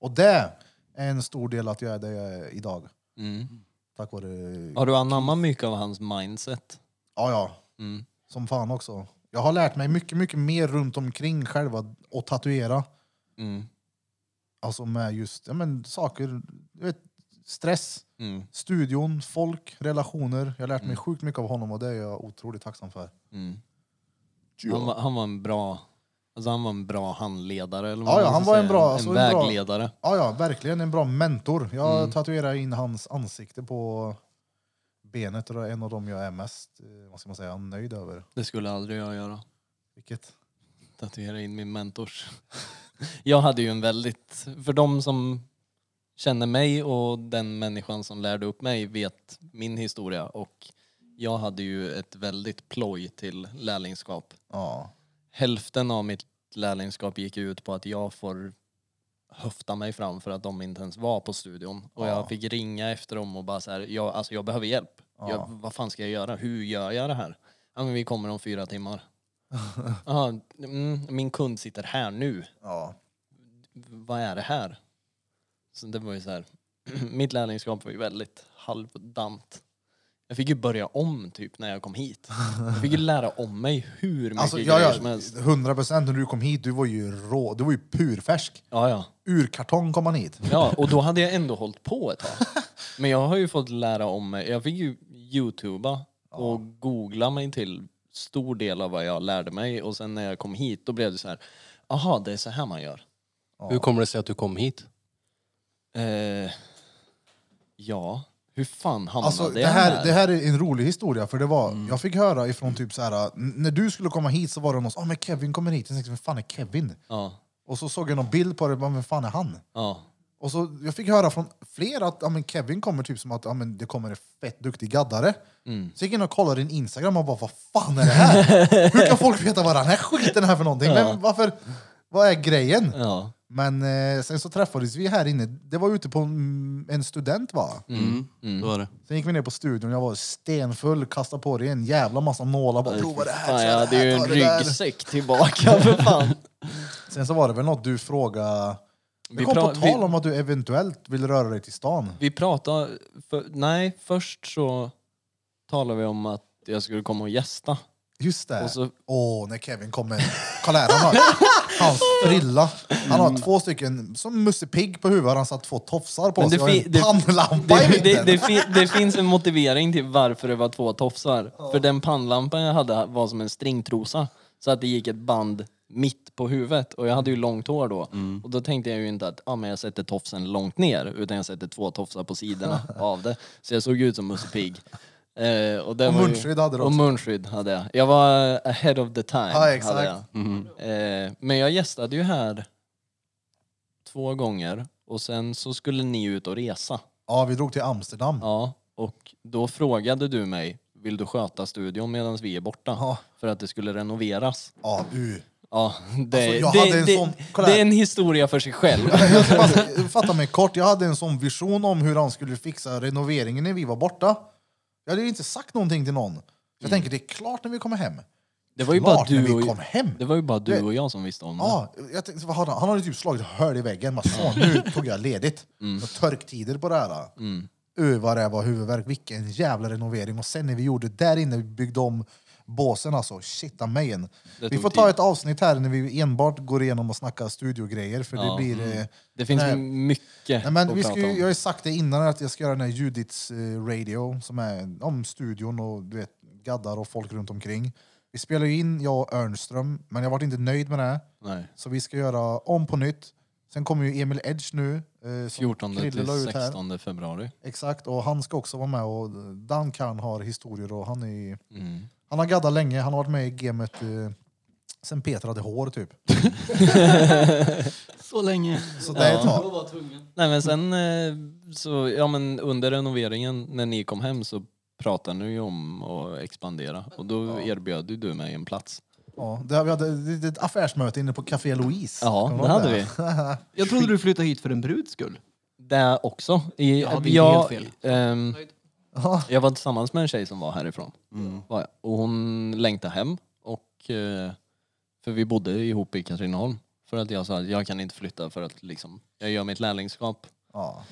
A: Och det är en stor del att jag är där jag är idag.
B: Mm.
A: Tack vare...
B: Har du anammat mycket av hans mindset?
A: Ja, ja. Som fan också. Jag har lärt mig mycket, mycket mer runt omkring själva och tatuera.
B: Mm.
A: Alltså med just ja, men, saker, du vet, stress,
B: Mm.
A: studion, folk, relationer. Jag har lärt mig
B: Mm.
A: sjukt mycket av honom och det är jag otroligt tacksam för.
B: Mm.
A: Ja.
B: Han, var, han var en bra... Alltså han var en bra handledare eller vad
A: Ja, ja,
B: man
A: han
B: ska
A: var
B: säga.
A: en bra, alltså,
B: en
A: en bra-
B: vägledare.
A: Ja, ja, verkligen en bra mentor. Jag
B: Mm.
A: tatuerar in hans ansikte på benet och det är en av dem jag är mest eh, vad ska man säga, nöjd över.
B: Det skulle aldrig jag göra.
A: Vilket?
B: Tatuera in min mentors. jag hade ju en väldigt... För de som känner mig och den människan som lärde upp mig vet min historia och jag hade ju ett väldigt ploj till lärlingskap.
A: Ja.
B: Hälften av mitt lärlingskap gick ut på att jag får höfta mig fram för att de inte ens var på studion. Och
A: Ja.
B: jag fick ringa efter dem och bara så här, jag, alltså jag behöver hjälp.
A: Ja.
B: Jag, vad fan ska jag göra? Hur gör jag det här? Ja, men vi kommer om fyra timmar. Aha, mm, min kund sitter här nu.
A: Ja.
B: Vad är det här? Så det var ju så här. Mitt lärlingskap var ju väldigt halvdant. Jag fick ju börja om typ när jag kom hit. Jag fick ju lära om mig hur mycket
A: Alltså,
B: grejer
A: ja, ja,
B: som helst.
A: 100 procent när du kom hit, du var ju rå, du var ju purfärsk.
B: Ja, ja.
A: Ur kartong kom han hit.
B: Ja, och då hade jag ändå hållit på ett tag. Men jag har ju fått lära om mig. Jag fick ju youtuba och googla mig till stor del av vad jag lärde mig. Och sen när jag kom hit då blev det så här. Aha, det är så här man gör.
J: Hur kommer det sig att du kom hit?
B: Eh, ja, hur fan hamnade
A: Alltså, det,
B: jag
A: här, Mm. det här är en rolig historia, för det var, jag fick höra ifrån typ så här, n- när du skulle komma hit så var det någon som ah, men Kevin kommer hit, jag tänkte vem fan är Kevin?
B: Ja,
A: Och så såg jag någon bild på det, bara, vem fan är han?
B: ja.
A: Och så, jag fick höra från flera att ja, men Kevin kommer typ som att ja, men det kommer en fett duktig gaddare.
B: Mm.
A: Så gick jag in och kollade din Instagram och bara vad fan är det här? Hur kan folk veta vad den här skiten är för någonting?
B: Ja.
A: Vem, varför? Vad är grejen?
B: Ja.
A: Men eh, sen så träffades vi här inne. Det var ute på en, en student va?
B: Mm.
C: Det var det.
A: Sen gick vi ner på studion, jag var stenfull, kastade på dig en jävla massa nålar. Bara, Prova det här,
B: Fan,
A: kör
B: jag hade ju
A: här,
B: en
A: ta det där."
B: ryggsäck tillbaka för fan.
A: Sen så var det väl något du frågade... Vi
B: Vi
A: kom på
B: pra- vi-
A: tal om att du eventuellt vill röra dig till stan.
B: Vi pratade... För, nej, först så talade vi om att jag skulle komma och gästa.
A: Just det.
B: Och så-
A: Åh, när Kevin kom med... Kolla här, han har hans frilla. Han
B: Mm.
A: har två stycken, som Musse Pigg på huvudet, han satt två tofsar på
B: Men
A: sig
B: det
A: och
B: fi-
A: en
B: det-
A: pannlampa i
B: Det,
A: mitten.
B: det, det, fi, det finns en motivering till varför det var två tofsar. För den pannlampan jag hade var som en stringtrosa. Så att det gick ett band mitt på huvudet. Och jag hade ju långt hår då.
A: Mm.
B: Och då tänkte jag ju inte att ah, men jag sätter tofsen långt ner. Utan jag sätter två tofsar på sidorna av det. Så jag såg ut som Musse Pigg. Eh, och det
A: Och
B: var ju-
A: munskydd hade du
B: Och
A: också.
B: munskydd hade jag. Jag var eh, ahead of the time.
A: Ja, exakt. Mm-hmm.
B: hade jag. Eh, men jag gästade ju här två gånger. Och sen så skulle ni ut och resa.
A: Ja, vi drog till Amsterdam.
B: Ja, och då frågade du mig, vill du sköta studion medan vi är borta?
A: Ja.
B: För att det skulle renoveras.
A: Ja, du.
B: Ja,
A: Alltså,
B: det,
A: jag hade
B: det,
A: en
B: det,
A: sån- kolla
B: det
A: här.
B: är en historia för sig själv.
A: Jag ska bara fatta mig kort. Jag hade en sån vision om hur han skulle fixa renoveringen när vi var borta. Jag hade ju inte sagt någonting till någon. Jag tänker det är klart när vi kommer hem.
B: Mm. Det var ju
A: Klart
B: bara
A: när vi
B: du och,
A: kom hem.
B: Det var ju bara
A: Det-
B: du och jag som visste om det.
A: Ja, jag tänkte, vad hade han? han hade typ slagit hål i väggen. Man, så, nu tog jag ledigt. Mm. Törktider på det här.
B: Mm.
A: Uh, vad det var huvudvärk. Vilken jävla renovering. Och sen när vi gjorde där inne, vi byggde om båsen alltså. Shitta mig en.
B: Det
A: Vi
B: tog
A: får ta
B: tid.
A: ett avsnitt här när vi enbart går igenom och snackar studiogrejer. För det
B: Ja. mm.
A: blir... eh,
B: Det finns
A: nej.
B: ju mycket
A: Nej, men
B: att
A: vi ska
B: prata om.
A: ju, jag har ju sagt det innan att jag ska göra den här Judiths eh, radio som är om studion och du vet, gaddar och folk runt omkring. Vi spelar ju in, jag och Örnström, men jag varit inte nöjd med det.
B: Nej.
A: Så vi ska göra om på nytt. Sen kommer ju Emil Edge nu. Eh, som
B: 14
A: Krille la
B: till
A: ut här.
B: 16 februari.
A: Exakt, och han ska också vara med. Och Dan Karn har historier och han är ju-
B: Mm.
A: Han har gaddat länge, han har varit med i gamet eh, sen Peter hade hår typ.
C: Så länge.
A: Så det är ett tag.
B: Nej men sen eh, så, ja men under renoveringen när ni kom hem så pratade ni ju om att expandera och då erbjöd ju du mig en plats.
A: Ja, det, vi hade ett litet affärsmöte inne på Café Louise.
B: Ja,
A: Kommer du
B: det
A: ihåg
B: hade vi.
G: Jag trodde du flyttade hit för en bruds skull.
B: Det också. I,
G: Jag hade inte helt fel.
B: ehm, Jag var tillsammans med en tjej som var härifrån. Var jag. Och hon längtade hem. Och, eh, för vi bodde ihop i Katrineholm. För att jag sa att jag kan inte flytta för att liksom, jag gör mitt lärlingskap.
A: Ja.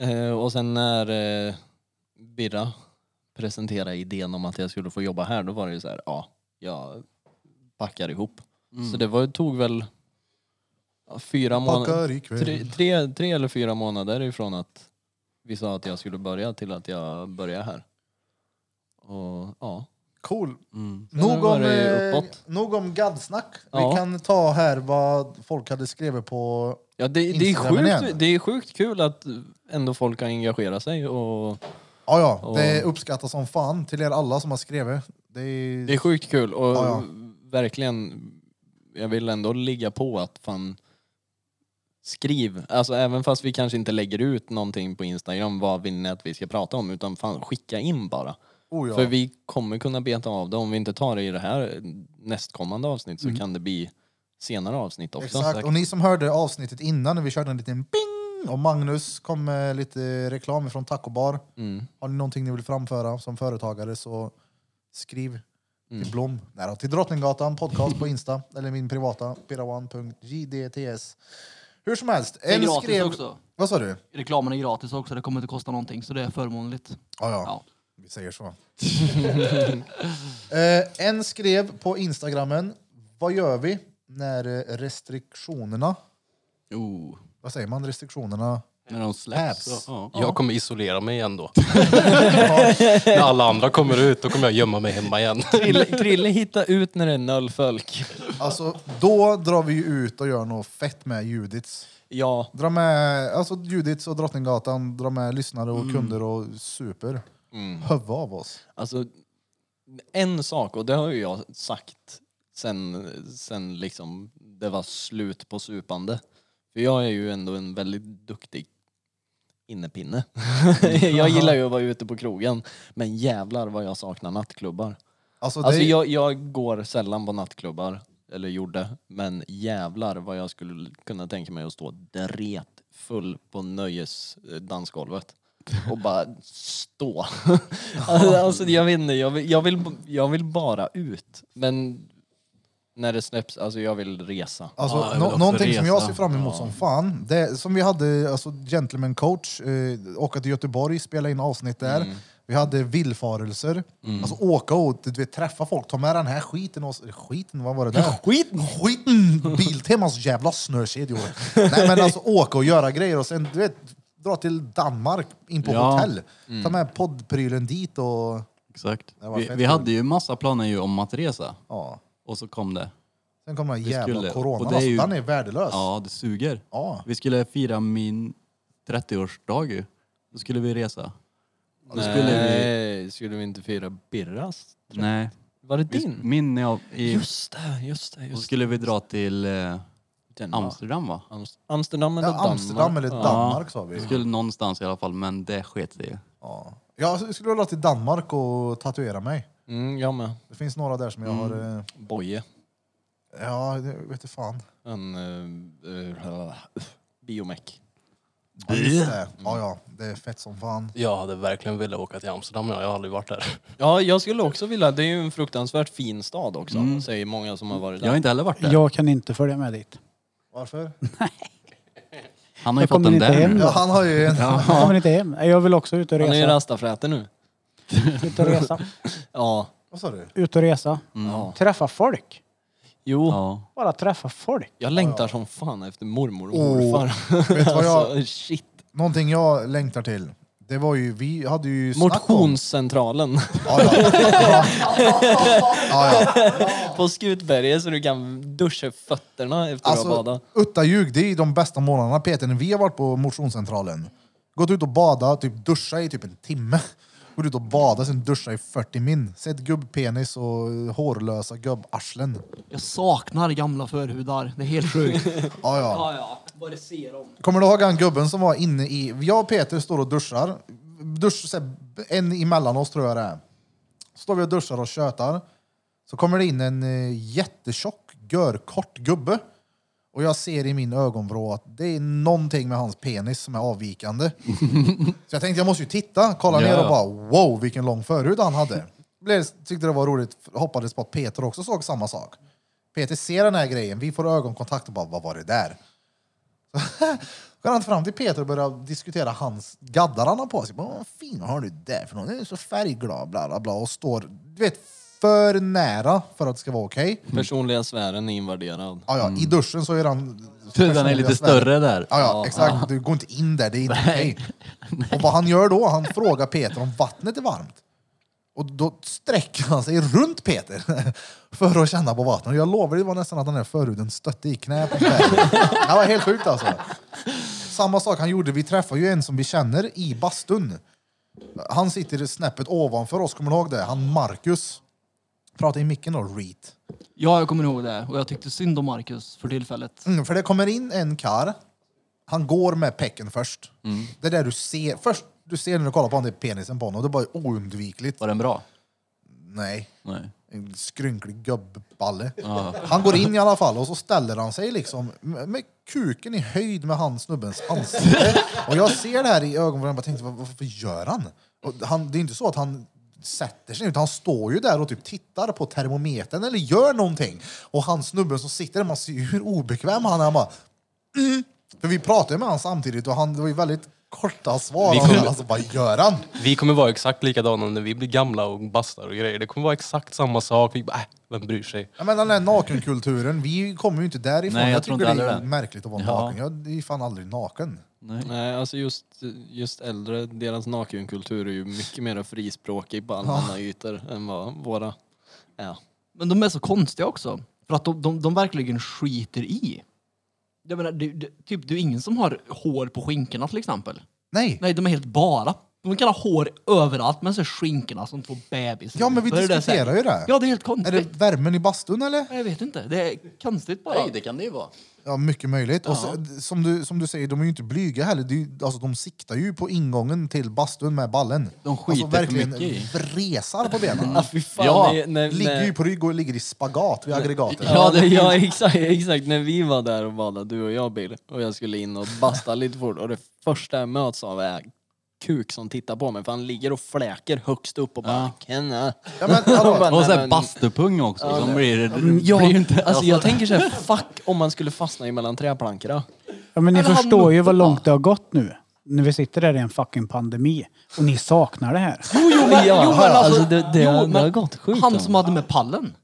B: Eh, och sen när eh, Birra presenterade idén om att jag skulle få jobba här, då var det ju så här, ja, jag packar ihop.
C: Mm.
B: Så det var, tog väl ja, fyra
C: Jag packar
B: månader,
C: ikväll.
B: tre,
A: Mm.
B: tre, tre eller fyra månader ifrån att vi sa att jag skulle börja till att jag började här. Och ja.
A: Cool.
B: Mm. Sen
A: Nog
B: var
A: om,
B: det ju
A: eh,
B: uppåt.
A: nog om gaddsnack.
B: Ja.
A: Vi kan ta här vad folk hade skrivit på
B: Ja, det, det, är
A: Instagram
B: sjukt,
A: igen.
B: det är sjukt kul att ändå folk har engagerat sig och
A: Ja, ja.
B: Och-
A: Det uppskattas som fan till er alla som har skrivit. Det är...
B: Det är sjukt kul och
A: Ja, ja.
B: verkligen, jag vill ändå ligga på att fan skriv, alltså även fast vi kanske inte lägger ut någonting på Instagram vad vill ni att vi ska prata om utan fan skicka in bara.
A: Oh, ja.
B: För vi kommer kunna beta av det om vi inte tar det i det här nästkommande avsnitt så
A: Mm.
B: kan det bli senare avsnitt också.
A: Exakt. Och ni som hörde avsnittet innan när vi körde en liten bing och Magnus kom med lite reklam från Taco Bar.
B: Mm.
A: Har ni någonting ni vill framföra som företagare så skriv
B: Mm.
A: till Blom. Nej, då, till Drottninggatan podcast på Insta eller min privata pirawan.jdts. Hur som helst.
G: Det är
A: en
G: gratis också.
A: Vad sa du?
G: Reklamen är gratis också, det kommer inte kosta någonting så det är förmånligt.
A: Ja, ja.
G: Ja.
A: Vi säger så. Eh, en skrev på Instagrammen, vad gör vi när eh, restriktionerna... Vad säger man? Restriktionerna...
C: När de
A: Hävs.
J: Jag kommer isolera mig igen då. När alla andra kommer ut, då kommer jag gömma mig hemma igen.
B: Trille, trille hitta ut när det är noll folk.
A: Alltså, då drar vi ju ut och gör något fett med Judits.
B: Ja.
A: Dra med alltså, Judits och Drottninggatan, dra med lyssnare och
B: Mm.
A: kunder och super.
B: Mm.
A: Höva av oss.
B: Alltså, en sak, och det har ju jag sagt sen, sen liksom det var slut på supande. För jag är ju ändå en väldigt duktig innepinne. jag gillar ju att vara ute på krogen, men jävlar vad jag saknar nattklubbar.
A: Alltså,
B: Alltså,
A: det är-
B: jag, jag går sällan på nattklubbar, eller gjorde, men jävlar vad jag skulle kunna tänka mig att stå dret full på nöjesdansgolvet och bara stå. alltså jag vet inte, jag vill, jag, vill, jag vill bara ut. Men när det släpps, alltså jag vill resa.
A: Alltså, nå- någonting som jag ser fram emot som fan, det är, som vi hade alltså, Gentleman coach, eh, åka till Göteborg, spela in avsnitt där.
B: Mm.
A: Vi hade villfarelser.
B: Mm.
A: Alltså åka och du vet, träffa folk, ta med den här skiten och... Skiten, vad var det där?
B: Skiten!
A: Skiten! Biltemas jävla snökedjor. Nej men alltså åka och göra grejer och sen du vet, dra till Danmark, in på
C: Ja.
A: hotell. Ta
C: Mm.
A: med poddprylen dit och...
C: Exakt.
A: Det var
C: Vi,
A: fett
C: vi
A: kul.
C: hade ju massa planer ju om att resa.
A: Ja.
C: Och så kom det.
A: Sen kommer den
C: Vi
A: här jävla
C: skulle- och
A: coronan,
C: det är
A: alltså,
C: ju-
A: den är värdelös.
C: Ja, det suger.
A: Ja.
C: Vi skulle fira min 30-årsdag ju. Då skulle vi resa. Då
B: Nej,
C: skulle vi...
B: skulle vi... inte fira Birras?
C: Nej.
B: Var det
C: Vi-
B: din?
C: Min när jag... I...
B: Just det, just det.
C: Då
B: Just
C: skulle vi dra till eh, Amsterdam va?
B: Amst- Amsterdam eller
A: Ja, Amsterdam
B: Danmark.
A: eller Danmark, sa vi.
C: Vi skulle någonstans i alla fall, men det sket sig ju.
A: Ja. Jag skulle vilja dra till Danmark och tatuera mig.
B: Mm, jag med.
A: Det finns några där som jag
B: Mm.
A: har... eh,
B: Boje.
A: Ja, det vet du fan.
B: En
A: eh,
B: uh, uh, biomech.
A: Ja, just det. Ja, ja, det är fett som fan.
J: Jag hade verkligen velat åka till Amsterdam, men jag har aldrig varit där.
B: Ja, jag skulle också vilja. Det är ju en fruktansvärt fin stad också, säger många som har varit där.
C: heller varit
D: Jag kan inte följa med dit.
A: Varför?
C: Han har ju
D: Jag
C: fått
D: kommer
C: en
D: inte
C: där
D: hem
C: nu.
D: då.
A: Ja, han har ju en...
D: Jag kommer inte hem. Jag vill också ut och
B: Han är ju
D: resa.
B: rastafräte nu.
D: Ut och resa.
B: Ja.
A: Vad sa du?
D: Ut och resa.
B: ja.
D: Träffa folk.
B: Jo,
C: Ja.
D: Bara träffa folk.
B: jag längtar som fan efter mormor och
A: Åh,
B: morfar.
A: vet du vad jag-
B: alltså, shit.
A: Någonting jag längtar till. Det var ju, vi hade ju snack om-
B: Motionscentralen
A: Ja, ja. Ja. Ja, ja.
B: på Skutberget så du kan duscha fötterna efter att ha
A: Alltså,
B: badat.
A: Utta ljug, det är ju de bästa månaderna Peter, när vi har varit på motionscentralen. Gått ut och badat, typ duscha i typ en timme. Gått ut och badat, sen duscha i 40 min. Sett gubbpenis och hårlösa gubbarslen.
G: Jag saknar gamla förhudar, det är helt sjukt.
A: Ja, ja.
G: ja, ja. Bara se dem.
A: Kommer du ihåg han gubben som var inne i... Jag och Peter står och duschar. Dusch, så här, en emellan oss tror jag det är. Står vi och duschar och tjötar. Så kommer det in en eh, jättetjock, görkort gubbe. Och jag ser i min ögonvrå att det är någonting med hans penis som är avvikande. så jag tänkte jag måste ju titta, kolla
M: Ja,
A: ner och
M: ja.
A: bara wow vilken lång förhud han hade. Blev, tyckte det var roligt, hoppades på att Peter också såg samma sak. Peter ser den här grejen, vi får ögonkontakt och bara vad var det där? Så går han fram till Peter och börjar diskutera hans gaddar han har på sig. Bara, vad fin har du där för någon? Den är så färgglad bla bla bla och står, du vet, för nära för att det ska vara okej.
B: Personliga sfären är invaderad.
A: Ja, ja, i duschen så är han...
B: Tuvan är lite större där.
A: Ja, ja,
B: Ja.
A: exakt. Du går inte in där, det är inte okej.
B: Nej.
A: Och vad han gör då, han frågar Peter om vattnet är varmt. Och då sträcker han sig runt Peter för att känna på vattnet. Och jag lovar, det var nästan att den här förhuden stötte i knä på Peter. Det var helt sjukt alltså. Samma sak han gjorde, vi träffar ju en som vi känner i bastun. Han sitter snäppet ovanför oss, kommer du ihåg det? Han Marcus. Prata i micken då, Reet.
G: Ja, jag kommer ihåg det. Och jag tyckte synd om Marcus för tillfället.
A: Mm, för det kommer in en kar. Han går med pecken först. Det är där du ser. Först du ser när du kollar på honom, det är penisen på honom. Och det är bara oundvikligt.
C: Var den bra?
A: Nej.
C: Nej.
A: En skrynklig gubbballe.
C: Ja.
A: Han går in i alla fall och så ställer han sig liksom med med kuken i höjd med han snubbens ansikte. Och jag ser det här i ögonvrån och bara tänkte, "Vad- varför gör han? Och han? Det är inte så att han sätter sig utan han står ju där och typ tittar på termometern eller gör någonting. Och han snubben som sitter där, man ser ju hur obekväm han är. Han bara, mm. För vi pratade med honom samtidigt och han, det var ju väldigt korta svar.
J: Vi
A: Han
J: kunde-
A: alltså, vad gör han?
J: Vi kommer vara exakt likadana när vi blir gamla och bastar och grejer. Det kommer vara exakt samma sak. Vi bara, äh, vem bryr sig?
A: Jag menar den här nakenkulturen, vi kommer ju inte därifrån.
J: Nej, jag tror
A: tycker
J: inte
A: det är
J: heller det.
A: märkligt att vara
J: Ja.
A: naken. Jag är ju fan aldrig naken.
B: Nej. alltså just, just äldre, deras nakenkultur är ju mycket mer frispråkig på allmänna ytor än vad våra är.
G: Men de är så konstiga också. För att de, de, de verkligen skiter i. Jag menar, det, det, typ, det är ingen som har hår på skinkorna till exempel.
A: Nej.
G: Nej, de är helt bara. De kan ha hår överallt men så är skinkorna som två bebisar.
A: Ja, men vi
G: Då är där så här-
A: diskuterar ju det.
G: Ja, det är helt konstigt.
A: Är det värmen i bastun eller?
G: Jag vet inte. Det är konstigt bara.
C: Nej, det kan det ju vara.
A: Ja, mycket möjligt. Och så,
C: Ja.
A: d- som, du, som du säger, de är ju inte blyga heller. Det är, ju- alltså, de siktar ju på ingången till bastun med ballen. De
B: skiter för
A: verkligen
B: mycket i.
A: vresar på benen.
B: Ja, fy fan,
A: ja,
B: det- när-
A: ligger
B: när-
A: ju på rygg och ligger i spagat vid aggregatet.
B: Ja, det, ja exakt, exakt. När vi var där och badade, du och jag Bill, och jag skulle in och basta lite fort och det första jag möts av är kuk som tittar på mig för han ligger och fläker högst upp och bara Kenna.
A: Ja, men, hallå.
B: Och
A: Och
B: så
A: så här
B: bastupung
C: också,
B: Ja,
C: som
B: men-
C: blir-
B: Ja, men jag-
C: blir inte-
B: Alltså jag tänker såhär, fuck om man skulle fastna emellan träplankorna.
D: Ja, men ni
B: Eller han
D: förstår ju hur långt det har gått nu. När vi sitter där i en fucking pandemi. Och ni saknar det här.
G: Jo, jo, men,
B: Ja,
G: jo, men alltså,
B: alltså, det- det-
G: jo,
B: det
G: men
B: har gått sjukt
G: Han
B: alltså.
G: som hade med pallen.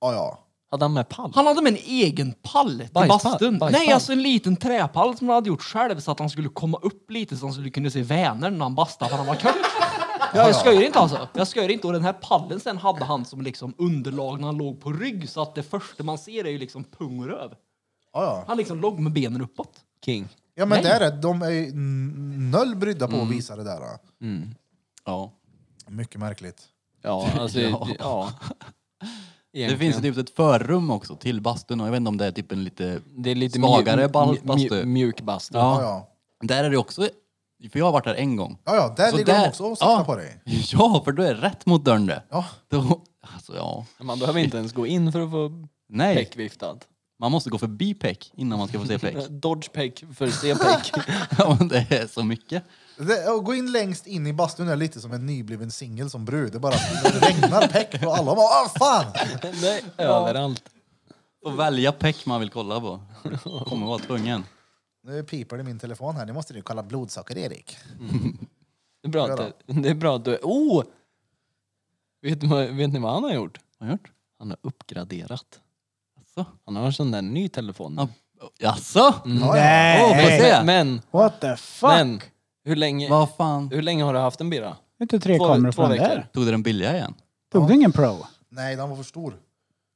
A: Ja, ja.
B: Hade han med pall?
G: Han hade med en egen pall till
B: Bajspall,
G: bastun.
B: bajspall.
G: Nej, alltså en liten träpall som han hade gjort själv så att han skulle komma upp lite så han skulle kunna se Vänern när han bastade för han var kort. Jag skojar inte alltså. Jag skojar inte. Och den här pallen sen hade han som liksom underlag när han låg på rygg så att det första man ser är ju liksom pung och röv.
A: ja.
G: Han liksom låg med benen uppåt.
B: King.
A: Ja, men
G: Nej.
A: där är, de är ju n- noll brydda på att visa det där. då.
C: Ja.
A: Mycket märkligt.
B: Ja, alltså,
C: Ja.
B: det- ja.
C: Det finns ju typ ett förrum också till bastun och jag vet inte om det är typ en lite,
B: Det är lite
C: svagare
B: mju-
C: bal-
B: mju-
C: bastu.
B: mjuk bastu.
C: Ja.
A: Ja, ja.
C: Där är det också, för jag har varit där en gång.
A: Ja, ja, där
C: Så
A: ligger
C: där-
A: de också och siktar
C: ja.
A: på dig.
C: Ja, för då är det rätt mot dörren det.
A: Ja.
C: Då, alltså ja.
B: Man behöver inte ens gå in för att få
C: Nej,
B: peck viftad.
C: man måste gå förbi peck innan man ska få se peck.
B: Dodge peck för se peck.
C: Ja, men det är så mycket.
A: Det, och gå in längst in i bastun är lite som en nybliven singel som brud. Det bara det regnar peck på alla. Och bara, "Åh, fan!
B: Nej, överallt.
C: Och välja peck man vill kolla på. Kommer vara tvungen.
A: Nu piper det i min telefon här. Nu måste du kolla blodsocker, Erik.
B: Det är bra att, det- det är bra att du... Oh! Vet, du vad- vet ni vad han har gjort?
C: Vad har jag gjort?
B: Han har uppgraderat.
C: Asså?
B: Han har en sån där ny telefon. Eh,
C: Ja. Jaså?
D: Nej.
C: Åh, får jag se?
B: Men, men,
D: What the fuck?
B: men hur, länge,
C: Vad fan?
B: hur länge har du haft den Birra?
D: Det är inte tre
B: Två-
D: kameror
B: två
D: från
B: veckor.
D: där.
C: Tog du den billiga igen?
D: Tog du ingen Pro?
A: Nej, den var för stor.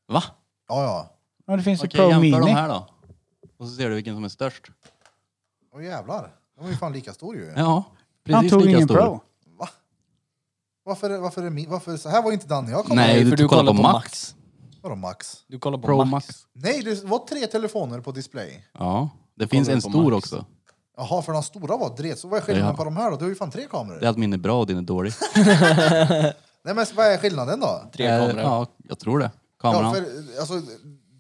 C: Va?
A: Ja, ja.
D: Ja, det finns ju
C: Okej,
D: Pro
C: jämför de
D: Mini.
C: här då. Och så ser du vilken som är störst.
A: Åh jävlar. Den var ju fan lika stor ju.
C: Ja, precis
D: Han tog
C: lika
D: ingen
C: stor.
D: Pro.
A: Varför, varför, är min, varför så här var inte den när jag kom?
C: Nej, du, kollar, på, max.
A: Vadå Max?
B: Du kollar på
C: Pro
B: Max.
C: max.
A: Nej, det var tre telefoner på display.
C: Ja, det finns
B: Kollar
C: en
B: på
C: stor
B: max.
C: också.
A: Jaha, för den stora var dret. Så vad är skillnaden
C: Ja.
A: på de här då? Du har ju fan tre
C: Det
A: kameror.
C: är att min är bra och din är dålig.
A: Nej, men vad är skillnaden då?
B: Tre
C: Eh,
B: kameror.
C: Ja, jag tror det. Kameran.
A: Ja, för, alltså,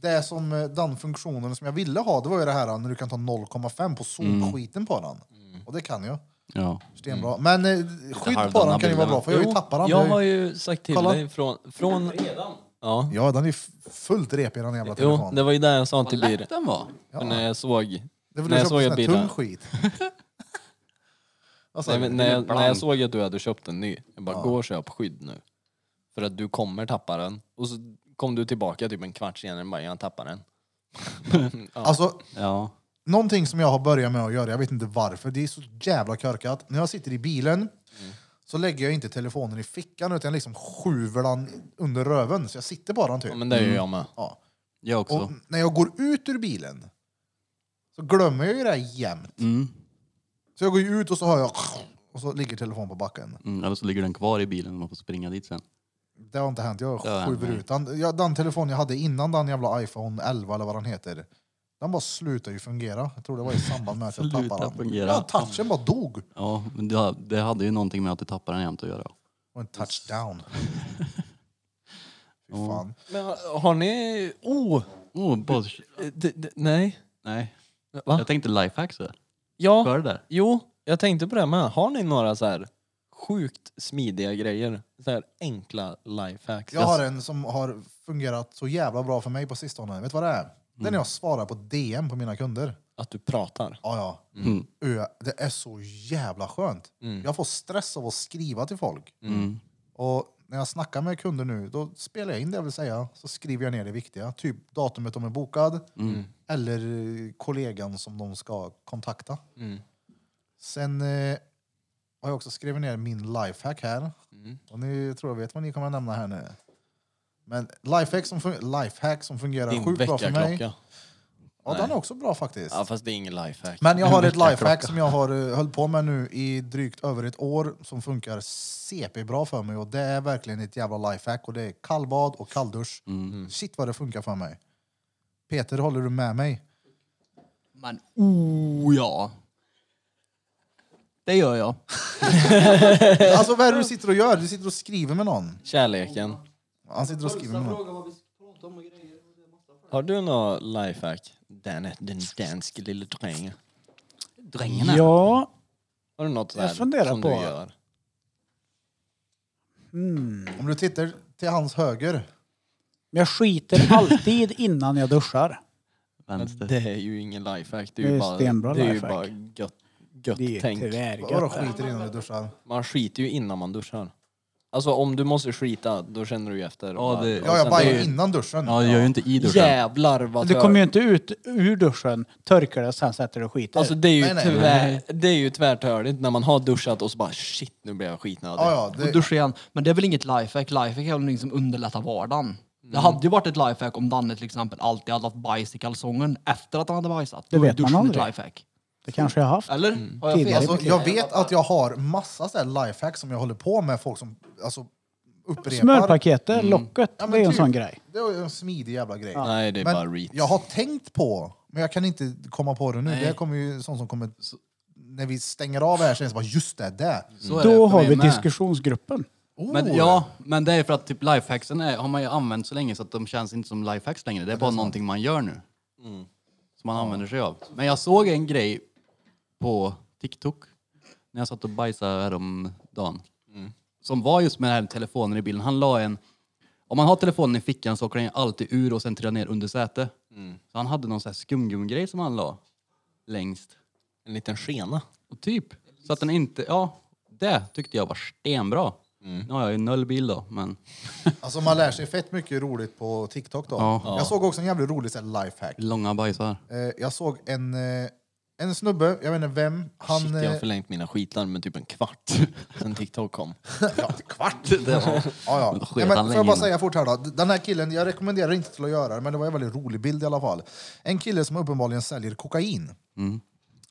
A: det som, eh, den funktionen som jag ville ha, det var ju det här eh, när du kan ta 0,5 på solskiten på den.
B: Mm.
A: Och det kan jag.
C: Ja.
A: Stenbra. Men eh, skydd på den kan ju vara bra, för jag har ju tappat den.
B: Jag
A: Det-
B: har ju sagt till
A: Kolla.
B: dig från... från Redan? Ja.
A: Ja, den är ju f- fullt repig den jävla
B: Jo,
A: telefonen.
B: det var ju det jag sa till
A: lätt
B: Birre.
A: den var.
B: För När jag såg...
A: Det var
B: när
A: du
B: jag
A: köpte
B: såg
A: sån
B: att
A: här
B: Birre...
A: tung skit. Vad
B: Nej,
A: säger
B: men
A: du?
B: när,
A: Det är
B: jag,
A: blank.
B: när jag såg att du hade köpt en ny, jag bara gå och köp skydd nu. För att du kommer tappa den. Och så kom du tillbaka typ en kvart senare och bara jag tappar den. ja.
A: Alltså,
C: Ja.
A: Någonting som jag har börjat med att göra, jag vet inte varför, det är så jävla körkat. När jag sitter i bilen
B: Mm.
A: så lägger jag inte telefonen i fickan utan jag liksom skjuver den under röven. Så jag sitter bara den typ.
B: men det gör jag med.
A: Ja.
C: Jag också.
A: Och när jag går ut ur bilen så glömmer jag ju det här jämt.
C: Mm.
A: Så jag går ju ut och så har jag... Och så ligger telefonen på backen.
C: Mm, eller så ligger den kvar i bilen och man får springa dit sen.
A: Det har inte hänt. Jag
C: Det har hänt,
A: skjuter
C: nej.
A: ut den. Ja, den telefon jag hade innan den jävla iPhone 11 eller vad den heter. Den bara slutade ju fungera. Jag tror det var i samband med att jag
C: Sluta
A: tappade den.
C: fungera.
A: Ja, touchen bara dog.
C: Ja, men det, det hade ju någonting med att du tappar den jämt att göra.
A: Och en touchdown. Fy fan.
B: Men har, har ni... Oh!
C: oh boss.
B: D- d- nej.
C: Nej.
B: Va?
C: Jag tänkte lifehacks där.
B: Ja.
C: För det där.
B: Jo, jag tänkte på det med. Har ni några så här sjukt smidiga grejer? Så här enkla lifehacks?
A: Jag har en som har fungerat så jävla bra för mig på sistone. Vet du vad det är? Det
C: Mm.
A: är när jag svarar på DM på mina kunder.
B: Att du pratar?
A: Ja, ja.
B: Mm.
A: Ö, Det är så jävla skönt.
B: Mm.
A: Jag får stress av att skriva till folk.
B: Mm.
A: Och när jag snackar med kunder nu, då spelar jag in det jag vill säga. Så skriver jag ner det viktiga. Typ datumet de är bokad.
B: Mm.
A: Eller eh, kollegan som de ska kontakta.
B: Mm.
A: Sen eh, har jag också skrivit ner min lifehack här.
B: Mm.
A: Och ni tror jag vet vad ni kommer att nämna här nu. Men lifehack som, fun- lifehack som fungerar
B: Din
A: sjukt bra för mig.
B: väckarklocka.
A: Ja,
B: Nej.
A: den är också bra faktiskt.
B: Ja, fast det är ingen lifehack.
A: Men jag har ett
B: Väckarklocka.
A: lifehack som jag har eh, höll på med nu i drygt över ett år som funkar CP-bra för mig och det är verkligen ett jävla lifehack och det är kallbad och kalldusch.
C: Mm.
A: Shit vad det funkar för mig. Peter, håller du med mig?
G: Men oh ja. Det gör jag.
A: alltså vad är det du sitter och gör? Du sitter och skriver med någon.
B: Kärleken.
A: Han sitter och skriver med någon.
B: Har du något lifehack? Den, den danske lille drängen.
G: Drängen är-
D: Ja,
B: Har du något
D: Jag
B: sådär som
D: funderar på-
B: du gör?
A: Om du tittar till hans höger.
D: men jag skiter alltid innan jag duschar.
C: Vänster.
B: Det är ju ingen lifehack. Det är
D: Det
B: ju
D: är
B: bara,
D: stenbra
B: det är ju
D: lifehack.
B: bara gött, gött
D: Det är
B: tänk.
D: tyvärr
A: Vadå
D: gött.
A: skiter innan du duschar?
B: Man skiter ju innan man duschar. Alltså om du måste skita, då känner du ju efter.
C: Ja, det-
A: Ja, jag bajar innan duschen.
C: Ja, jag gör ju inte i duschen.
B: Jävlar vad
D: Alltså, Du
B: tör-
D: kommer ju inte ut ur duschen, törkar dig och sen sätter du och skiter.
B: Alltså det är ju,
A: Nej, nej.
B: tyvärr, det är ju tvärtörligt när man har duschat och så bara shit nu blir jag skitnödig.
A: Ja, ja,
G: Och
A: det,
G: duscha igen. Men det är väl inget lifehack? Lifehack är väl någonting som underlättar vardagen.
D: Mm.
G: Det hade ju varit ett lifehack om Danne till exempel alltid hade haft bajs i kalsongen efter att han hade bajsat.
D: Det
G: Då är
D: vet man
G: duschen
D: aldrig.
G: ett lifehack.
D: Det kanske jag har haft.
G: Eller? Har jag fel?
D: Tidigare.
A: alltså, jag vet att jag har massa så här lifehacks som jag håller på med folk som alltså, upprepar.
D: Smörpaketet, locket,
A: Ja, men
D: det är ju en
A: typ.
D: sån grej.
A: Det var ju en smidig jävla grej.
B: Nej det är bara reet.
A: jag har tänkt på, men jag kan inte komma på det nu.
C: Nej.
A: Det kommer ju sånt som kommer... När vi stänger av här sen så bara just det, det.
C: Så är det
D: Då
C: för
D: har
C: mig
D: vi
C: med.
D: diskussionsgruppen.
A: Oh.
C: Men, ja, men det är för att typ lifehacksen är, har man ju använt så länge så att de känns inte som lifehacks längre. Det är Mm. bara någonting man gör nu. Som man använder sig av. Men jag såg en grej på TikTok när jag satt och bajsade häromdagen. Som var just med den här telefonen i bilen. Han la en... Om man har telefonen i fickan så åker den ju alltid ur och sen trillar ner under sätet. Så han hade någon sån här skumgummigrej som han la längst.
B: En liten skena.
C: Och typ. Så att den inte... Ja, det tyckte jag var stenbra.
A: Mm.
C: Nu har jag ju noll bil då, men...
A: Alltså man lär sig fett mycket roligt på TikTok då.
C: Ja.
A: Jag såg också en jävligt rolig så här lifehack.
C: Långa bajsar.
A: Eh, jag såg en, eh, en snubbe, jag vet inte vem, han...
B: shit jag har
A: eh,
B: förlängt mina skitlarm med typ en kvart sen TikTok kom.
A: Ja, kvart! Det var, ja, ja.
C: Då sket
A: Nej, men, får
C: han länge
A: jag bara
C: innan.
A: säga fort här då. Den här killen, jag rekommenderar inte till att göra det, men det var en väldigt rolig bild i alla fall. En kille som uppenbarligen säljer kokain.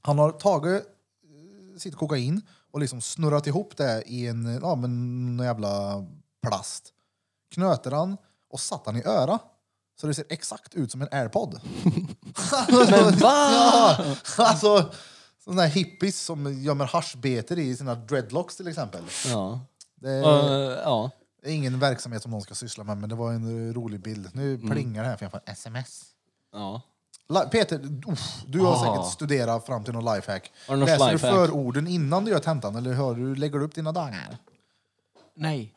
A: Han har tagit eh, sitt kokain och liksom snurrat ihop det i en eh, ja, men, någon jävla plast. Knöter han och satt han i öra. Så det ser exakt ut som en airpod. men va? Ja, alltså, sådana här hippies som gömmer haschbeter i sina dreadlocks till exempel.
B: Ja.
A: Det,
B: Eh, ja.
A: Det är ingen verksamhet som någon ska syssla med, men det var en eh, rolig bild. Nu plingar det här för jag får ett sms.
B: Ja.
A: La- Peter, uff, du har
B: Ah.
A: säkert studerat fram till någon lifehack.
B: Har du något
A: Läser
B: lifehack?
A: du förorden innan du gör tentan eller hör du, lägger du upp dina dagar?
G: Nej.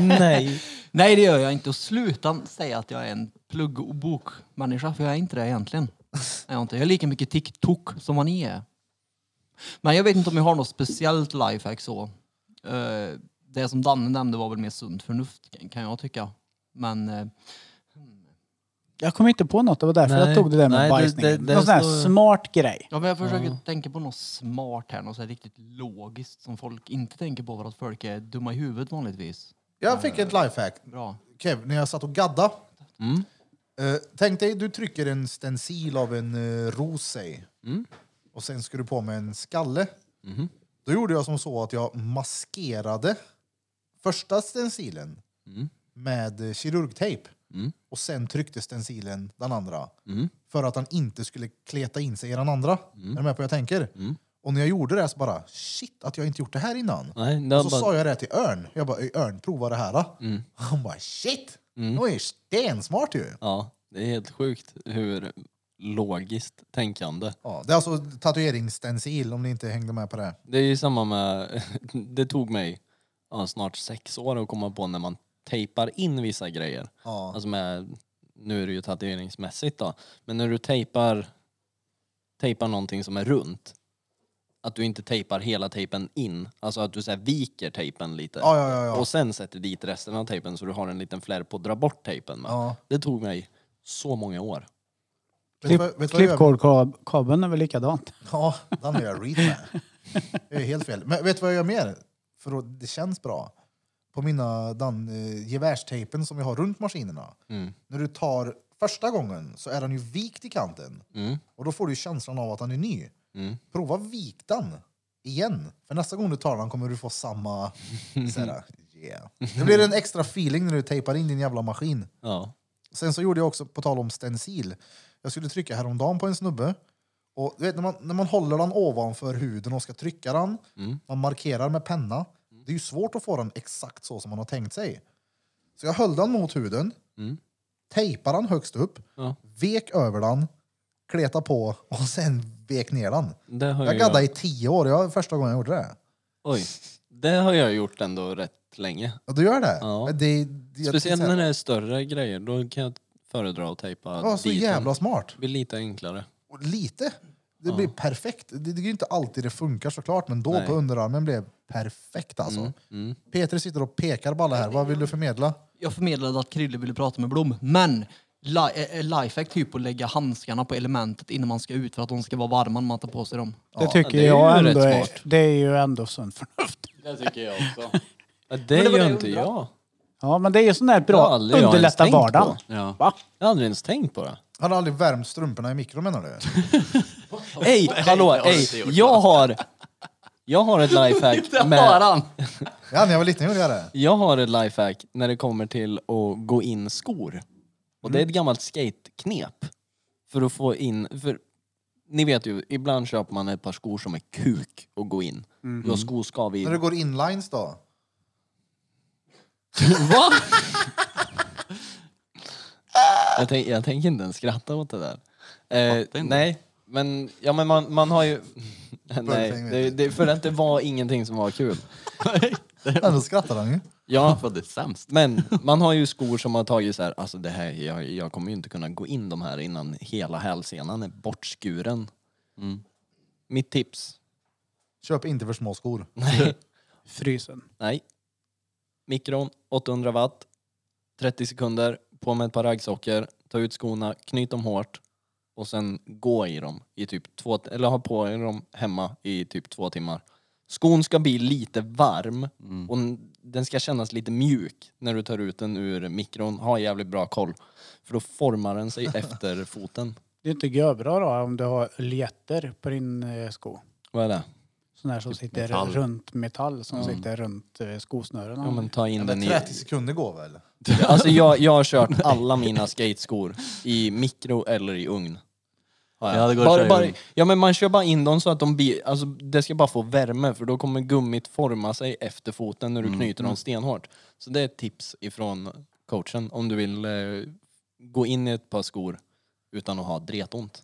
G: Nej. Nej, det gör jag inte. Och sluta säga att jag är en plugg och bokmänniska, för jag är inte det egentligen. Nej, Jag är, inte. Jag är lika mycket TikTok som vad ni är. Men jag vet inte om jag har något speciellt lifehack så. Eh, det som Danne nämnde var väl mer sunt förnuft, kan- kan jag tycka. Men eh,
D: Jag kom inte på något, det var därför
G: Nej.
D: jag tog det där med
G: Nej, det-
D: bajsningen.
G: det- det
D: någon sån här
G: står-
D: smart grej.
G: Ja, men jag försöker tänka på något smart här, något så här riktigt logiskt som folk inte tänker på för att folk är dumma i huvudet vanligtvis.
A: Jag fick ett lifehack.
G: Bra.
A: Kev, när jag satt och gadda. Eh, tänk dig, du trycker en stencil av en uh, ros, säg. Och sen ska du på med en skalle. Då gjorde jag som så att jag maskerade första stencilen med eh, kirurgtejp. Och sen tryckte stencilen den andra. För att han inte skulle kleta in sig i den andra. Är du med på vad jag tänker? Och när jag gjorde det så bara, shit att jag inte gjort det här innan.
B: Nej, det
A: och så
B: var-
A: sa jag det till Örn. Jag bara, "Ey, Örn prova det här. då." Han bara, shit! Det var ju stensmart ju.
B: Ja, det är helt sjukt hur logiskt tänkande.
A: Ja, det är alltså tatueringsstencil om ni inte hängde med på det.
B: Det är ju samma med, det tog mig ja, snart sex år att komma på när man tejpar in vissa grejer.
A: Ja.
B: Alltså med, nu är det ju tatueringsmässigt då, men när du tejpar, tejpar någonting som är runt, att du inte tejpar hela tejpen in, alltså att du så här viker tejpen lite
A: Ja, ja, ja, ja.
B: och sen sätter dit resten av tejpen så du har en liten flärp att dra bort tejpen med.
A: Ja.
B: Det tog mig så många år.
A: Vet du vad- vet du vad jag gör?
D: Klippkålkabeln är väl likadant?
A: Ja, den gör jag read med. Det är helt fel. Men vet du vad jag gör mer? För att det känns bra. På mina den, eh, gevärstejpen som jag har runt maskinerna.
B: Mm.
A: När du tar första gången så är den ju vikt i kanten.
B: Mm.
A: Och då får du känslan av att den är ny.
B: Mm.
A: Prova vik den igen. För nästa gång du tar den kommer du få samma... Såhär, yeah. Det blir en extra feeling när du tejpar in din jävla maskin.
B: Ja.
A: Sen så gjorde jag också, på tal om stencil, jag skulle trycka häromdagen på en snubbe. Och du vet, när, man, när man håller den ovanför huden och ska trycka den,
B: Mm.
A: man markerar med penna. Det är ju svårt att få den exakt så som man har tänkt sig. Så jag höll den mot huden,
B: Mm.
A: tejpade den högst upp,
B: Ja.
A: vek över den, kleta på och sen vek ner den.
B: Det har
A: Jag gaddade i tio år, det var första gången jag gjorde det.
B: Oj, det har jag gjort ändå rätt länge.
A: Ja, du gör det?
B: Ja.
A: Men Det, det, jag-
B: Speciellt
A: så här-
B: när det är större grejer, då kan jag föredra att tejpa
A: Ja, så
B: dit
A: jävla
B: den.
A: smart.
B: Det blir lite enklare.
A: Och lite. Det
B: Ja.
A: blir perfekt. Det, det är ju inte alltid det funkar såklart, men då
B: Nej.
A: på underarmen blev perfekt alltså.
B: Mm.
A: Peter sitter och pekar på alla här. Vad vill du förmedla?
G: Jag förmedlade att Krille ville prata med Blom, men li- eh, eh, lifehack typ att lägga handskarna på elementet innan man ska ut för att de ska vara varma när man tar på sig dem.
D: Det tycker jag ändå är, det är ju ändå sunt förnuft.
B: Det tycker jag också. det
D: Men det var
B: gör
D: det
B: inte
D: jag
B: jag.
D: Ja, men det är ju sån där
B: Det har
D: bra,
B: aldrig jag ens
D: underlätta
B: tänkt
D: vardagen.
B: på. Jag har aldrig ens tänkt på det.
A: Han har aldrig värmt strumporna i mikron menar du?
B: Ey, hallå, ey, jag har... Jag har ett lifehack med...
A: Ja, när jag var liten gjorde jag det.
B: Jag har ett lifehack när det kommer till att gå in skor. Och det är
A: Mm.
B: ett gammalt skateknep. För att få in... För, ni vet ju, ibland köper man ett par skor som är kuk och gå in.
A: Mm.
B: Du har skoskav i.
A: När du går inlines då?
B: Va? jag, tänk, jag tänker inte ens skratta åt det där. Eh, nej, men, ja, men man, man har ju... nej, det, det, för att det var ingenting som var kul.
A: Ändå skrattar han ju.
B: Ja, men man har ju skor som har tagit så här, alltså det här, jag, jag kommer ju inte kunna gå in de här innan hela hälsenan är bortskuren. Mitt tips,
A: Köp inte för små skor.
D: Frysen.
B: nej. Mikron, 800 watt, 30 sekunder, på med ett par raggsockor, ta ut skorna, knyt dem hårt och sen gå i dem i typ två, eller ha på er dem hemma i typ två timmar. Skon ska bli lite varm och n- den ska kännas lite mjuk när du tar ut den ur mikron. Ha jävligt bra koll. För då formar den sig efter foten.
D: Det är inte görbra då om du har öljetter på din eh, sko.
B: Vad är det?
D: Sån där
A: Typ
D: som sitter
B: metall.
D: runt metall som
A: Mm.
D: sitter runt eh, skosnören.
B: Ja men ta in den i...
A: 30 sekunder går väl?
B: Alltså jag, jag har kört alla mina skateskor i mikro eller i ugn. Ja,
C: Ja, det går att
B: bara,
C: köra
B: bara,
C: igång.
B: ja men man kör bara in dem så att de blir, alltså det ska bara få värme för då kommer gummit forma sig efter foten när du
C: Mm.
B: knyter dem
C: Mm.
B: stenhårt. Så det är ett tips ifrån coachen om du vill eh, gå in i ett par skor utan att ha dretont.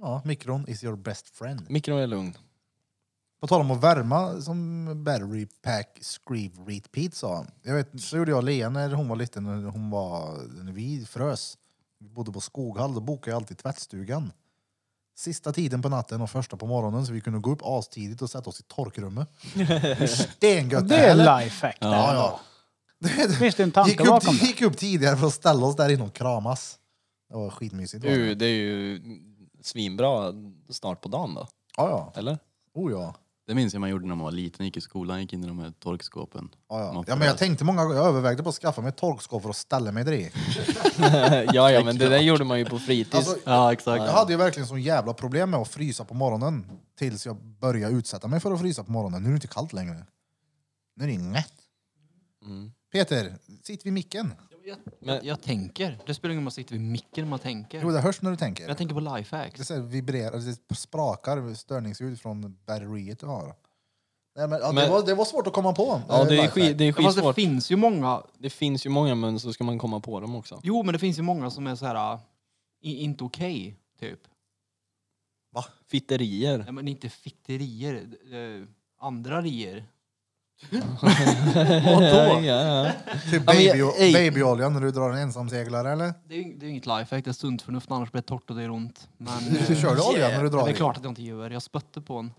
A: Ja, mikron is your best friend.
B: Mikron är lugn.
A: På tal om att värma som battery pack screeve repeat sa. Jag vet, så gjorde jag Lea när hon var liten, när hon var, när vi frös. Vi bodde på Skoghall, då bokade jag alltid tvättstugan. Sista tiden på natten och första på morgonen så vi kunde gå upp astidigt och sätta oss i torkrummet. Hur stengött
D: Det är
A: eller?
D: lifehack det.
A: Ja, ja.
D: Finns det en
A: Gick
D: tanke bakom
A: upp,
D: det?
A: gick upp tidigare för att ställa oss där inne och kramas. Det var skitmysigt. var det.
B: Du, det är ju svinbra start på dagen då.
A: Ja, ja.
B: Eller?
A: Oh, ja.
C: Det minns jag man gjorde när man var liten, gick i skolan, gick in i de här torkskåpen.
A: Ja, ja.
C: Man får
A: ja, men jag
C: läsa.
A: tänkte många gånger, jag övervägde på att skaffa mig ett torkskåp för att ställa mig där i.
B: ja, ja, men det där gjorde man ju på fritids.
A: Alltså,
C: Ja, exakt.
A: Jag hade ju verkligen sån jävla problem med att frysa på morgonen tills jag började utsätta mig för att frysa på morgonen. Nu är det inte kallt längre. Nu är det inget.
B: Mm.
A: Peter, sitt vid micken.
G: Men jag tänker. Det spelar ingen roll om man sitter vid micken man
A: Jo,
G: tänker.
A: det hörs när du tänker.
G: Jag tänker på lifehacks.
A: Det så här vibrerar, det sprakar störningsljud från batteriet du har. Nej, men, ja, det,
B: Men-
A: var, det var svårt att komma på.
B: Ja,
A: eh,
B: det är,
A: lifehack.
B: skit, det är
G: Ja, fast det
B: skitsvårt.
G: finns ju många.
B: Det finns ju många men så ska man komma på dem också.
G: Jo, men det finns ju många som är så här, i- inte okej, typ.
B: Fitterier.
G: Nej, men inte fitterier. Eh, andra rier.
B: ja,
G: Vadå?
B: ja.
A: Typ
B: Ja, men
A: baby,
B: jag- ej.
A: babyolja när du drar en ensamseglare eller?
G: Det är ju det är ju inget lifehack, det är sunt förnuft annars blir det torrt och det är ont. Men,
A: Du kör du olja när du drar
G: Det är
A: i?
G: klart att jag inte gör, jag spötte på en.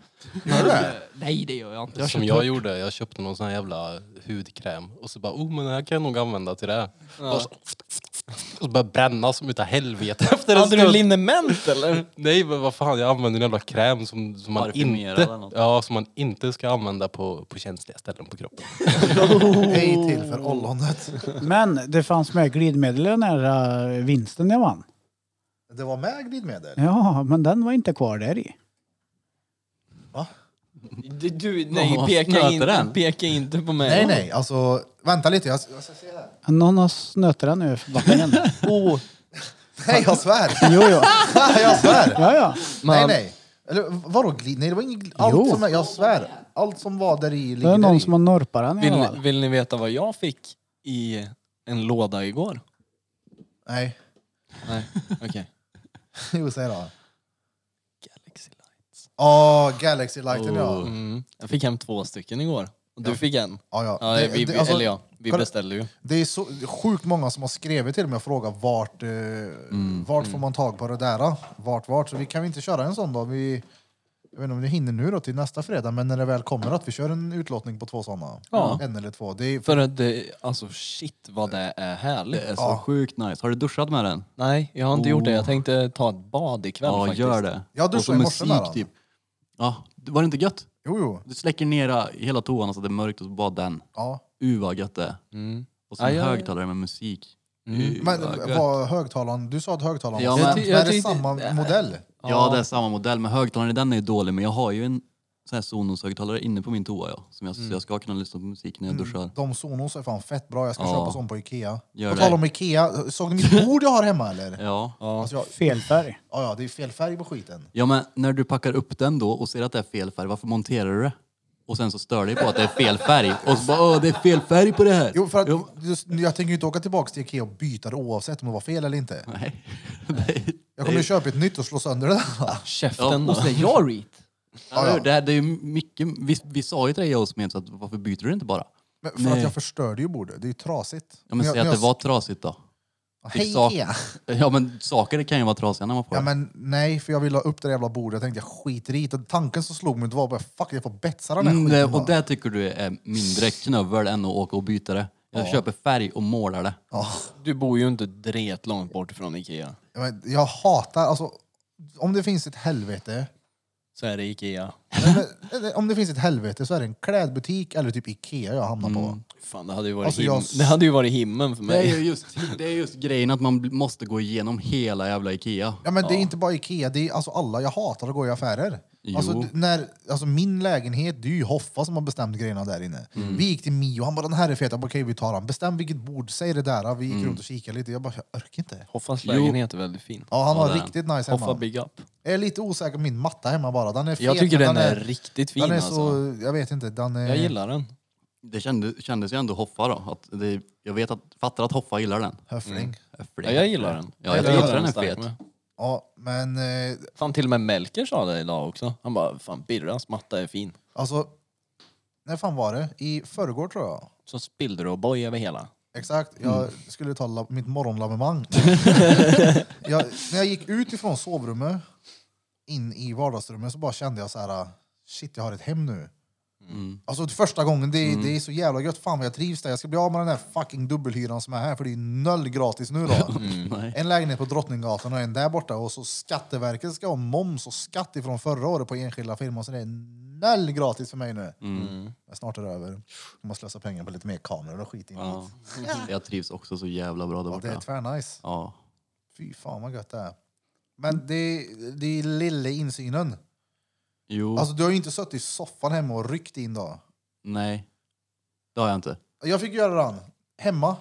A: Gör du det?
G: Eh, Nej det gör jag inte.
J: Det
G: Jag
J: som
G: kör
J: jag
G: torrt.
J: gjorde, jag köpte någon sån här jävla hudkräm och så bara oh men den här kan jag nog använda till det. Och så, och så började bränna som utav helvete efter en
B: Hade du
J: stund.
B: liniment eller?
J: Nej men vad fan, jag använder en jävla kräm som, som, man,
C: Parfymerad eller
J: inte,
C: något.
J: ja, som man inte ska använda på, på känsliga ställen på kroppen.
A: Hej till för ollonet.
D: Men det fanns med glidmedel i den här eh, vinsten jag vann.
A: Det var med glidmedel?
D: Ja, men den var inte kvar där i.
B: Du, du nej,
C: Vad
B: peka,
C: snöter
B: in,
C: den?
B: peka inte på mig.
A: Nej, nej, alltså vänta lite. Jag, jag ska se här.
D: Någon har snött den nu för backen.
B: Åh,
A: Nej, jag svär!
D: Jo, jo.
A: jag svär!
D: Ja, ja.
A: Nej,
B: Man-
A: nej. Eller vadå glid? Nej, det var inget glid. Allt
D: Jo.
A: som är, jag svär. Allt som var där i
D: Det
A: ligger
D: är
A: där i.
D: någon som har norpat den i
B: vill,
D: alla
B: ni-
D: fall.
B: vill ni veta vad jag fick i en låda igår?
A: Nej,
B: Nej, okej.
A: jo säg då.
B: Galaxy Light.
A: Åh, Galaxy Lighten ja.
B: Mm. Jag fick hem två stycken igår. Och du fick en.
A: Ja, ja.
B: Ja,
A: Det-
B: vi,
A: det- alltså,
B: eller ja, vi
A: kolla-
B: beställde ju.
A: Det är så det är sjukt många som har skrivit till mig och frågat vart, eh,
C: Mm.
A: vart får man tag på det där? Vart, vart? Så vi kan vi inte köra en sån då? Vi, jag vet inte om vi hinner nu då till nästa fredag, men när det väl kommer att vi kör en utlåtning på två sådana.
B: Ja.
A: En eller två. Det är,
B: För att det, alltså shit vad det är härligt.
C: Det är så
A: Ja.
C: sjukt nice. Har du duschat med den?
B: Nej, jag har inte gjort det.
C: Oh.
B: Jag tänkte ta ett bad ikväll
C: Ja,
B: faktiskt.
C: gör det.
A: Jag duschade
C: Och så
A: i morse med den.
C: typ. Ja, var det inte gött?
A: jo, jo.
C: Du släcker ner hela toan så att det är mörkt och så bara den.
A: Ja.
C: Uh vad gött det är.
B: Mm.
C: Och sen
B: Ja, ja, ja.
C: högtalare med musik. Uh,
A: Mm. Men
C: vad gött.
A: vad högtalaren, du sa att högtalaren
C: Ja,
A: var
C: men-
A: sämst.
B: Jag ty-
A: Men
B: jag
A: är det
B: tyckte-
A: samma modell?
C: Ja, det är samma modell, men högtalaren i den är ju dålig. Men jag har ju en sån här Sonos-högtalare inne på min toa, ja. Som jag,
A: Mm.
C: så jag ska kunna lyssna på musik när jag duschar.
A: De Sonos är fan fett bra, jag ska
C: Ja.
A: köpa sån på Ikea.
C: Gör
A: på
C: det.
A: tal om Ikea, såg ni mitt bord jag har hemma eller?
C: Ja.
B: Ja.
A: Alltså jag,
D: Fel färg.
A: ja, ja, det är fel färg på skiten.
C: ja, men när du packar upp den då och ser att det är fel färg, varför monterar du det? Och sen så stör dig på att det är fel färg. Och så bara, åh, det är fel färg på det här.
A: Jo, för att,
C: Jo,
A: just, jag tänker ju inte åka tillbaka till Ikea och byta det oavsett om det var fel eller inte.
C: Nej. Nej.
A: Jag kommer ju köpa ett nytt och slå sönder det där.
G: Ja,
B: Käften
G: och
B: då.
G: så är jag reet.
A: Ja,
C: Ja,
A: ja.
C: Det, här, det är ju mycket, vi, vi sa ju till dig jag och Smet, att varför byter du inte bara?
A: Men för att jag förstörde ju bordet, det är ju trasigt.
C: Ja, men
A: jag,
C: säg att
A: jag-
C: det var typ trasigt då.
A: Hej,
C: sak-
A: Ikea.
C: Ja men saker kan ju vara trasiga när man får
A: Ja,
C: det.
A: men nej, för jag ville ha upp det där jävla bordet. Jag tänkte jag skiter i det. Och Tanken som slog mig det var bara fuck, jag får betsa den här
C: Mm,
A: skiten.
C: det,
A: bara.
C: och det tycker du är mindre knövel än att åka och byta det. Jag köper färg och målar det.
B: Du bor ju inte dret långt bort från Ikea.
A: Ja, men Jag hatar, alltså om det finns ett helvete
B: Så är det Ikea.
A: Nej, men, om det finns ett helvete så är det en klädbutik eller typ Ikea jag hamnar på.
B: Fan, det hade ju varit,
A: Alltså,
B: him-
A: jag-
B: det hade ju varit himlen för
C: Det är
B: mig.
C: ju just, det är just grejen att man bl- måste gå igenom hela jävla Ikea.
A: Ja, men Det är inte bara Ikea, det är alltså alla. Jag hatar att gå i affärer.
C: Jo.
A: Alltså, d- när, alltså min lägenhet, det är ju Hoffa som har bestämt grejerna där inne.
B: Mm.
A: Vi gick till Mio, han bara den här är fet, jag bara okej vi tar han. Bestäm vilket bord, säg det där. Vi gick
B: Mm.
A: runt och kikade lite, jag bara jag orkar inte.
B: Hoffans
A: Jo.
B: lägenhet är väldigt fin.
A: Ja, han har
B: det är
A: riktigt nice hemma.
B: Hoffa big up.
A: Jag är lite osäker på min matta hemma bara. Den är fet,
B: Jag tycker
A: men
B: den är riktigt fin,
A: Den är så,
C: alltså.
A: jag vet inte, den är...
B: den.
C: Det kändes, kändes ju ändå Hoffa då. Att det, jag vet att, fattar att Hoffa gillar den.
A: Höfling.
B: Mm.
C: Höfling.
B: Ja, jag gillar den.
C: Ja, jag
B: Eller-
C: tycker den är
B: stark
C: fet.
B: med.
A: Ja, men... Eh,
B: Fan till och med Melker sa det idag också. Han bara, fan Birrans matta är fin.
A: Alltså, när fan var det? I förrgår tror jag.
B: Så spillde du och boj över hela.
A: Exakt, jag
B: Mm.
A: skulle ta lab- mitt morgonlabemang. jag, när jag gick ut ifrån sovrummet in i vardagsrummet så bara kände jag så här, shit jag har ett hem nu. Alltså det första gången, det,
C: Mm.
A: det är så jävla gött, fan vad jag trivs där. Jag ska bli av med den här fucking dubbelhyran som är här för det är noll gratis nu då.
B: Mm.
C: Nej.
A: En lägenhet på Drottninggatan och en där borta och så Skatteverket ska ha moms och skatt ifrån förra året på enskilda firmor så det är noll gratis för mig nu.
C: Mm.
A: Men snart är det över. Jag måste slösa pengar på lite mer kameror och skit in
C: Ja.
B: Mm.
A: dit.
C: Jag trivs också så jävla bra där
A: Ja,
C: borta.
A: det är tvärnice.
C: Ja.
A: Fy fan vad gött det är. Men det, det är lille insynen.
C: Jo,
A: Alltså du har ju inte suttit i soffan hemma och ryckt in då.
C: nej. Det har jag inte.
A: Jag fick göra den hemma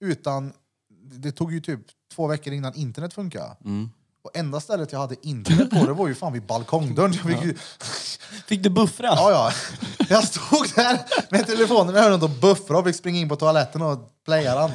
A: utan... Det tog ju typ två veckor innan internet funkade.
C: Mm.
A: Och enda stället jag hade internet på det var ju fan vid balkongdörren. Jag fick, ju...
B: fick du buffra?
A: Ja, ja. Jag stod där med telefonen i öronen och buffrade och fick springa in på toaletten och playa den.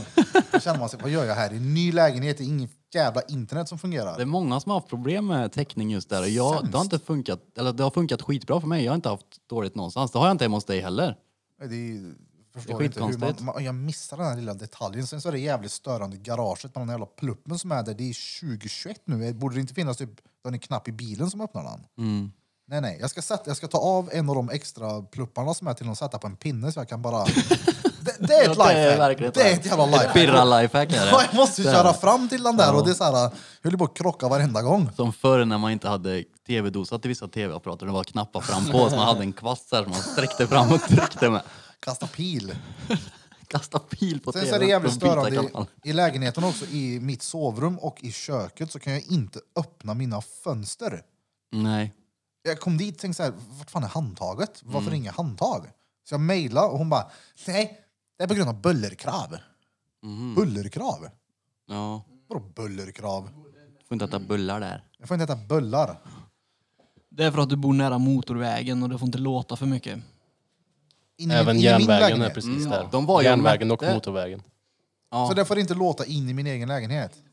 A: Då kände man sig, vad gör jag här? I en ny lägenhet, det är inget jävla internet som fungerar.
C: Det är många som har haft problem med täckning just där. Och Jag, det, har inte funkat, eller det har funkat skitbra för mig. Jag har inte haft dåligt någonstans. Det har jag inte hemma hos dig heller.
A: Det är, förstår
C: Det är
A: inte hur man,
C: skitkonstigt.
A: man, jag missar den här lilla detaljen. Sen så är det jävligt störande i garaget med den här jävla pluppen som är där. Det är 2021 nu. Borde det inte finnas typ, då är det en knapp i bilen som öppnar den?
C: Mm.
A: Nej, nej. Jag ska, sätta, jag ska ta av en av de extra plupparna som är till och sätta på en pinne så jag kan bara... Det, det är ett
C: Ja, det är
A: lifehack.
C: verkligen
A: Det,
C: ett
A: är ett
C: lifehack.
A: jävla
C: Ett
A: lifehack.
C: pirra-lifehack är det.
A: Ja, Jag måste
C: Det är
A: köra
C: det.
A: fram till den där
C: Ja.
A: och det är så här... Jag höll ju på att krocka varenda gång.
C: Som förr när man inte hade tv-dosa till vissa tv-apparater. Det var knappar fram på så man hade en kvast här som man sträckte fram och tryckte med.
A: Kasta pil.
C: Kasta pil på
A: Sen
C: tvn.
A: så är det jävligt
C: och byta
A: störande i,
C: kanal.
A: i lägenheten också. I mitt sovrum och i köket så kan jag inte öppna mina fönster.
C: Nej.
A: Jag kom dit och tänkte så här, vart fan är handtaget? Varför
C: Mm.
A: inga handtag? Så jag mejlade och hon bara, nej, det är på grund av bullerkrav.
C: Mhm.
A: Bullerkrav?
C: Ja.
A: Vadå bullerkrav?
C: Får inte äta bullar där.
A: Jag får inte äta bullar.
G: Det är för att du bor nära motorvägen och det får inte låta för mycket.
A: In Mm. i-
J: Även
A: in i min
J: järnvägen är
A: lägenhet.
J: precis
C: Mm,
J: där.
C: de var ju
J: järnvägen och
C: mätte.
J: motorvägen.
A: Så det får inte låta in i min egen lägenhet.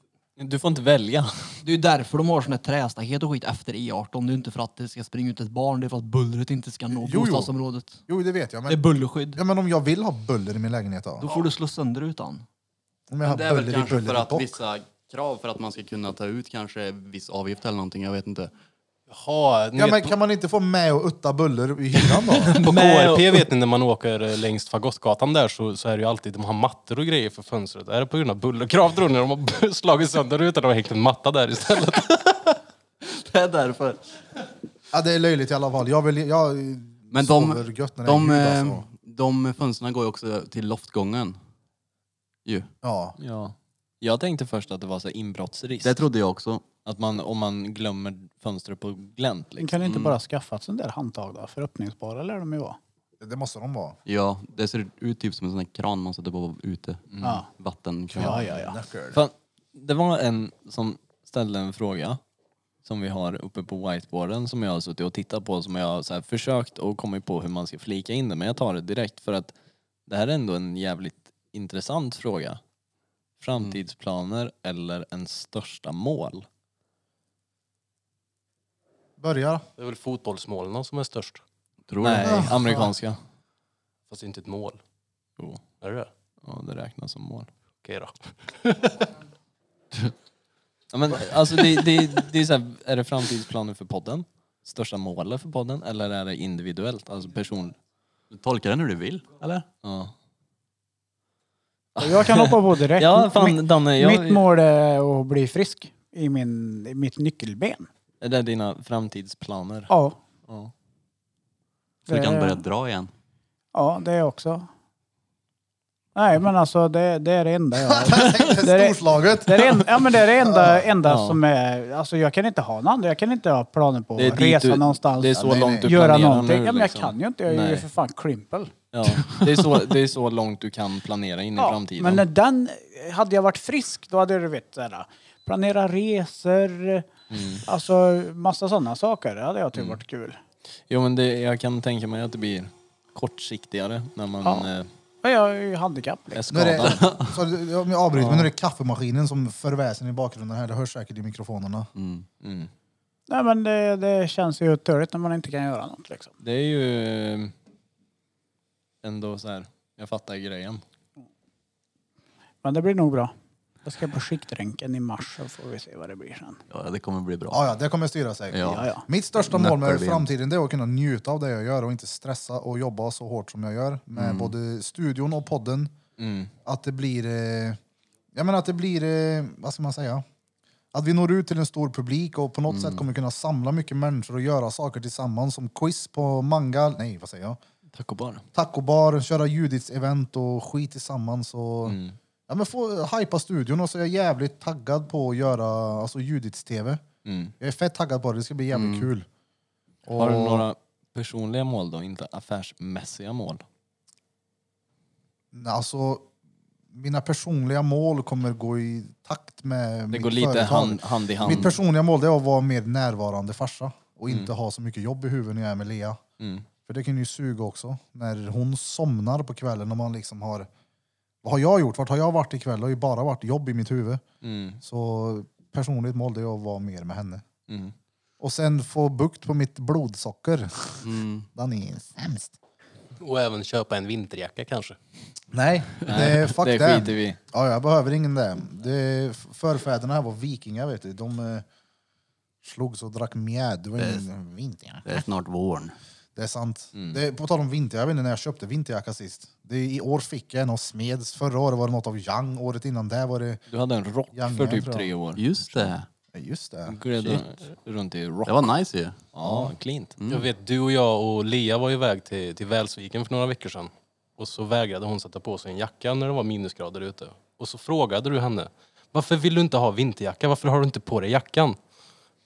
B: Du får inte välja.
G: Det är ju därför de har sån här trästaket och skit efter E18. Det är inte för att det ska springa ut ett barn, det är för att bullret inte ska nå
A: jo.
G: bostadsområdet.
A: Jo, det vet jag. Men,
G: Det är bullerskydd.
A: ja, men om jag vill ha buller i min lägenhet då?
G: Då får du slå sönder utan.
A: Om jag har
C: Men det är väl
A: buller i
C: kanske
A: buller
C: för
A: i
C: att
A: bock.
C: vissa krav för att man ska kunna ta ut kanske viss avgift eller någonting. Jag vet inte.
J: Jaha, ni
A: Ja,
J: vet,
A: men kan man inte få med och utta buller i hyran då?
J: På
G: Med och-
J: KRP vet ni när man åker eh, längs Fagottgatan där så, så är det ju alltid, de har mattor och grejer för fönstret. Är det på grund av bullerkrav tror ni? De har slagit sönder rutan och hängt en matta där istället.
C: Det är därför.
A: Ja, det är löjligt i alla fall. Jag, vill, jag
C: Men
A: sover
C: de,
A: gött när det
C: de,
A: är ljud
C: eh,
A: alltså.
C: de fönstren går ju också till loftgången. Ju.
A: Ja.
B: Ja. Jag tänkte först att det var så här inbrottsrisk.
C: Det trodde jag också.
B: Att man, om man glömmer fönstret på glänt.
D: Men
B: Liksom.
D: kan det
A: Mm.
D: inte bara skaffat sån där handtag då? För öppningsbara lär de ju vara.
A: Det måste de vara.
C: Ja, det ser ut typ som en sån här kran man sätter på ute.
D: Ja.
C: Vattenkran.
D: Ja, ja, ja.
B: Fan, det var en som ställde en fråga som vi har uppe på whiteboarden som jag har suttit och tittat på som jag har så här försökt och kommit på hur man ska flika in det men jag tar det direkt för att det här är ändå en jävligt intressant fråga. Framtidsplaner eller ens största mål?
A: Börja.
J: Det är väl fotbollsmålen som är störst.
C: Tror du?
B: Nej, amerikanska.
J: Fast det är inte ett mål.
B: Jo,
J: Är det det?
B: ja, det räknas som mål.
J: Okej då.
B: Ja, men, alltså, det, det, det är, så här, är det framtidsplaner för podden? Största målet för podden? Eller är det individuellt? Alltså person...
C: Du tolkar den hur du vill.
D: Eller?
B: Ja.
D: Jag kan hoppa på direkt.
B: Ja, fan,
D: mitt,
B: Danne, jag-
D: mitt mål är att bli frisk i, min, i mitt nyckelben.
B: Är det dina framtidsplaner?
D: Ja,
B: Ja.
C: Så du
D: Det-
B: Eh.
C: kan börja dra igen.
D: ja det är jag också. Nej, men alltså det, det är det enda jag...
M: tänkte storslaget.
D: Det är det, en- ja, men det är det enda, enda
B: Ja.
D: som är... Alltså jag kan inte ha något annat. Jag kan inte ha planer på
B: Det är
D: att
B: dit
D: resa
B: du-
D: någonstans.
B: det är så långt du
D: Alltså, Göra
B: planerar
D: någonting.
B: nu,
D: ja, men jag
B: liksom.
D: kan ju inte. Jag är ju
B: Nej.
D: för fan krimpel.
B: Ja, det, är så, det är så långt du kan planera in i framtiden.
D: Men när den, hade jag varit frisk då hade jag du vet såhär, planera resor,
B: Mm.
D: alltså massa sådana saker. Det hade jag tyckt varit kul.
B: Jo men det, jag kan tänka mig att det blir kortsiktigare när man eh,
D: Men jag är ju handikapp.
B: är
D: Liksom.
B: skadad.
A: Så, om jag avbryter, men nu är det kaffemaskinen som förväsen i bakgrunden här. Det hörs säkert i mikrofonerna.
D: Nej men det, det känns ju törligt när man inte kan göra något liksom.
B: Det är ju eh, ändå så här. jag fattar grejen.
D: Men det blir nog bra. Jag ska på skiktränken i mars så får vi se vad det blir sen.
C: Ja, det kommer bli bra.
A: Ja, ja, det kommer styra sig.
C: Ja.
D: Ja, ja.
A: Mitt största mål med
C: Näpparben.
A: framtiden det är att kunna njuta av det jag gör och inte stressa och jobba så hårt som jag gör med
B: Mm.
A: både studion och podden.
B: Mm.
A: Att det blir, eh, jag menar att det blir, eh, vad ska man säga? Att vi når ut till en stor publik och på något
B: Mm.
A: sätt kommer kunna samla mycket människor och göra saker tillsammans som quiz på manga, nej vad säger jag?
B: Tack och bara.
A: Tacobar, köra Judiths event och skit tillsammans och
B: Mm.
A: ja, men få hypa studion och så är jag jävligt taggad på att göra alltså Judiths TV.
B: Mm.
A: Jag är fett taggad på det, det ska bli jävligt kul.
B: Har du
A: Och-
B: några personliga mål då, inte affärsmässiga mål?
A: Nej, Alltså, mina personliga mål kommer gå i takt med
B: Det
A: mitt
B: går lite
A: företag.
B: hand, hand i hand.
A: Mitt personliga mål det är att vara mer närvarande farsa och inte ha så mycket jobb i huvudet när jag är med Lea.
B: Mm.
A: För det kan ju suga också. När hon somnar på kvällen och man liksom har... Vad har jag gjort? Vart har jag varit ikväll? Det har ju bara varit jobb i mitt huvud.
B: Mm.
A: Så personligt mål det är att vara mer med henne.
B: Mm.
A: Och sen få bukt på mitt blodsocker. Den är sämst.
J: Och även köpa en vinterjacka kanske.
C: Mm.
A: Nej, det, fuck
B: det
A: det.
B: skiter vi i.
A: Ja, jag behöver ingen det. det förfäderna här var vikingar, vet du. De eh, slogs och drack mjäd. Det var ingen vinterjacka.
C: Det är snart våren.
A: Det är sant.
B: Mm.
A: Det, på tal om vinter, jag vet inte när jag köpte vinterjacka sist. Det, I år fick jag en av Smeds, förra året var det något av Young, året innan det var det...
B: Du hade en rock
A: Young
B: för
A: Man,
B: typ
A: tror jag.
B: tre år.
C: Just det.
A: Ja, Just det.
B: Gled runt i rock.
C: Det var nice ju.
B: Ja, klint.
J: Jag vet, du och jag och Lea var iväg till, till Välsviken för några veckor sedan. Och så vägrade hon sätta på sig en jacka när det var minusgrader ute. Och så frågade du henne, varför vill du inte ha vinterjacka? Varför har du inte på dig jackan?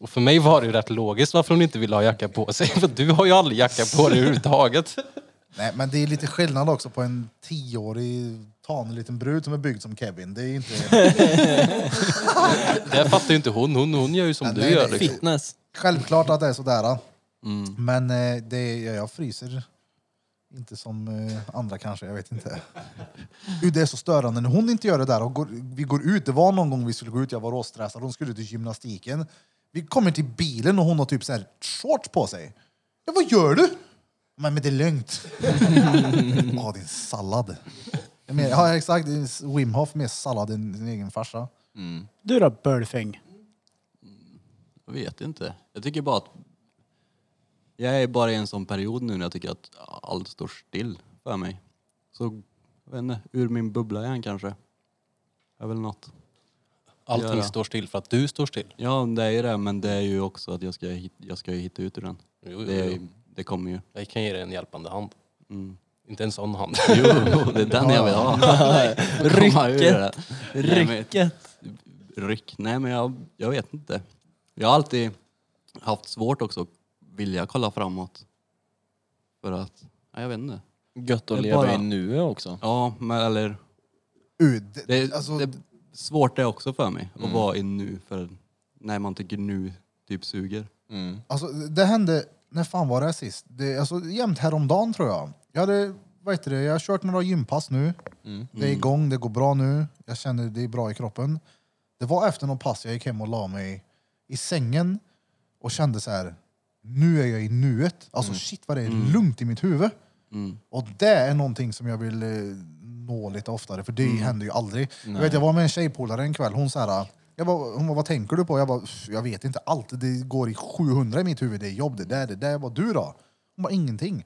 J: Och för mig var det ju rätt logiskt varför hon inte ville ha jacka på sig. För du har ju aldrig jacka på dig överhuvudtaget.
A: Nej, men det är lite skillnad också på en tioårig tanig liten brud som är byggd som Kevin. Det är inte...
J: Det fattar ju inte hon. Hon, hon gör ju som
A: Nej,
J: du
A: nej,
J: gör.
A: nej.
J: Liksom.
B: Fitness.
A: Självklart att det är sådär.
C: Mm.
A: Men eh, det, är- jag fryser inte som eh, andra kanske, jag vet inte. Gud, Det är så störande när hon inte gör det där. Och går, vi går ut, det var någon gång vi skulle gå ut, jag var råstressad, hon skulle till gymnastiken. Vi kommer till bilen och hon har typ så här shorts på sig. Ja, vad gör du? Men, men det är lugnt. Ja, din sallad. Jag menar, ja, exakt. det är Wim Hof med sallad än sin egen farsa.
D: Du då bölfing?
C: Jag vet inte. Jag tycker bara att... Jag är bara i en sån period nu när jag tycker att allt står still för mig. Så, jag vet inte, ur min bubbla igen kanske. Är väl något.
J: Allting
C: Göra.
J: står still för att du står still.
C: Ja, det är ju det, men det är ju också att jag ska, hit- jag ska ju hitta ut ur den.
J: Jo, jo,
C: Det, är,
J: jo.
C: det kommer ju.
J: Jag kan ge dig en hjälpande hand.
C: Mm.
J: Inte en sån hand.
C: Jo, det är den jag vill ha. Komma ur det. Nej, men-
B: Rycket.
C: Ryck? Nej, men jag, jag vet inte. Jag har alltid haft svårt också att vilja kolla framåt. För att, ja, jag vet inte.
B: Gött
C: Det
B: att
C: är
B: leva
C: bara-
B: i nuet också.
C: Ja, men eller...
A: Uh, det,
C: Det, är
A: alltså,
C: det är svårt det också för mig,
B: Mm.
C: att vara i nu. För när man tycker nu typ suger.
B: Mm.
A: Alltså, det hände, när fan var det här sist? Det, alltså, jämt häromdagen tror jag. Jag, hade, vad heter det, jag har kört några gympass nu. Det är igång, det går bra nu. Jag känner det är bra i kroppen. Det var efter någon pass jag gick hem och la mig i sängen och kände så här. nu är jag i nuet. Alltså shit vad det är lugnt i mitt huvud. Mm. Och det är någonting som jag vill eh, nå lite oftare, för det händer ju aldrig. Jag, vet, jag var med en tjejpolare en kväll, hon så här, jag bara, hon bara, vad tänker du på? Jag bara, "Pff, jag vet inte allt. Det går i 700 i mitt huvud, det är jobb, det där, det där. Vad du då? Hon bara, ingenting.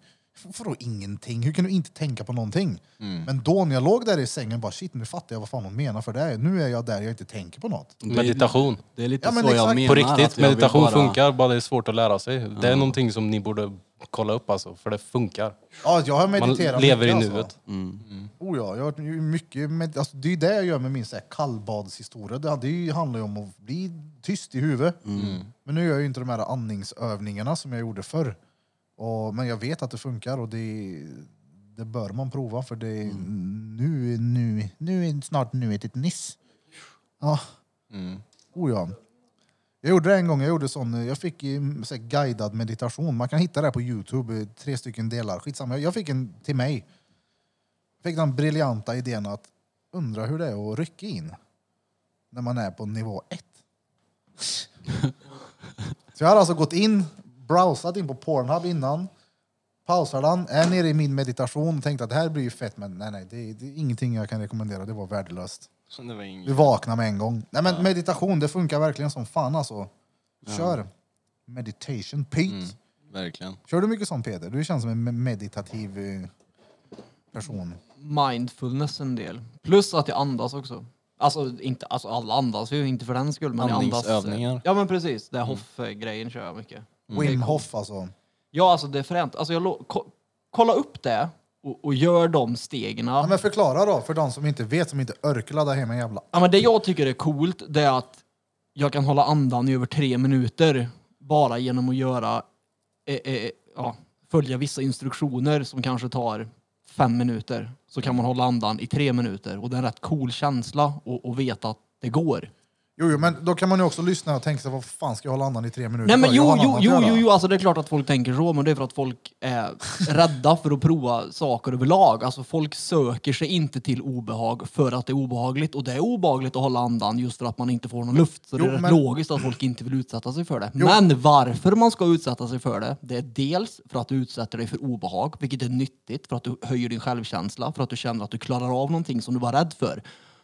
A: Vadå ingenting? Hur kan du inte tänka på någonting? Men då när jag låg där i sängen, bara shit, nu fattar jag vad fan hon menar för det. är- Nu är jag där jag inte tänker på något.
J: Meditation.
C: Det är lite
A: Ja, men
C: så jag
A: exakt.
C: menar.
J: På
C: att
J: riktigt,
C: jag vill
J: meditation
C: bara-
J: funkar, bara det är svårt att lära sig. Det är någonting som ni borde kolla upp alltså, för det funkar.
A: Ja, jag har
J: Man
A: mediterat
J: lever i
A: mycket,
J: nuet.
A: alltså. Oh ja, jag har gjort ju mycket med, alltså, det är ju det jag gör med min så här, kallbadshistoria. Det, det är ju- handlar ju om att bli tyst i huvudet.
J: Mm.
A: Mm. Men nu gör jag ju inte de här andningsövningarna som jag gjorde förr. Och, men jag vet att det funkar och det, det bör man prova för det är
J: Mm.
A: nu, nu, nu är snart nuet ett nyss. Ja.
J: Mm.
A: Oh ja. Jag gjorde det en gång, jag gjorde sån, jag fick eh, så här, guidad meditation. Man kan hitta det här på Youtube, eh, tre stycken delar. Skitsamma, jag- jag fick en till mig fick den briljanta idén att undra hur det är att rycka in när man är på nivå ett. så jag har alltså gått in, browsat in på Pornhub innan, pausar den, är nere i min meditation och tänkte att det här blir ju fett men nej nej, det, det är ingenting jag kan rekommendera, det var värdelöst.
B: Så det var inget.
A: Vi vaknar med en gång. Nej men meditation, det funkar verkligen som fan alltså. Kör! Meditation, Pete.
G: Mm.
B: Verkligen.
A: Kör du mycket sånt Peter? Du känns som en me- meditativ eh, person.
G: Mindfulness en del. Plus att jag andas också. Alltså, inte, alltså alla andas ju, inte för den skull. Men jag andas.
B: Andningsövningar.
G: Ja men precis, det är Hoff-grejen kör jag mycket.
A: Wim Hof alltså.
G: Ja alltså det är fränt. Alltså, jag lo- ko- kolla upp det och, och gör de stegen.
A: Ja, men förklara då för de som inte vet, som inte örklar där hemma jävla.
G: Ja, men det jag tycker är coolt det är att jag kan hålla andan i över tre minuter bara genom att göra, eh, eh, ja, följa vissa instruktioner som kanske tar fem minuter. Så kan man hålla andan i tre minuter och det är en rätt cool känsla och, och veta att det går.
A: Jo, jo, men då kan man ju också lyssna och tänka sig, vad fan ska jag hålla andan i tre minuter
G: Nej men
A: för? Jag
G: jo,
A: har
G: jo,
A: annat att
G: jo,
A: göra.
G: jo, jo, alltså det är klart att folk tänker så, men det är för att folk är rädda för att prova saker överlag. Alltså folk söker sig inte till obehag för att det är obehagligt och det är obehagligt att hålla andan just för att man inte får någon luft. Så
A: Jo,
G: det är rätt
A: men-
G: logiskt att folk inte vill utsätta sig för det.
A: Jo.
G: Men varför man ska utsätta sig för det, det är dels för att du utsätter dig för obehag, vilket är nyttigt, för att du höjer din självkänsla, för att du känner att du klarar av någonting som du var rädd för.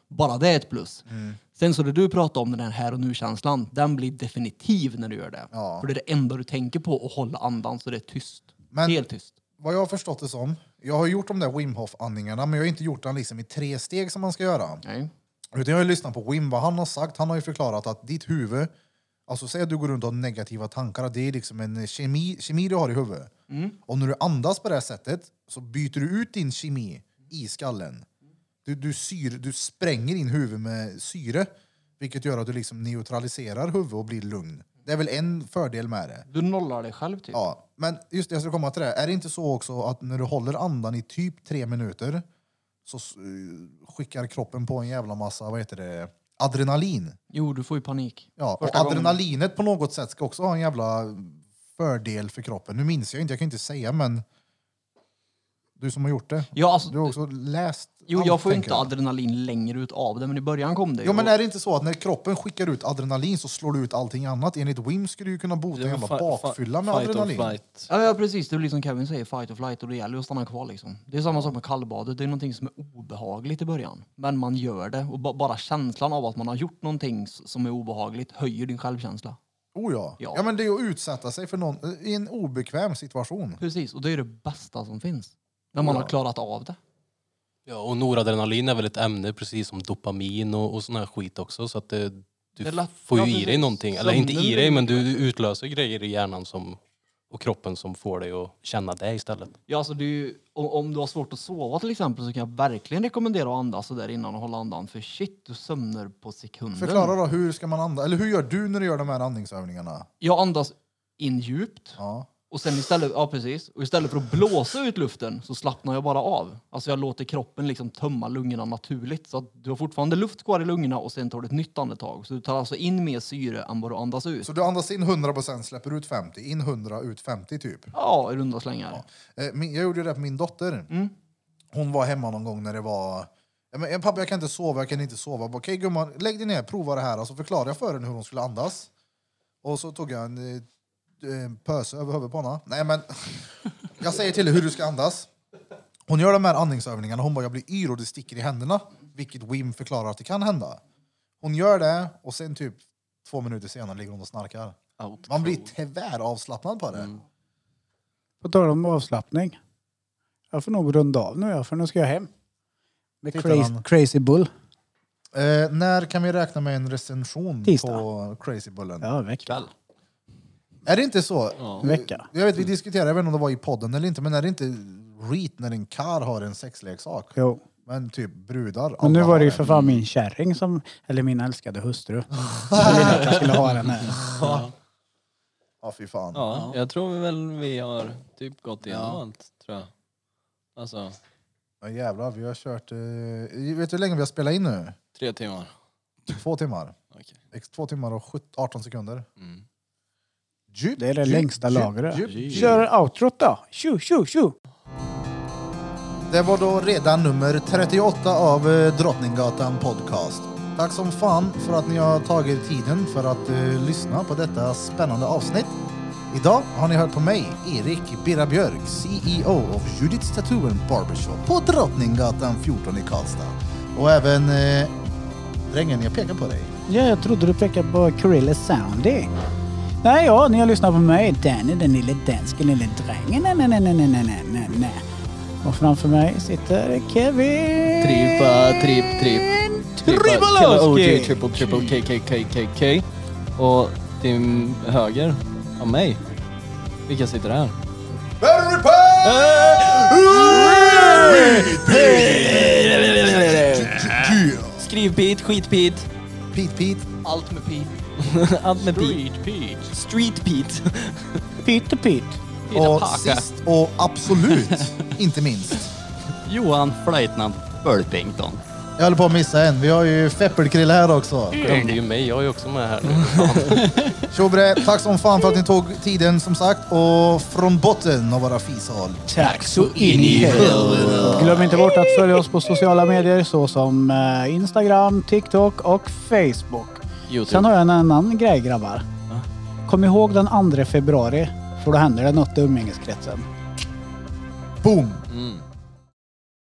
G: Bara det är ett plus.
A: Mm.
G: Sen så det du pratar om, den här här och nu-känslan, den blir definitiv när du gör det.
A: Ja.
G: För det är det enda du tänker på, att hålla andan så det är tyst.
A: Men-
G: Helt tyst.
A: Vad jag har förstått det som, jag har gjort de där Wim Hof-andningarna, men jag har inte gjort den liksom i tre steg som man ska göra.
G: Nej.
A: Utan jag har ju lyssnat på Wim, vad han har sagt. Han har ju förklarat att ditt huvud, alltså säg att du går runt och har negativa tankar, att det är liksom en kemi, kemi du har i huvudet. Och när du andas på det här sättet så byter du ut din kemi i skallen. Du, du, syr, du spränger in huvudet med syre, vilket gör att du liksom neutraliserar huvudet och blir lugn. Det är väl en fördel med det.
G: Du nollar dig själv typ.
A: Ja, men just det, jag skulle komma till det. Är det inte så också att när du håller andan i typ tre minuter så eh, skickar kroppen på en jävla massa, vad heter det, adrenalin?
G: Jo, du får ju panik.
A: Ja, och
G: Första gången.
A: adrenalinet på något sätt ska också ha en jävla fördel för kroppen. Nu minns jag inte, jag kan inte säga, men du som har gjort det,
G: Ja, alltså,
A: du har också läst
G: jo,
A: allt,
G: jag får ju
A: tänker
G: inte adrenalin längre ut av det, men i början kom det ju.
A: Jo, men är det inte så att när kroppen skickar ut adrenalin så slår du ut allting annat? Enligt Wim skulle du ju kunna bota en jävla bakfylla med adrenalin.
G: Ja, ja, precis. Det blir som Kevin säger, fight or flight, och det gäller ju att stanna kvar liksom. Det är samma sak med kallbadet, det är någonting som är obehagligt i början. Men man gör det, och ba- bara känslan av att man har gjort någonting s- som är obehagligt höjer din självkänsla.
A: Oh ja.
G: Ja.
A: ja. men det är att utsätta sig för någon eh, i en obekväm situation.
G: Precis, och det är det bästa som finns. När man har klarat av det.
J: Ja, och noradrenalin är väl ett ämne precis som dopamin och, och sån här skit också. Så att det, du
G: Det är lätt-
J: får ju
G: ja,
J: i dig
G: precis.
J: någonting. Eller inte i
G: Sömnen
J: dig,
G: blir-
J: men du, du utlöser grejer i hjärnan som, och kroppen som får dig att känna det istället.
G: Ja, alltså det är ju, om, om du har svårt att sova till exempel så kan jag verkligen rekommendera att andas så där innan och hålla andan. För shit, du sömnar på sekunden.
A: Förklara då, hur ska man andas? Eller hur gör du när du gör de här andningsövningarna?
G: Jag andas in djupt
A: Ja.
G: och sen istället, ja precis, och istället för att blåsa ut luften så slappnar jag bara av. Alltså jag låter kroppen liksom tömma lungorna naturligt så att du har fortfarande luft kvar i lungorna och sen tar du ett nytt andetag. Så du tar alltså in mer syre än vad du andas ut.
A: Så du andas in 100 släpper ut 50, in 100, ut 50 typ.
G: Ja, i runda slängar.
A: Eh, min- Jag gjorde ju det på min dotter. Hon var hemma någon gång när det var... Ja, men, eh, Pappa, jag kan inte sova, jag kan inte sova. Jag bara, Okej gumman, lägg dig ner, prova det här. Och så förklarade jag för henne hur hon skulle andas. Och så tog jag en eh, eh, pöse över huvudet på henne. Nej men, jag säger till dig hur du ska andas. Hon gör de här andningsövningarna, hon bara jag blir yr och det sticker i händerna. Vilket Wim förklarar att det kan hända. Hon gör det och sen typ två minuter senare ligger hon och snarkar. Man blir tyvärr avslappnad på det.
D: På tal om avslappning. Jag får nog runda av nu ja, för nu ska jag hem. Med
A: Titta,
D: crazy,
A: Anna.
D: crazy Bull.
A: Eh, när kan vi räkna med en recension
D: Tisdag.
A: på Crazy Bullen?
D: Ja, veckan.
A: Är det inte så?
D: En vecka.
A: Jag vet, vi diskuterade, jag vet inte om det var i podden eller inte, men är det inte reet när en kar har en sexleksak?
D: Jo.
A: Men typ brudar.
D: Men nu
A: alla
D: var det ju
A: har
D: för
A: en.
D: fan min kärring som, eller min älskade hustru, som ville att jag skulle ha den här.
A: Ja. Ja, fy fan.
B: Ja, jag tror väl vi har typ gått igenom allt, tror jag. Alltså,
A: Ja, jävlar, vi har kört... eh, vet du hur länge vi har spelat in nu?
B: tre timmar.
A: Två timmar.
B: Okej.
A: Ex- Två timmar och 17, 18 sekunder.
B: Mm.
A: Djup,
D: Det är det
A: djup,
D: längsta
A: djup,
D: lagret.
A: djup, djup.
D: Kör outrot då. Tjo, tjo, tjo.
A: Det var då redan nummer 38 av eh, Drottninggatan Podcast. Tack som fan för att ni har tagit er tiden för att eh, lyssna på detta spännande avsnitt. Idag har ni hört på mig, Erik Birra Björk, CEO of Judith's Tattoo and Barbershop på Drottninggatan 14 i Karlstad. Och även eh, drängen, jag pekar på dig.
D: Ja, jag trodde du pekade på Gorilla Soundy. Nej, ja, ni har lyssnat på mig. Danny, den lille dansken, lille drängen. Nej, nej, nej, nej, nej, nej, nej, nej. Och framför mig sitter Kevin.
B: Trippa, tripp, tripp. Trippa,
D: Tribalowski.
B: Kella OG, triple, triple, KKKKK. Och till höger av mig, vilka sitter här? Skrivpit, skitpit.
A: Pete Pete.
G: Allt med Pete.
B: Allt med pit.
G: Pete.
B: Street Pete.
D: Pytte pytt.
A: Och sist och absolut inte minst.
C: Johan Flöjtnant Bölpington.
A: Jag håller på att missa en. Vi har ju Feppelkrille här också.
J: Glömde ju mig, jag är ju också med här nu.
A: Tjobre, tack som fan för att ni tog tiden som sagt och från botten av våra fishål.
D: Tack så in i helvete. Glöm inte bort att följa oss på sociala medier såsom eh, Instagram, TikTok och Facebook. Sen
B: Youtube.
D: har jag en annan grej grabbar. Kom ihåg den 2 februari, för då händer det något i umgängeskretsen.
A: Boom!
B: Mm.